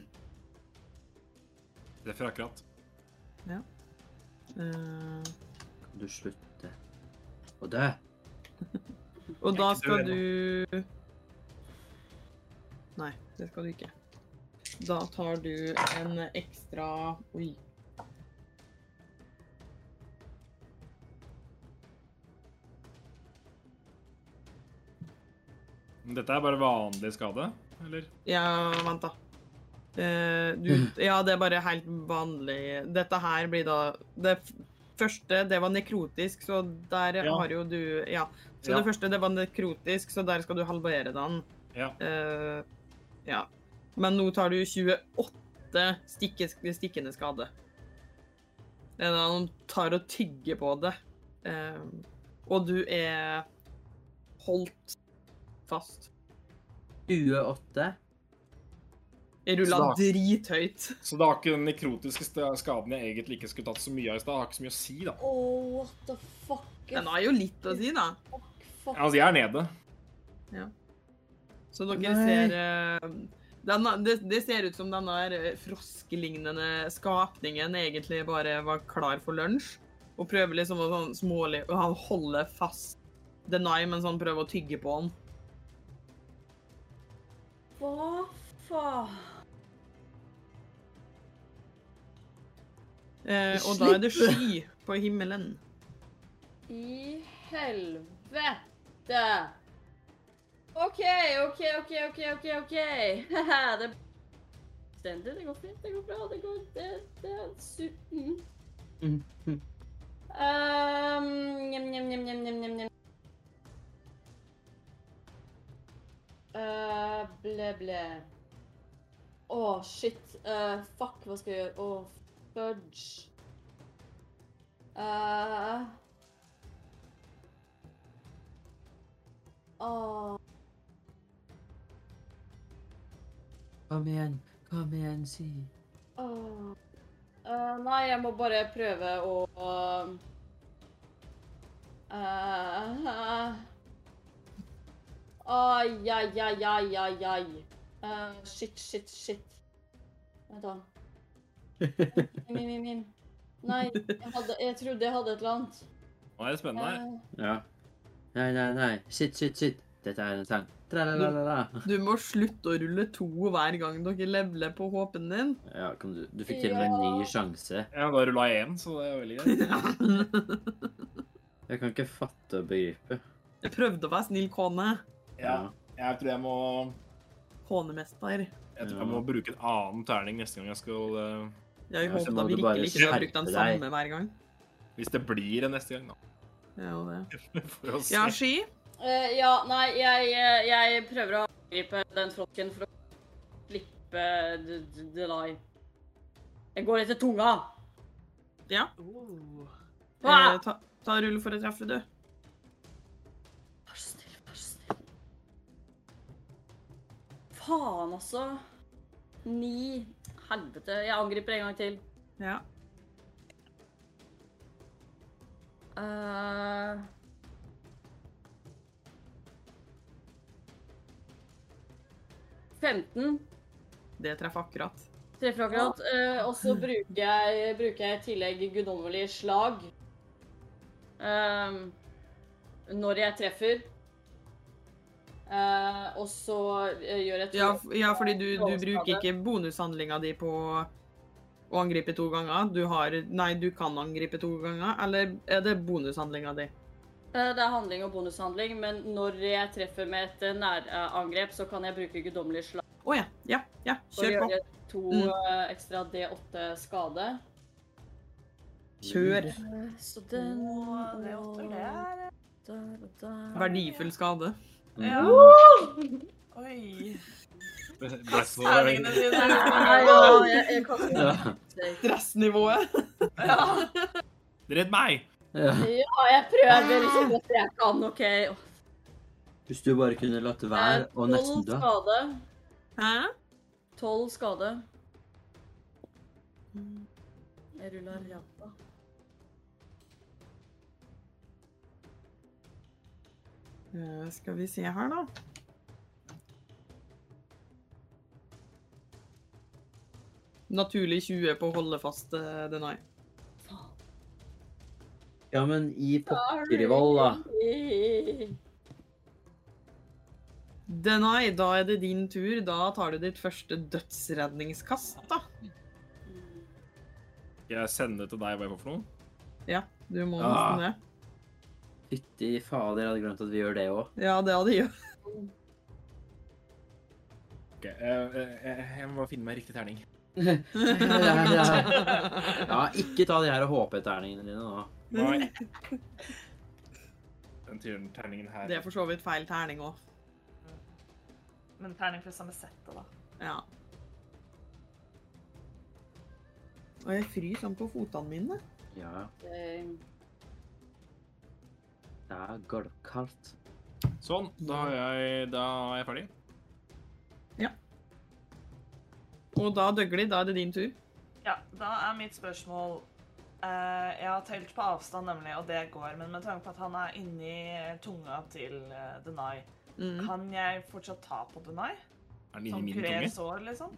Speaker 3: Treffer akkurat.
Speaker 1: Eh,
Speaker 4: Kan du slutte å dø?
Speaker 1: og da
Speaker 3: Jeg er
Speaker 1: skal
Speaker 3: ikke
Speaker 1: du Nei, det skal du ikke. Da tar du en ekstra Oi.
Speaker 3: Men Dette er bare vanlig skade, eller?
Speaker 1: Ja, vent da. Eh,
Speaker 3: Mm.
Speaker 1: du, ja, det er bare helt vanlig. Dette her blir da Det f- første, det var nekrotisk, så der
Speaker 3: Ja.
Speaker 1: har jo du Ja. Så
Speaker 3: Ja.
Speaker 1: det første, det var nekrotisk, så der skal du halvere den.
Speaker 3: Ja.
Speaker 1: Eh, ja. Men nå tar du 28 stikke, stikkende skade. Det er da han tar og tygger på det. Eh, og du er holdt fast.
Speaker 4: 28?
Speaker 1: Jeg rulla
Speaker 3: Slag.
Speaker 1: drithøyt.
Speaker 3: Så det har ikke den nekrotiske sta- skaden jeg egentlig ikke skulle tatt så mye av i stad. Har ikke så mye å si, da.
Speaker 5: Oh, what the fuck?
Speaker 1: Den har jo litt å si, da.
Speaker 5: Fuck, fuck.
Speaker 3: Altså, jeg er nede.
Speaker 1: Så dere
Speaker 4: Nei.
Speaker 1: ser eh, den, har- det, det ser ut som denne her froskelignende skapningen egentlig bare var klar for lunsj. Og prøver liksom å sånn smålig Og han holder fast Denai mens han sånn prøver å tygge på han.
Speaker 5: Hva faen?
Speaker 1: Eh, og da er det sky på himmelen.
Speaker 5: I helvete! OK, OK, OK, OK, OK. ok. Haha, det er stendig. Det går fint. Det går bra. Det går Det, det er Ehm, super.
Speaker 4: Mm, mm.
Speaker 5: Um, njem, njem, njem, njem, njem, njem, njem. Uh, ble, ble. Å, shit. Uh, fuck, hva skal jeg gjøre? Å, fudge. Uh. Å,
Speaker 4: Kom igjen. Kom igjen, si.
Speaker 5: å. Uh, nei, jeg må bare prøve å eh, uh, Ai, ai, ai, ai, ai, ai. Eh, shit, shit, shit. Vent da. Min, min, min. Nei, jeg, hadde, jeg trodde jeg hadde et eller annet.
Speaker 3: Nå er det spennende.
Speaker 5: Eh,
Speaker 4: Ja. Nei, nei, nei. Shit, shit, shit. Dette er en sang. Tralalala.
Speaker 1: Du må slutte å rulle to hver gang dere leveler på håpen din.
Speaker 4: Ja, kom du. Du fikk til og med en ny sjanse.
Speaker 3: Ja, da rulla jeg én, så det er veldig greit.
Speaker 4: Jeg kan ikke fatte og begripe.
Speaker 1: Jeg prøvde å være snill kone.
Speaker 3: Ja, jeg tror jeg må
Speaker 1: Konemester.
Speaker 3: Jeg tror jeg må bruke en annen terning neste gang jeg skal eh,
Speaker 1: Jeg
Speaker 4: Ja, så
Speaker 1: håper da
Speaker 4: må du bare
Speaker 1: virkelig ikke du har brukt den
Speaker 4: skjerpe deg.
Speaker 1: samme hver gang.
Speaker 3: Hvis det blir en neste gang, da.
Speaker 1: Det er jo det.
Speaker 3: For å se.
Speaker 1: Ja, sky.
Speaker 5: eh, ja, nei, jeg, eh, jeg prøver å angripe den frosken for å slippe d- d- Delay. Jeg går etter tunga.
Speaker 7: Oh.
Speaker 5: Hva?
Speaker 1: Eh, ta, ta rull for å treffe, du.
Speaker 5: Vær så snill, vær så snill. Faen, altså. Ni. helvete. Jeg angriper en gang til.
Speaker 1: Ja.
Speaker 5: Eh. Femten.
Speaker 1: Det treffer akkurat.
Speaker 5: Treffer akkurat. Eh, og så bruker jeg, bruker jeg i tillegg guddommelig slag. Ehm, når jeg treffer. Eh, og så eh, gjør jeg to
Speaker 1: Ja, f- ja fordi du, du bruker ikke bonushandlinga di på å angripe to ganger. Du har Nei, du kan angripe to ganger. Eller er det bonushandlinga di?
Speaker 5: Eh, Det er handling og bonushandling, men når jeg treffer med et eh, nærangrep, så kan jeg bruke guddommelig slag.
Speaker 1: Å ja. Ja, ja.
Speaker 5: Så
Speaker 1: Kjør
Speaker 5: gjør
Speaker 1: på.
Speaker 5: jeg To
Speaker 1: Mm.
Speaker 5: eh, ekstra D8 skade.
Speaker 1: Kjør.
Speaker 5: Eh, Så den
Speaker 2: Og det er åtter, det er
Speaker 5: Der og der.
Speaker 1: Verdifull skade.
Speaker 2: Ja.
Speaker 4: Mm.
Speaker 2: Oi. Terningene
Speaker 3: Blessboy.
Speaker 2: dine.
Speaker 5: Nei, ja, jeg, jeg kan ikke
Speaker 4: Ja.
Speaker 1: Stressnivået.
Speaker 2: Ja.
Speaker 3: Redd meg!
Speaker 4: Ja.
Speaker 5: Ja, jeg prøver så
Speaker 1: Ah.
Speaker 5: godt jeg kan. OK.
Speaker 4: Hvis du bare kunne latt
Speaker 5: Eh,
Speaker 4: være og nesten dø.
Speaker 5: skade.
Speaker 1: Hæ?
Speaker 5: Tolv skade. Jeg ruller ræva.
Speaker 1: Eh, Skal vi se her, da. Naturlig 20 på å holde fast eh, Denai.
Speaker 4: Ja, men i pokkerivoll, da.
Speaker 5: Mm,
Speaker 1: Denai, da er det din tur. Da tar du ditt første dødsredningskast, da.
Speaker 3: Skal jeg sende det til deg hva jeg får for noe?
Speaker 1: Du må
Speaker 3: Ah.
Speaker 1: nesten det.
Speaker 4: Fytti fader, jeg hadde glemt at vi gjør det òg.
Speaker 1: Ja, det hadde gjort.
Speaker 3: Ok, jeg, jeg, jeg må finne meg riktig terning.
Speaker 4: Ja, ikke ta de her HP-terningene dine nå.
Speaker 3: Nei. Den tyren- terningen her.
Speaker 1: Det er for så vidt feil terning òg.
Speaker 2: Men terning fra samme settet, da.
Speaker 1: Ja. Og jeg fryser sånn på fotene mine.
Speaker 4: Ja, det er gulvkaldt.
Speaker 3: Sånn, da er jeg, da er jeg ferdig.
Speaker 1: Og da, Døgli, da er det din tur.
Speaker 2: Ja, da er mitt spørsmål eh, Jeg har telt på avstand, nemlig, og det går. Men med tanke på at han er inni tunga til eh, Denai,
Speaker 1: Mm.
Speaker 2: kan jeg fortsatt ta på Denai?
Speaker 3: Er den
Speaker 1: Sånn
Speaker 2: Som
Speaker 3: inni min
Speaker 2: kurerer
Speaker 3: tunge?
Speaker 2: sår, liksom?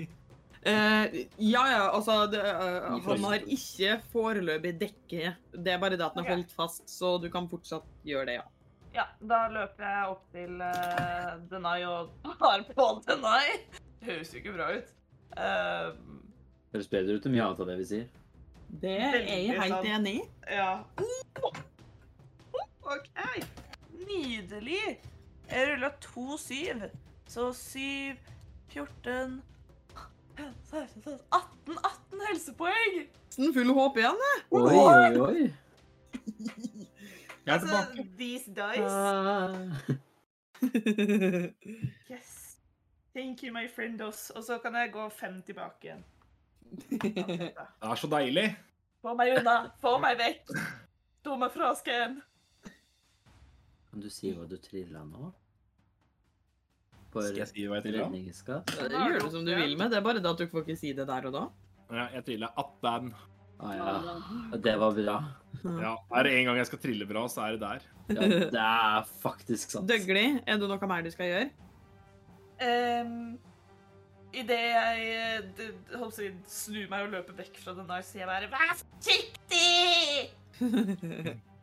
Speaker 1: Eh, ja, ja, altså det, eh,
Speaker 4: Ikke
Speaker 1: Han har
Speaker 4: foreløpig.
Speaker 1: ikke foreløpig dekke. Det er bare det at den er
Speaker 2: Ok.
Speaker 1: holdt fast, så du kan fortsatt gjøre det, ja.
Speaker 2: Ja, da løper jeg opp til eh, Denai og tar på Denai. Det høres jo ikke bra ut. Eh,
Speaker 4: Høres bedre ut enn mye annet av det vi sier.
Speaker 1: Det er jeg
Speaker 2: Veldig sant.
Speaker 1: helt enig i.
Speaker 2: ja. OK. Nydelig. Jeg rulla to syv. Så syv, 14 16, 18, 18 helsepoeng!
Speaker 1: Nesten full håp igjen. jeg.
Speaker 4: Oi, oi, oi.
Speaker 1: sånn-
Speaker 3: Jeg er tilbake.
Speaker 2: Altså, these dice.
Speaker 4: Ah.
Speaker 2: Yes. Thank you, my friend Oss. Og så kan jeg gå fem tilbake igjen.
Speaker 3: Det er så deilig.
Speaker 2: Få meg unna! Få meg vekk! Stå meg fra skam!
Speaker 4: Kan du si hva du trilla nå? For
Speaker 3: Skal jeg si hva jeg trilla?
Speaker 4: redningsskatt?
Speaker 1: Ja, det gjør du som du vil med, det er bare det at du får ikke si det der og da.
Speaker 3: Ja, jeg triller 18.
Speaker 4: Ah, ja. Det var bra.
Speaker 3: Ja, er det en gang jeg skal trille bra, så er det der.
Speaker 4: Ja, det er faktisk sant.
Speaker 1: Døgli, er det noe mer du skal gjøre?
Speaker 2: Um, Idet jeg eh, d- d- holdt på å si, snur meg og løper vekk fra den der, sier jeg bare Vær forsiktig!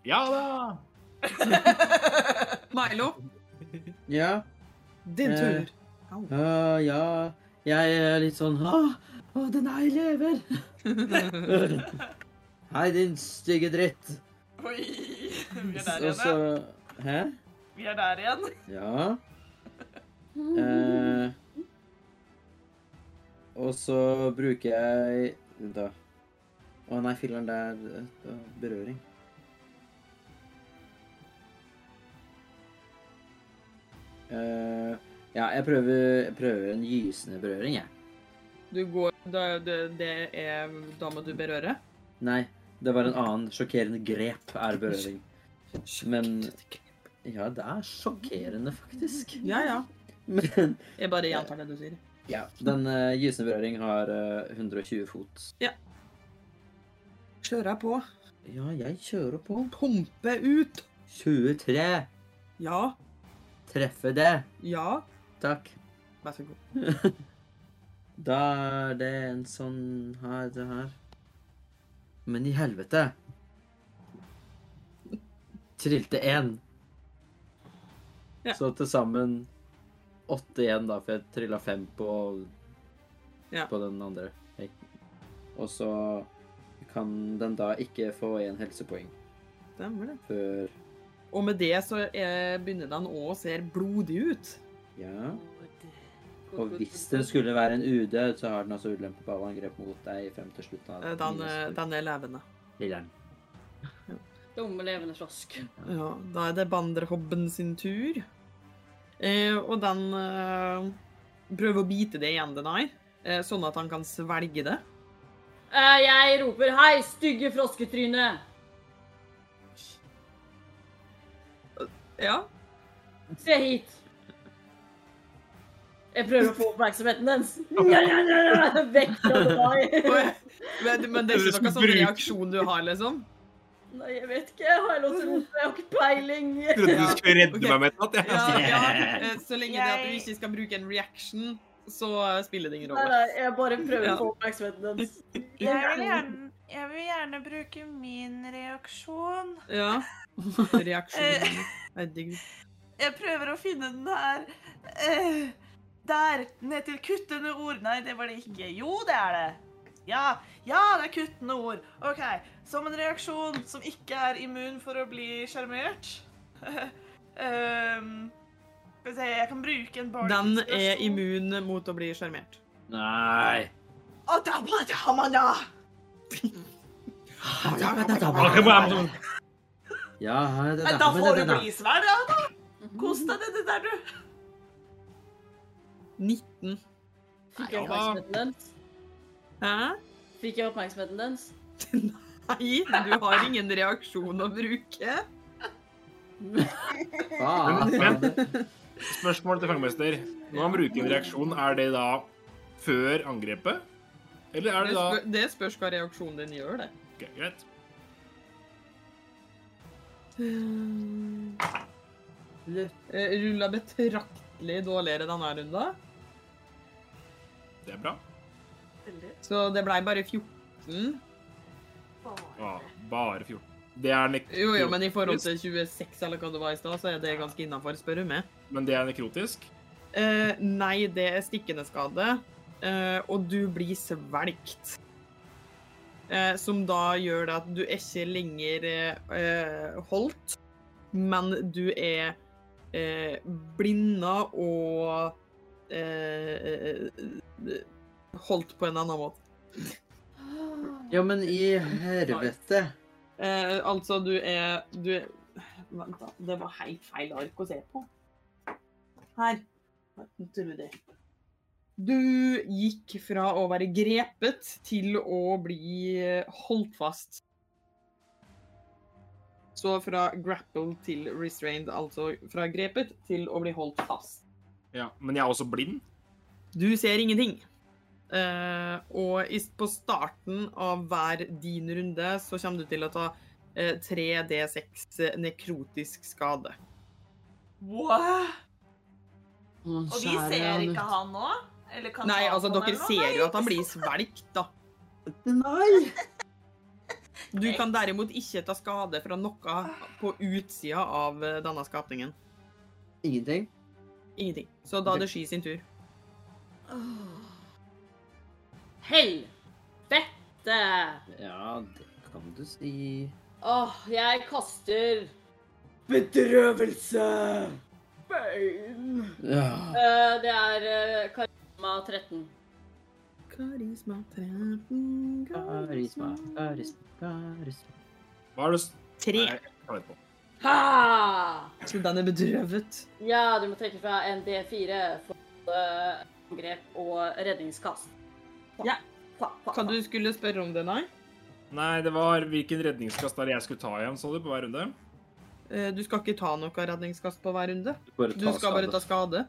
Speaker 3: Ja da!
Speaker 1: Milo,
Speaker 4: Ja.
Speaker 1: din
Speaker 4: Eh.
Speaker 1: tur.
Speaker 4: Ah, ja. Jeg er litt sånn Å, ah, den her lever! Hei, din stygge dritt.
Speaker 2: Oi! Vi er der
Speaker 4: Og
Speaker 2: igjen, ja.
Speaker 4: så Hæ?
Speaker 2: Vi er der igjen.
Speaker 4: Ja. Eh, og så bruker jeg Vent da. Å nei, filleren, det er det er berøring. Eh, ja, jeg prøver, jeg prøver en gysende berøring, jeg.
Speaker 1: Du går, da, det, det er, da må du berøre.
Speaker 4: Nei, det var en annen sjokkerende grep er berøring. Men Ja, det er sjokkerende, faktisk.
Speaker 1: Ja, ja.
Speaker 4: Men
Speaker 1: Jeg bare gjentar det du sier.
Speaker 4: Ja. Den uh, gysende berøring har eh, 120 fot.
Speaker 1: Kjører jeg på.
Speaker 4: Ja, jeg kjører på.
Speaker 1: Pumpe ut.
Speaker 4: 23!
Speaker 1: Ja.
Speaker 4: Treffer det.
Speaker 1: Ja.
Speaker 4: Takk.
Speaker 1: Vær så god.
Speaker 4: Da er det en sånn her, det her. Men i helvete! Trilte én.
Speaker 1: Ja.
Speaker 4: Så til sammen åtte igjen, da, for jeg trilla fem på,
Speaker 1: Ja.
Speaker 4: på den andre. Og så kan den da ikke få én helsepoeng
Speaker 1: Stemmer det.
Speaker 4: før
Speaker 1: Og med det så eh, begynner den òg å se blodig ut.
Speaker 4: Ja. Og hvis det skulle være en udød, så har den altså ulempe på alle angrep mot deg frem til slutten av
Speaker 1: Eh, Den, eh, den er levende.
Speaker 4: Lilleren.
Speaker 5: Dumme levende frosk.
Speaker 1: Ja, da er det Banderhobben sin tur. Eh, og den eh, prøver å bite det igjen den har, eh, sånn at han kan svelge det.
Speaker 5: Eh, jeg roper 'hei, stygge frosketryne'!
Speaker 1: Ja.
Speaker 5: Se hit! Jeg prøver å få oppmerksomheten dens. Nja, nja, nja, nja, Vekk fra deg!
Speaker 1: Men, men det er ikke noe sånn reaksjon du har, liksom?
Speaker 5: Nei, jeg vet ikke. Har jeg lov til å rope? Jeg har ikke peiling.
Speaker 3: Jeg trodde du skulle redde
Speaker 1: Ok.
Speaker 3: meg med et natt, jeg.
Speaker 1: Ja, ja. eh, Så lenge det at du
Speaker 2: Jeg-
Speaker 1: ikke skal bruke en reaction, så eh, spiller det ingen
Speaker 5: Nei,
Speaker 1: rolle.
Speaker 5: nei, jeg bare prøver å få oppmerksomheten dens.
Speaker 2: Jeg vil gjerne, jeg vil gjerne bruke min reaksjon.
Speaker 1: Ja. Reaksjonen. Herregud.
Speaker 2: Jeg prøver å finne den her. Eh, der! Ned til kuttende ord. Nei, det var det ikke. Jo, det er det. Ja, ja, det er kuttende ord. OK. Som en reaksjon som ikke er immun for å bli sjarmert. Ehm, Skal vi se, jeg kan bruke en bardic
Speaker 1: Den er
Speaker 2: inspirasjon.
Speaker 1: immun mot å bli sjarmert.
Speaker 4: Nei!
Speaker 2: Å, da var det Amanda!
Speaker 3: sånn
Speaker 4: Ja, det
Speaker 2: Nei,
Speaker 4: er
Speaker 2: Da
Speaker 4: derfor
Speaker 2: får
Speaker 4: med
Speaker 2: du
Speaker 4: det, da.
Speaker 2: bli svær, da. da. Kos deg med det der, du.
Speaker 1: 19.
Speaker 5: Fikk jeg oppmerksomheten dens?
Speaker 1: Hæ?
Speaker 5: Fikk jeg oppmerksomheten dens?
Speaker 1: Nei, du har ingen reaksjon å bruke.
Speaker 4: Faen.
Speaker 3: Men- Spørsmål til fangemester. Når han bruker en reaksjon, er det da før angrepet? Eller
Speaker 1: Det,
Speaker 3: er det da
Speaker 1: spør, det spørs hva reaksjonen din gjør, det.
Speaker 3: Ok, Greit.
Speaker 1: Eh, Rulla betraktelig dårligere denne runda,
Speaker 3: Det er bra.
Speaker 1: så det blei bare 14.
Speaker 3: Ja, bare 14. Det er nek
Speaker 1: Jo, jo, men i forhold til 26 eller hva det var i stad, så er det ganske innafor, spør du meg.
Speaker 3: men det er nekrotisk.
Speaker 1: Eh, nei, det er stikkende skade, eh, og du blir svelgt. Eh, som da gjør det at du er ikke lenger eh, holdt, men du er eh, blinda og eh, eh, holdt på en annen måte.
Speaker 4: Ja, men i helvete.
Speaker 1: Eh, altså, du er, du er Vent, da. Det var helt feil ark å se på. Her. Tror det. Du gikk fra å være grepet til å bli eh, holdt fast. Så fra grapple til restrained, altså fra grepet til å bli holdt fast.
Speaker 3: Ja, men jeg er også blind.
Speaker 1: Du ser ingenting. Eh, og i, på starten av hver din runde så kommer du til å ta eh, 3D6 eh, nekrotisk skade.
Speaker 2: Wow.
Speaker 8: Og
Speaker 2: Og vi ser ikke han nå? Eller kan
Speaker 1: Nei,
Speaker 2: ta
Speaker 1: altså,
Speaker 2: på han
Speaker 1: dere
Speaker 2: eller noe?
Speaker 1: ser jo at han blir svelgt, da.
Speaker 8: Nei!
Speaker 1: Du kan derimot ikke ta skade fra noe på utsida av eh, denne skapningen.
Speaker 4: Ingenting.
Speaker 1: Ingenting. Så da er det Sky sin tur.
Speaker 5: Helvete!
Speaker 4: Ja, det kan du si.
Speaker 5: Åh, jeg kaster
Speaker 4: Bedrøvelse!
Speaker 5: Bane.
Speaker 4: Ja.
Speaker 5: Eh, det er eh, karisma 13.
Speaker 1: Karisma 13
Speaker 4: Karisma, karisma, karisma.
Speaker 3: Hva er det s-
Speaker 1: 3.
Speaker 3: Nei, jeg tar det på.
Speaker 5: Ha!
Speaker 1: Så den er bedrøvet.
Speaker 5: Ja, du må trekke fra en D4 for både angrep og redningskast. Fa,
Speaker 1: Ja.
Speaker 5: fa, fa,
Speaker 1: Hva
Speaker 5: fa.
Speaker 1: du skulle spørre om det, nei?
Speaker 3: Nei, det var hvilken redningskast der jeg skulle ta igjen, så du, på hver runde.
Speaker 1: Eh, Du skal ikke ta noe redningskast på hver runde.
Speaker 4: Bare
Speaker 1: Du skal bare ta skade.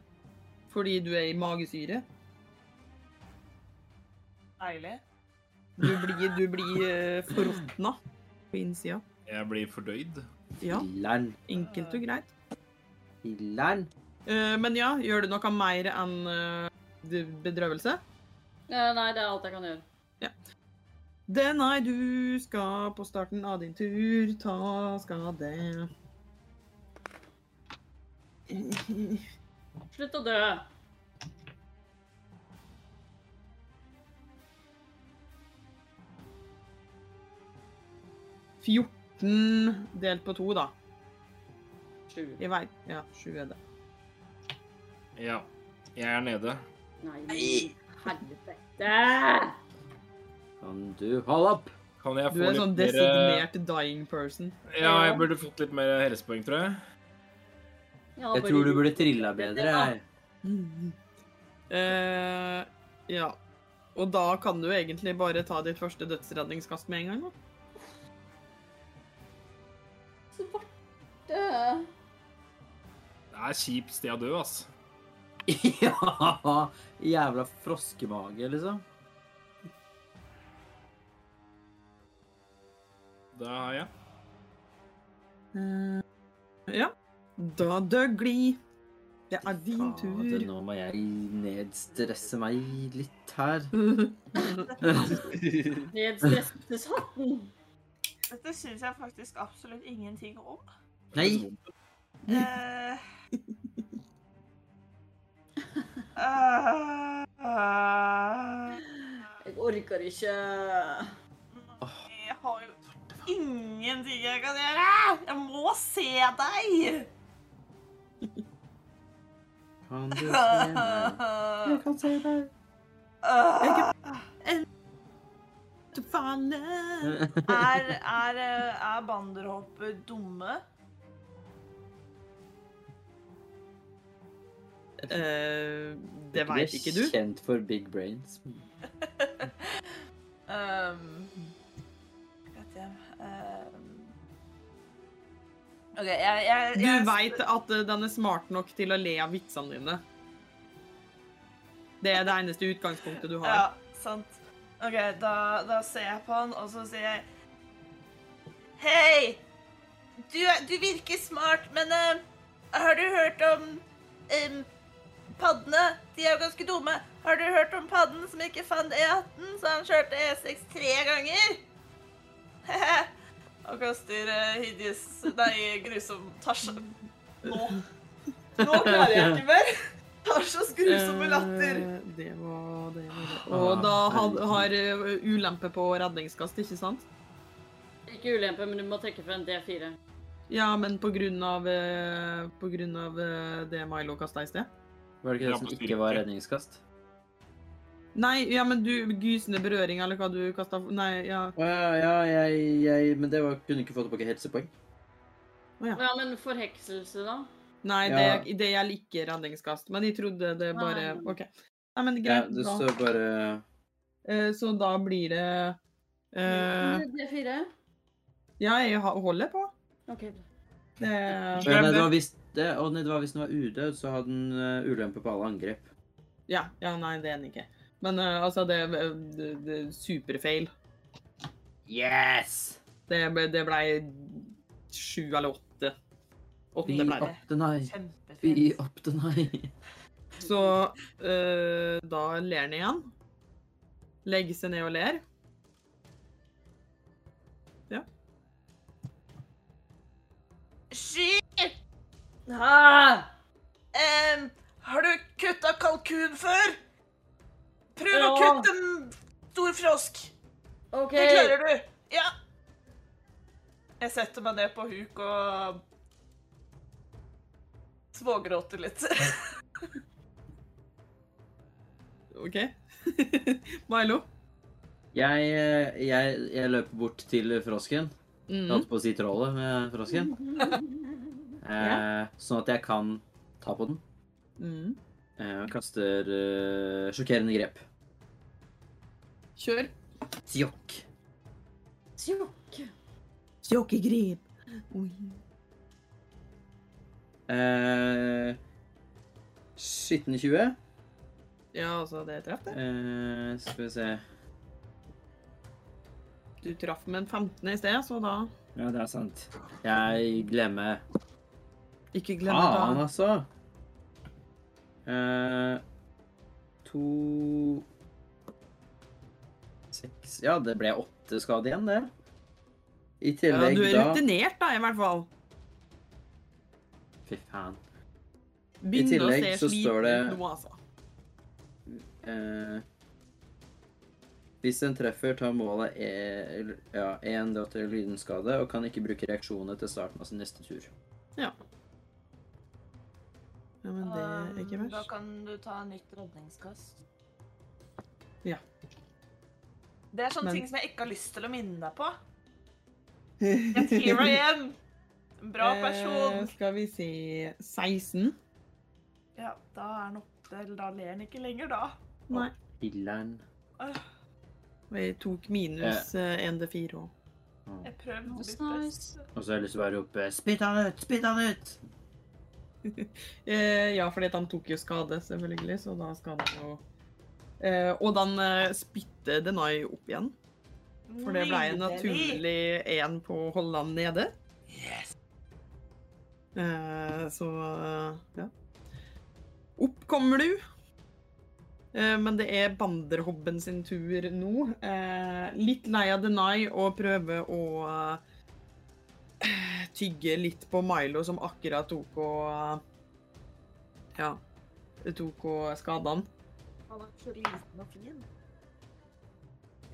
Speaker 1: Fordi du er i magesyre.
Speaker 10: Deilig.
Speaker 1: Du blir, du blir eh, forråtna på innsida.
Speaker 3: Jeg blir fordøyd.
Speaker 1: Ja,
Speaker 4: Filler'n.
Speaker 1: enkelt og greit.
Speaker 4: Filler'n.
Speaker 1: Eh, men ja, gjør du noe mer enn eh, d- bedrøvelse?
Speaker 5: Eh, Nei, det er alt jeg kan gjøre.
Speaker 1: Det, nei, du skal på starten av din tur ta skade.
Speaker 5: Slutt å dø.
Speaker 1: Mm, delt på to, da.
Speaker 5: Sju.
Speaker 1: Jeg veit. Ja, sju er det.
Speaker 3: Ja. Jeg er nede.
Speaker 5: Nei, men helvete!
Speaker 4: Kan du holde opp?
Speaker 3: Kan jeg
Speaker 1: Du
Speaker 3: få
Speaker 1: er
Speaker 3: litt
Speaker 1: sånn
Speaker 3: mer eh,
Speaker 1: designert dying person.
Speaker 3: Ja, jeg burde fått litt mer helsepoeng, tror jeg.
Speaker 5: Ja,
Speaker 4: Jeg
Speaker 5: bare-
Speaker 4: tror du burde trilla bedre. jeg.
Speaker 1: Eh, ja. Og da kan du egentlig bare ta ditt første dødsredningskast med en gang. da.
Speaker 5: Svarte
Speaker 3: Det er kjipt sted å dø, ass.
Speaker 4: Ja! Jævla froskemage, liksom.
Speaker 3: Det har jeg.
Speaker 1: Ja. Da dør Gli. Det er din
Speaker 4: Fader,
Speaker 1: tur.
Speaker 4: nå må jeg nedstresse meg litt her.
Speaker 5: nedstresseshatten.
Speaker 2: Dette syns jeg faktisk absolutt ingenting om.
Speaker 4: Nei!
Speaker 2: Eh. Eh, eh,
Speaker 5: Jeg orker ikke.
Speaker 2: Jeg har jo ingenting jeg kan gjøre! Jeg må se deg!
Speaker 4: Kan du se meg? Jeg kan se deg.
Speaker 1: Du faller.
Speaker 2: Er, er, eh, er banderhopper dumme?
Speaker 1: Eh, det veit ikke du.
Speaker 4: Kjent for big brains.
Speaker 2: Um, goddamn, um. OK, jeg, jeg, jeg
Speaker 1: Du veit at eh, den er smart nok til å le av vitsene dine. Det er det eneste utgangspunktet du har.
Speaker 2: Ja, sant. OK, da, da ser jeg på han, og så sier jeg Hei! Du, er- du virker smart, men eh, har du hørt om em, paddene? De er jo ganske dumme. Har du hørt om padden som ikke fant E18, så han kjørte E6 tre ganger? og kaster uh, hideous Nei, grusom Tasha. Nå. Nå klarer jeg ikke mer. Tashas grusomme latter.
Speaker 1: Eh, Det var det. var det. Og da had, har eh, ulempe på redningskast, ikke sant?
Speaker 5: Ikke ulempe, men du må trekke for en D4.
Speaker 1: Ja, men på grunn av, eh, på grunn av eh, det Milo kasta i sted?
Speaker 4: Var det ikke det som ikke var redningskast?
Speaker 1: Nei, ja, men du Gysende berøring, eller hva du kasta Nei, ja.
Speaker 4: Å ja, ja, jeg, jeg Men det var, kunne ikke få tilbake helsepoeng.
Speaker 5: Ja, men forhekselse, da?
Speaker 1: Nei,
Speaker 4: Ja.
Speaker 1: det, det gjelder ikke redningskast. Men jeg trodde det bare
Speaker 5: Nei.
Speaker 1: OK. Nei, men
Speaker 4: Ja,
Speaker 1: greit.
Speaker 4: det
Speaker 1: da.
Speaker 4: står bare
Speaker 1: Eh, Så da blir det eh,
Speaker 5: D4?
Speaker 1: Ja, jeg ha- holder på.
Speaker 5: OK.
Speaker 1: Det,
Speaker 4: Å ja, nei, det var hvis det, å, nei, det var hvis den var udød, så hadde den eh, ulempe på alle angrep.
Speaker 1: ja, ja, nei, det er den ikke. Men eh, altså, det, det, det Superfeil.
Speaker 4: Yes!
Speaker 1: Det, ble- det blei sju eller åtte.
Speaker 4: Fy
Speaker 1: Åtte blei det.
Speaker 4: opp den her. Fy
Speaker 2: Kjempefint.
Speaker 4: opp den her.
Speaker 1: Så eh, da ler han igjen. Legger seg ned og ler.
Speaker 2: Sky!
Speaker 5: Ah!
Speaker 2: em, har du kutta kalkun før? Prøv
Speaker 5: Ja.
Speaker 2: å kutte en stor frosk.
Speaker 5: OK.
Speaker 2: Det klarer du. Ja. Jeg setter meg ned på huk og smågråter litt.
Speaker 1: OK? Milo?
Speaker 4: Jeg, eh, jeg, jeg løper bort til frosken. Jeg
Speaker 1: Mm.
Speaker 4: holdt på å si trollet med frosken. Eh, sånn at jeg kan ta på den.
Speaker 1: Mm.
Speaker 4: Eh, kaster eh, sjokkerende grep.
Speaker 1: Kjør.
Speaker 4: Tjokk.
Speaker 5: Tjokk.
Speaker 1: Jokkegrip.
Speaker 4: Eh, skitne 20.
Speaker 1: Ja, altså, det traff, det.
Speaker 4: Eh, skal vi se
Speaker 1: Du traff med en 15 i sted, så da
Speaker 4: Ja, det er sant. Jeg glemmer
Speaker 1: Ikke glem
Speaker 4: Faen,
Speaker 1: det. da.
Speaker 4: altså! Eh, to Seks Ja, det ble åtte skade igjen, det. I
Speaker 1: Ja,
Speaker 4: tillegg
Speaker 1: du er
Speaker 4: da
Speaker 1: rutinert, da, i hvert fall.
Speaker 4: Fy faen.
Speaker 1: Begynner
Speaker 4: tillegg så står det-
Speaker 1: ut nå, altså.
Speaker 4: Eh, hvis den treffer, tar målet én ja, en dott eller lydenskade og kan ikke bruke reaksjonene til starten av sin neste tur.
Speaker 1: Ja, men det
Speaker 2: Ah,
Speaker 1: er ikke
Speaker 7: Um, Da
Speaker 1: verst.
Speaker 7: kan du ta nytt redningskast.
Speaker 2: Det er sånne
Speaker 1: Men-
Speaker 2: ting som jeg ikke har lyst til å minne deg på. Yet here I am. En bra
Speaker 1: Eh,
Speaker 2: person.
Speaker 1: skal vi si 16?
Speaker 2: Ja, da er han oppe. Eller da ler han ikke lenger, da.
Speaker 1: Nei.
Speaker 4: Hilleren.
Speaker 2: Åh,
Speaker 1: Vi tok minus eh, 1D4 òg.
Speaker 4: Åh.
Speaker 2: Jeg prøver mitt
Speaker 5: That's
Speaker 2: beste.
Speaker 4: Og så har jeg lyst til å bare rope 'spytt han ut! Spytt han ut!'
Speaker 1: Eh, ja, fordi at han tok jo skade, selvfølgelig, så da skal han jo eh, Og da han eh, spytte Denai opp igjen, for det ble en
Speaker 2: Nydelig.
Speaker 1: naturlig én på å holde han nede.
Speaker 2: Yes.
Speaker 1: Eh, så eh, ja. Opp kommer du. Eh, men det er banderhobben sin tur nå. Eh, litt lei av Denai og prøve å eh, tygge litt på Milo, som akkurat tok og eh, Ja. Tok og skada han.
Speaker 2: Han er så liten og fin.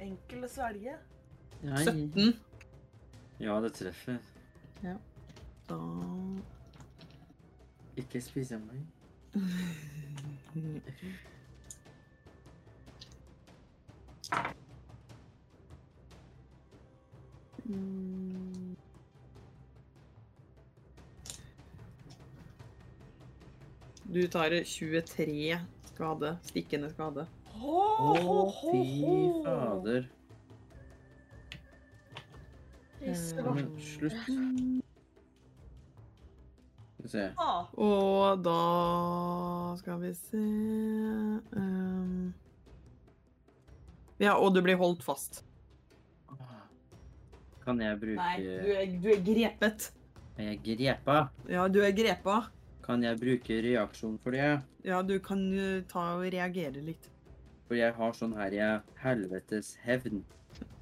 Speaker 2: Enkel å svelge.
Speaker 4: Mm.
Speaker 1: 17.
Speaker 4: Ja, det treffer.
Speaker 1: Da
Speaker 4: Ikke spise meg.
Speaker 1: Mm. Du tar 23 skade. Stikkende skade.
Speaker 2: Ho,
Speaker 4: Å,
Speaker 2: ho, ho,
Speaker 4: fy
Speaker 2: ho.
Speaker 4: fader. Ja,
Speaker 1: Eh,
Speaker 4: men slutt. Skal vi se.
Speaker 2: Ah,
Speaker 1: Og da skal vi se ehm. Ja, og du blir holdt fast.
Speaker 4: Kan jeg bruke
Speaker 1: er, du er grepet.
Speaker 4: Er jeg grepa?
Speaker 1: Ja, du er grepa.
Speaker 4: Kan jeg bruke reaksjon for det?
Speaker 1: Ja, du kan eh, ta og reagere litt.
Speaker 4: For jeg har sånn her jeg helvetes hevn.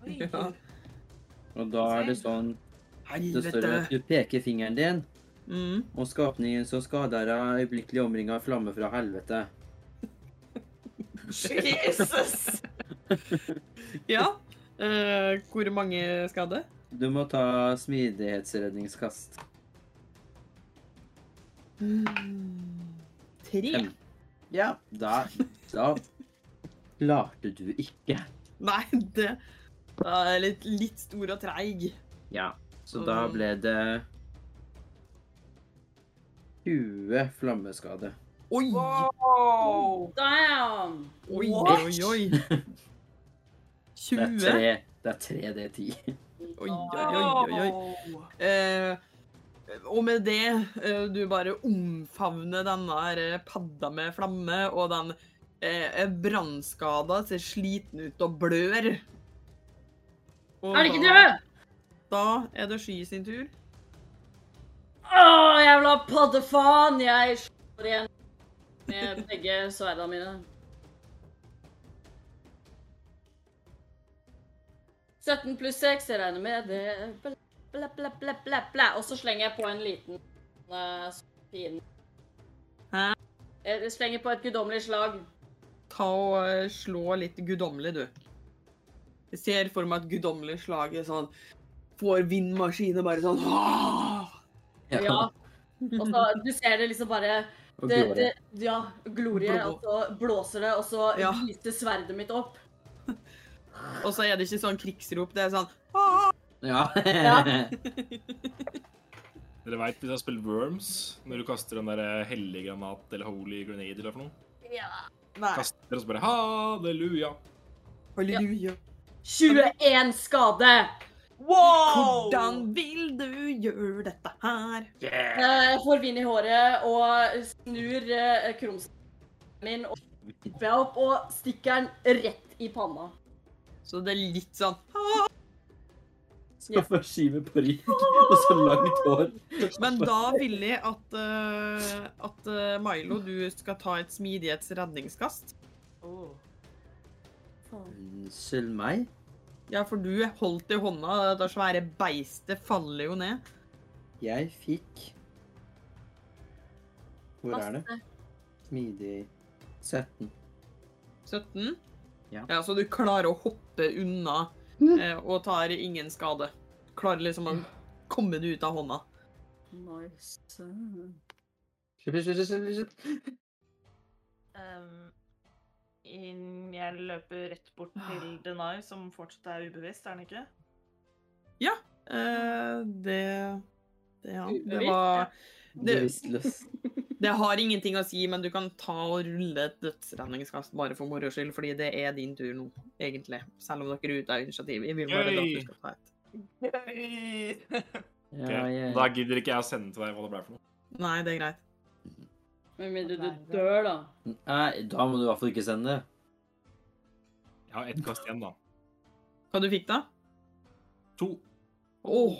Speaker 2: oi.
Speaker 1: Ja.
Speaker 4: Og da er det sånn Det står det at
Speaker 1: Helvete!
Speaker 4: du peker fingeren din,
Speaker 1: Mm.
Speaker 4: og skapningen som skader deg, øyeblikkelig omringa av flamme fra helvete.
Speaker 2: Jesus!
Speaker 1: Ja. eh, hvor mange skade?
Speaker 4: Du må ta smidighetsredningskast.
Speaker 1: Tre.
Speaker 4: Fem. Ja, da, da klarte du ikke.
Speaker 1: Nei, det da er jeg litt, litt stor og treig.
Speaker 4: Ja, så da ble det 20 flammeskade.
Speaker 1: Oi, oi,
Speaker 2: Wow!
Speaker 5: Damn!
Speaker 1: oi,
Speaker 2: What?
Speaker 1: oi. oi.
Speaker 4: Det er
Speaker 1: 20.
Speaker 4: tre, det er tre D10.
Speaker 1: Oi, oi, oi, oi, oi.
Speaker 2: Wow.
Speaker 1: Eh, og med det, eh, du bare omfavner denne her eh, padda med flamme, og den eh, er brannskada, ser sliten ut og blør. Og
Speaker 5: Er det ikke
Speaker 1: da-
Speaker 5: død?
Speaker 1: Da er det Sky sin tur.
Speaker 5: Å, jævla paddefaen! Jeg slår igjen med begge sverdene mine. «17 pluss 6, jeg regner med det bla, bla, bla, bla, bla, bla. Og så slenger jeg på en liten eh, fin
Speaker 1: Hæ?
Speaker 5: Jeg slenger på et guddommelig slag.
Speaker 1: Ta og eh, slå litt guddommelig, du. Jeg ser for meg at guddommelig slag er sånn Får vindmaskinen og bare sånn «Åh!»
Speaker 5: Ja. Og så du ser det liksom bare
Speaker 4: Og
Speaker 5: det,
Speaker 4: Gloria.
Speaker 5: det, Ja, glorie.
Speaker 1: Blå-
Speaker 5: Og så blåser det, og så
Speaker 1: Ja.
Speaker 5: lyser sverdet mitt opp.
Speaker 1: Og så er det ikke sånn krigsrop, det er sånn
Speaker 4: Ja.
Speaker 5: Ja.
Speaker 3: Dere veit hvis jeg spiller Worms, når du kaster den der hellige granat eller holy grenade eller for noe?
Speaker 1: Nei,
Speaker 3: Kaster dere og så bare halleluja.
Speaker 1: halleluja.
Speaker 5: 21 skade!
Speaker 2: Wow!
Speaker 1: Hvordan vil du gjøre dette her?
Speaker 5: Eh, Jeg får vind i håret og snur eh, krumsen min og hopper jeg opp og stikker den rett i panna.
Speaker 1: Så det er litt sånn
Speaker 5: Ja.
Speaker 4: Skal bare skyve parykk og så langt hår.
Speaker 1: Men da vil jeg at, eh, at eh, Milo, du skal ta et smidighetsredningskast.
Speaker 2: Oh.
Speaker 5: Faen.
Speaker 4: Unnskyld meg?
Speaker 1: Ja, for du holdt i hånda, det svære beistet faller jo ned.
Speaker 4: Jeg fikk Hvor er det? Smidig 17.
Speaker 1: 17?
Speaker 4: Ja.
Speaker 1: så du klarer å hoppe unna eh, og tar ingen skade. Klarer liksom å komme deg ut av hånda.
Speaker 5: Nice.
Speaker 4: Slipp, slipp, slipp, slipp, slipp.
Speaker 2: Ehm, inn- jeg løper rett bort til Denai, som fortsatt er ubevisst, er han ikke?
Speaker 1: Eh, det det, ja. det
Speaker 5: Ubevisst,
Speaker 1: var det,
Speaker 4: Bevisstløs.
Speaker 1: det har ingenting å si, men du kan ta og rulle et dødsredningskast bare for moro skyld, fordi det er din tur nå, egentlig. Selv om dere er ute av initiativ. Jeg vil bare at
Speaker 3: Yay!
Speaker 1: du skal ta et.
Speaker 4: Ja, jeg,
Speaker 3: Da gidder ikke jeg å sende til deg hva det ble for noe.
Speaker 1: Nei, det er greit.
Speaker 5: Med mindre du dør, da.
Speaker 4: Nei, da må du i hvert fall ikke sende.
Speaker 3: Jeg har ett kast igjen, da.
Speaker 1: Hva du fikk da?
Speaker 3: To.
Speaker 1: Åh,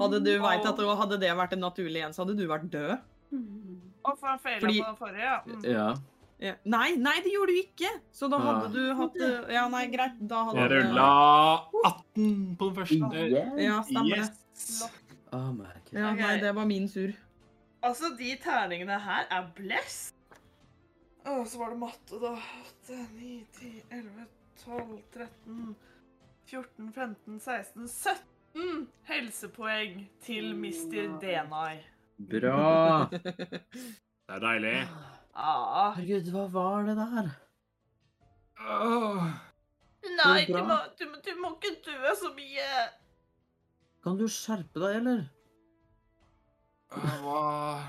Speaker 1: hadde du vet at det, hadde det vært en naturlig en, så hadde du vært død.
Speaker 5: Mm.
Speaker 2: Og for han feila
Speaker 1: Fordi-
Speaker 2: på den forrige, ja. Mm.
Speaker 4: Ja.
Speaker 1: Ja. Nei, nei, det gjorde du ikke! Så da hadde
Speaker 4: Ah.
Speaker 1: du hatt eh, Ja, nei, greit. Da hadde
Speaker 3: Jeg
Speaker 1: du-
Speaker 3: rulla 18 på den første.
Speaker 4: Igjen?
Speaker 1: Ja, stemmer det.
Speaker 3: Yes.
Speaker 4: Oh my god.
Speaker 1: Ja,
Speaker 2: Ok.
Speaker 1: nei, det var min sur.
Speaker 2: Altså, de terningene her er blessed. Å, så var det matte, da. 8, 9, 10, 11, 12, 13, 14, 15, 16, 17 helsepoeng til Mr. Denai.
Speaker 4: Bra!
Speaker 3: Det er deilig.
Speaker 2: Ah.
Speaker 4: Herregud, hva var det der?
Speaker 3: Åh.
Speaker 7: Nei,
Speaker 4: Går
Speaker 7: du
Speaker 4: det
Speaker 7: må,
Speaker 4: bra?
Speaker 7: du, må- du må ikke dø så mye.
Speaker 4: Kan du skjerpe deg, eller?
Speaker 3: Jeg var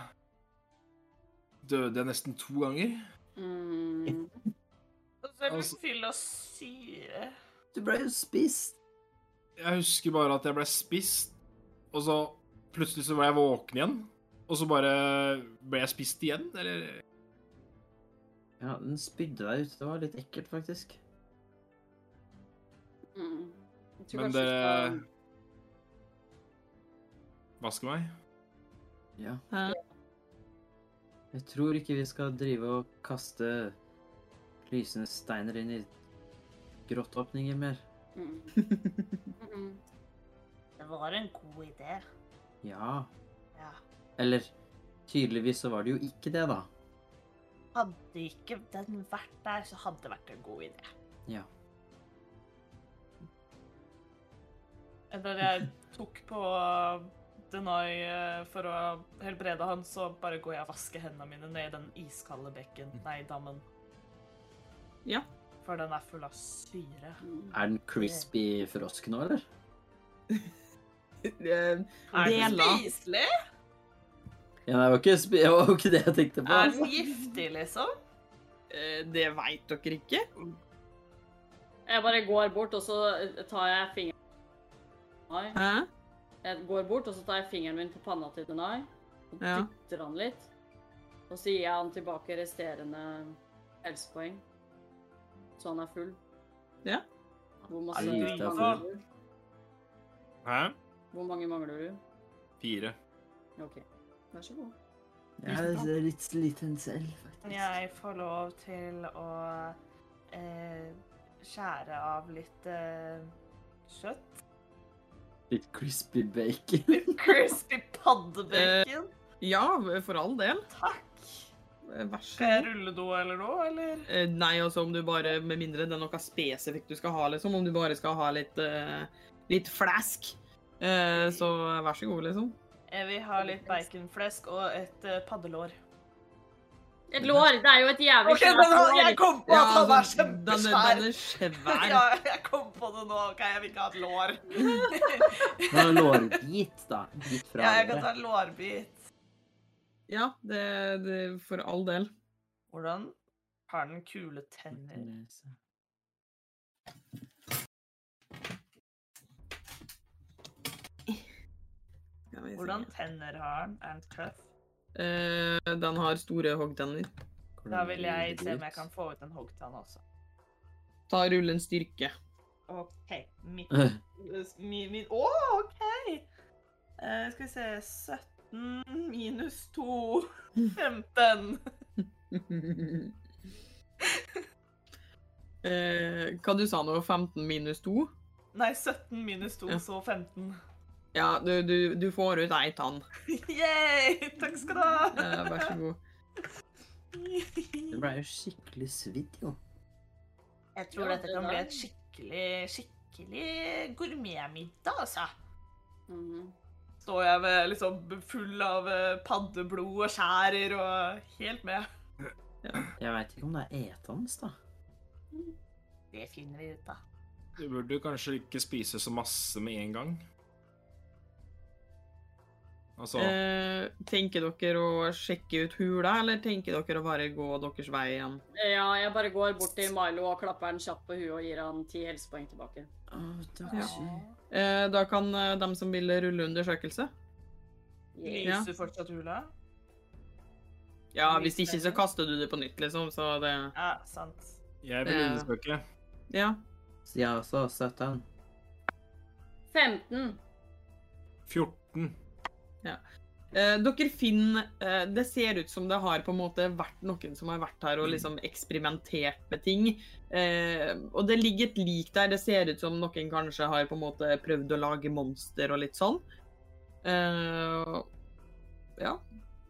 Speaker 3: Døde jeg nesten to ganger?
Speaker 5: Mm.
Speaker 7: Og så er du
Speaker 3: Altså-
Speaker 7: fyll av syre.
Speaker 4: Du ble jo spist.
Speaker 3: Jeg husker bare at jeg ble spist, og så plutselig så var jeg våken igjen. Og så bare ble jeg spist igjen, eller
Speaker 4: Ja, den spydde deg ut. Det var litt ekkelt, faktisk.
Speaker 5: Mm. Jeg tror
Speaker 3: Men
Speaker 5: kanskje
Speaker 3: dere-
Speaker 5: jeg
Speaker 3: Vaske meg.
Speaker 4: Ja.
Speaker 1: Hæ?
Speaker 4: Jeg tror ikke vi skal drive og kaste lysende steiner inn i grottåpninger mer.
Speaker 5: skal- Mm. Mm.
Speaker 7: Det var en god idé.
Speaker 4: Ja.
Speaker 7: Ja.
Speaker 4: Eller tydeligvis så var det jo ikke det, da.
Speaker 7: Hadde ikke den vært der, så hadde det vært en god idé.
Speaker 4: Ja.
Speaker 2: Da jeg tok på Denai eh, for å helbrede han, så bare går jeg og vasker hendene mine ned i den iskalde bekken, nei, dammen.
Speaker 1: Ja.
Speaker 2: For den er full av syre.
Speaker 5: Mm.
Speaker 4: Er den crispy frosk nå, eller?
Speaker 1: Eh,
Speaker 2: Er den
Speaker 1: Dela.
Speaker 2: spiselig?
Speaker 4: Ja, nei, det var ikke, spi- det var ikke det jeg tenkte på.
Speaker 2: Er
Speaker 4: Altså.
Speaker 2: den giftig, liksom?
Speaker 1: eh, Det veit dere ikke.
Speaker 5: Jeg bare går bort, og så tar jeg fingeren Nei.
Speaker 1: Hæ?
Speaker 5: Jeg går bort, og så tar jeg fingeren min på panna til Denai. Og
Speaker 1: Ja.
Speaker 5: dytter han litt. Og så gir jeg han tilbake resterende helsepoeng. Så han er full.
Speaker 1: Ja.
Speaker 5: Hvor, masse,
Speaker 4: Er du ute av
Speaker 5: mangler du?
Speaker 3: Hæ?
Speaker 5: Hvor mange mangler du?
Speaker 3: Fire.
Speaker 5: OK. Vær så god.
Speaker 4: Jeg er litt sliten selv, faktisk.
Speaker 2: Jeg får lov til å eh, skjære av litt eh, kjøtt.
Speaker 4: Litt crispy bacon.
Speaker 2: Crispy paddebacon.
Speaker 1: Ja, for all del.
Speaker 2: Takk.
Speaker 1: Eh, Vær så
Speaker 2: Skal jeg
Speaker 1: god.
Speaker 2: rulle do eller noe, eller?
Speaker 1: Eh, Nei, altså om du bare Med mindre det er noe spesifikt du skal ha, liksom. Om du bare skal ha litt eh, Litt flask. Eh, så vær så god, liksom.
Speaker 2: Eh, Vi har litt baconflesk og et eh, paddelår.
Speaker 5: Et lår! Det er jo et jævlig
Speaker 2: Ok, men han, jeg kom på at han var
Speaker 1: altså, den, er- den er
Speaker 2: kjempesvær!
Speaker 1: svær.
Speaker 2: Ja, jeg kom på det nå. OK, jeg vil ikke ha et lår.
Speaker 4: Nå er lårbit, da. Bit fra
Speaker 2: Ja, jeg kan ta
Speaker 4: andre.
Speaker 2: en lårbit.
Speaker 1: Ja, det, det For all del.
Speaker 2: Hvordan har den kule tenner?
Speaker 1: Skal vi se.
Speaker 2: Hvordan tenner har den? Er den tøff?
Speaker 1: Eh, den har store hoggtenner.
Speaker 2: Da vil jeg se om jeg kan få ut en hoggtann også.
Speaker 1: Ta rull en styrke.
Speaker 2: OK. Mitt
Speaker 4: Øh,
Speaker 2: Min, min Å, OK! Eh, skal vi se 17 minus 2 15.
Speaker 1: Eh, hva du sa nå? 15 minus 2?
Speaker 2: Nei, 17 minus 2,
Speaker 1: Ja.
Speaker 2: så 15.
Speaker 1: Ja, du, du, du får ut ei tann.
Speaker 2: Yay! Takk skal du ha.
Speaker 1: Eh, vær så god.
Speaker 4: Det ble jo skikkelig svidd, jo.
Speaker 2: Jeg tror
Speaker 5: Ja,
Speaker 2: dette
Speaker 5: det
Speaker 2: kan bli
Speaker 5: der.
Speaker 2: et skikkelig, skikkelig gourmetmiddag, altså.
Speaker 5: Mhm.
Speaker 2: Står jeg ved, liksom full av eh, paddeblod og skjærer og helt med.
Speaker 4: Jeg veit ikke om det er etende, da.
Speaker 2: Det finner vi ut av.
Speaker 3: Du burde kanskje ikke spise så masse med en gang. Altså
Speaker 1: Eh, tenker dere å sjekke ut hula, eller tenker dere å bare gå deres vei igjen?
Speaker 5: Ja, jeg bare går bort til Milo og klapper han kjapt på huet og gir han ti helsepoeng tilbake.
Speaker 4: Å, takk.
Speaker 1: Ja.
Speaker 4: Gud.
Speaker 1: Eh, da kan eh, dem som vil rulle undersøkelse.
Speaker 5: Yeah.
Speaker 2: Lyser fortsatt hula?
Speaker 1: Ja, hvis ikke så kaster du det på nytt, liksom, så det
Speaker 2: Ja, sant.
Speaker 3: Jeg vil
Speaker 1: Ja.
Speaker 3: undersøke.
Speaker 1: Ja.
Speaker 4: Så jeg også har støtt den.
Speaker 5: 15.
Speaker 3: 14.
Speaker 1: Eh, dere finner eh, Det ser ut som det har på en måte vært noen som har vært her og liksom eksperimentert med ting. Eh, og det ligger et lik der. Det ser ut som noen kanskje har på en måte prøvd å lage monster og litt sånn. Eh, ja.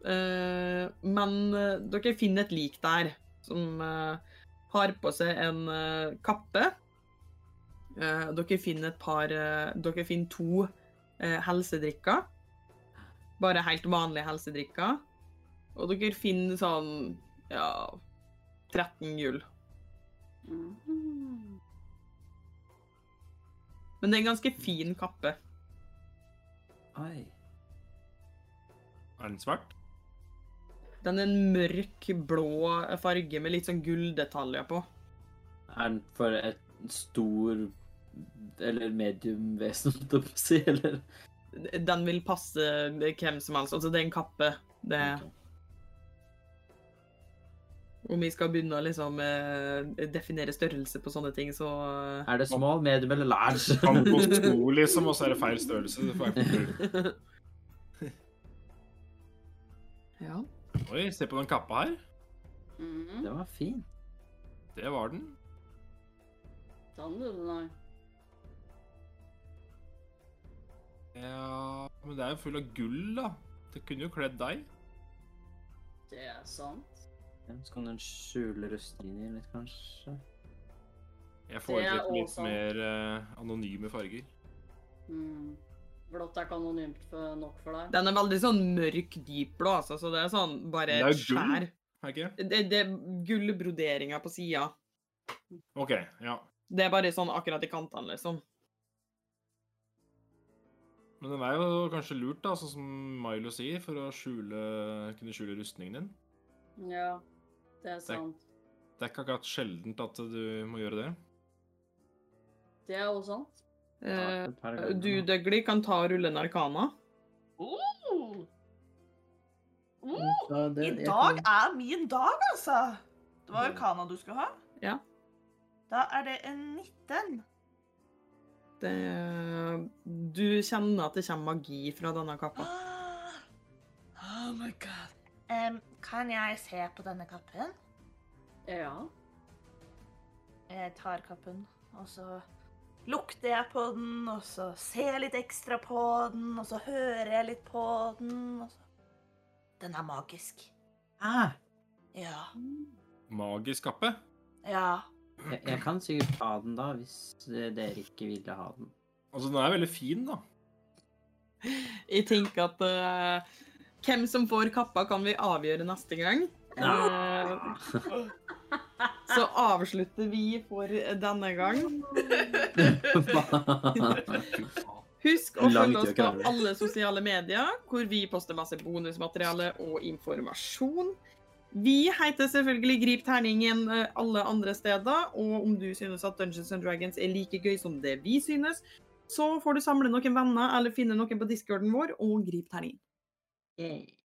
Speaker 1: Eh, men eh, dere finner et lik der som eh, har på seg en eh, kappe. Eh, dere finner et par eh, Dere finner to eh, helsedrikker bare helt vanlige helsedrikker. Og dere finner sånn ja 13 gull.
Speaker 5: Mhm.
Speaker 1: Men det er en ganske fin kappe.
Speaker 4: Oi.
Speaker 3: Er den svart?
Speaker 1: Den er en mørk blå farge med litt sånn gulldetaljer på.
Speaker 4: Er den for et stor eller medium vesen, holdt jeg på å si, eller?
Speaker 1: Den vil passe hvem som helst. Altså, det er en kappe. Det
Speaker 4: Ok.
Speaker 1: Om vi skal begynne å liksom eh, definere størrelse på sånne ting, så eh,
Speaker 4: Er det small, medium eller large?
Speaker 3: Kan gå sko, liksom, og så er det feil størrelse. Det får jeg ikke til.
Speaker 1: Ja.
Speaker 3: Oi, se på den kappa her.
Speaker 5: Mhm.
Speaker 4: Det var fin.
Speaker 3: Det var den.
Speaker 5: Sånn du det nå.
Speaker 3: Ja Men det er jo full av gull, da. Det kunne jo kledd deg.
Speaker 5: Det er sånn. sant.
Speaker 4: Ja, Så kan den skjule rustningen din litt, kanskje?
Speaker 3: Jeg
Speaker 5: Det er
Speaker 3: foretrekker litt
Speaker 5: også-
Speaker 3: mer eh, anonyme farger.
Speaker 5: Mhm. Blått er ikke anonymt for- nok for deg.
Speaker 1: Den er veldig sånn mørk dypblå, altså, så det er sånn bare
Speaker 3: Men det er
Speaker 1: et
Speaker 3: jo gull.
Speaker 1: skjær.
Speaker 3: Er ikke det?
Speaker 1: Det, det er gullbroderinger på sida.
Speaker 3: OK, ja.
Speaker 1: Det er bare sånn akkurat i kantene, liksom.
Speaker 3: Men den er jo kanskje lurt, da, sånn som Milo sier, for å skjule, kunne skjule rustningen din.
Speaker 5: Ja, det er sant.
Speaker 3: Det er ikke akkurat sjeldent at du må gjøre det.
Speaker 5: Det er også sant.
Speaker 1: Eh,
Speaker 4: Et par ganger.
Speaker 1: du, Dougley, kan ta og rulle en arkana.
Speaker 2: Oh! Oh!
Speaker 4: Ja, Mm. det-
Speaker 2: I
Speaker 4: jeg
Speaker 2: dag
Speaker 4: kan-
Speaker 2: er min dag, altså! Det var Vulkana du skulle ha?
Speaker 1: Ja.
Speaker 2: Da er det en 19.
Speaker 1: Det, du kjenner at det kommer magi fra denne kappa.
Speaker 2: Ah! Oh my god.
Speaker 7: Em, kan jeg se på denne kappen?
Speaker 5: Ja.
Speaker 7: Jeg tar kappen, og så lukter jeg på den, og så ser jeg litt ekstra på den, og så hører jeg litt på den, og så Den er magisk.
Speaker 4: Ah,
Speaker 7: Ja.
Speaker 3: Magisk kappe?
Speaker 7: Ja.
Speaker 4: jeg, jeg kan sikkert ha den da, hvis eh, dere ikke ville ha den.
Speaker 3: Altså, den er veldig fin, da.
Speaker 1: Jeg tenker at eh, hvem som får kappa, kan vi avgjøre neste gang. Eh, så avslutter vi for denne gang. Husk å
Speaker 4: Langt
Speaker 1: følge oss på
Speaker 4: jeg klarer.
Speaker 1: alle sosiale medier, hvor vi poster masse bonusmateriale og informasjon. Vi heter selvfølgelig Grip terningen eh, alle andre steder, og om du synes at Dungeons and Dragons er like gøy som det vi synes, så får du samle noen venner eller finne noen på discorden vår og grip terningen.
Speaker 8: Yay.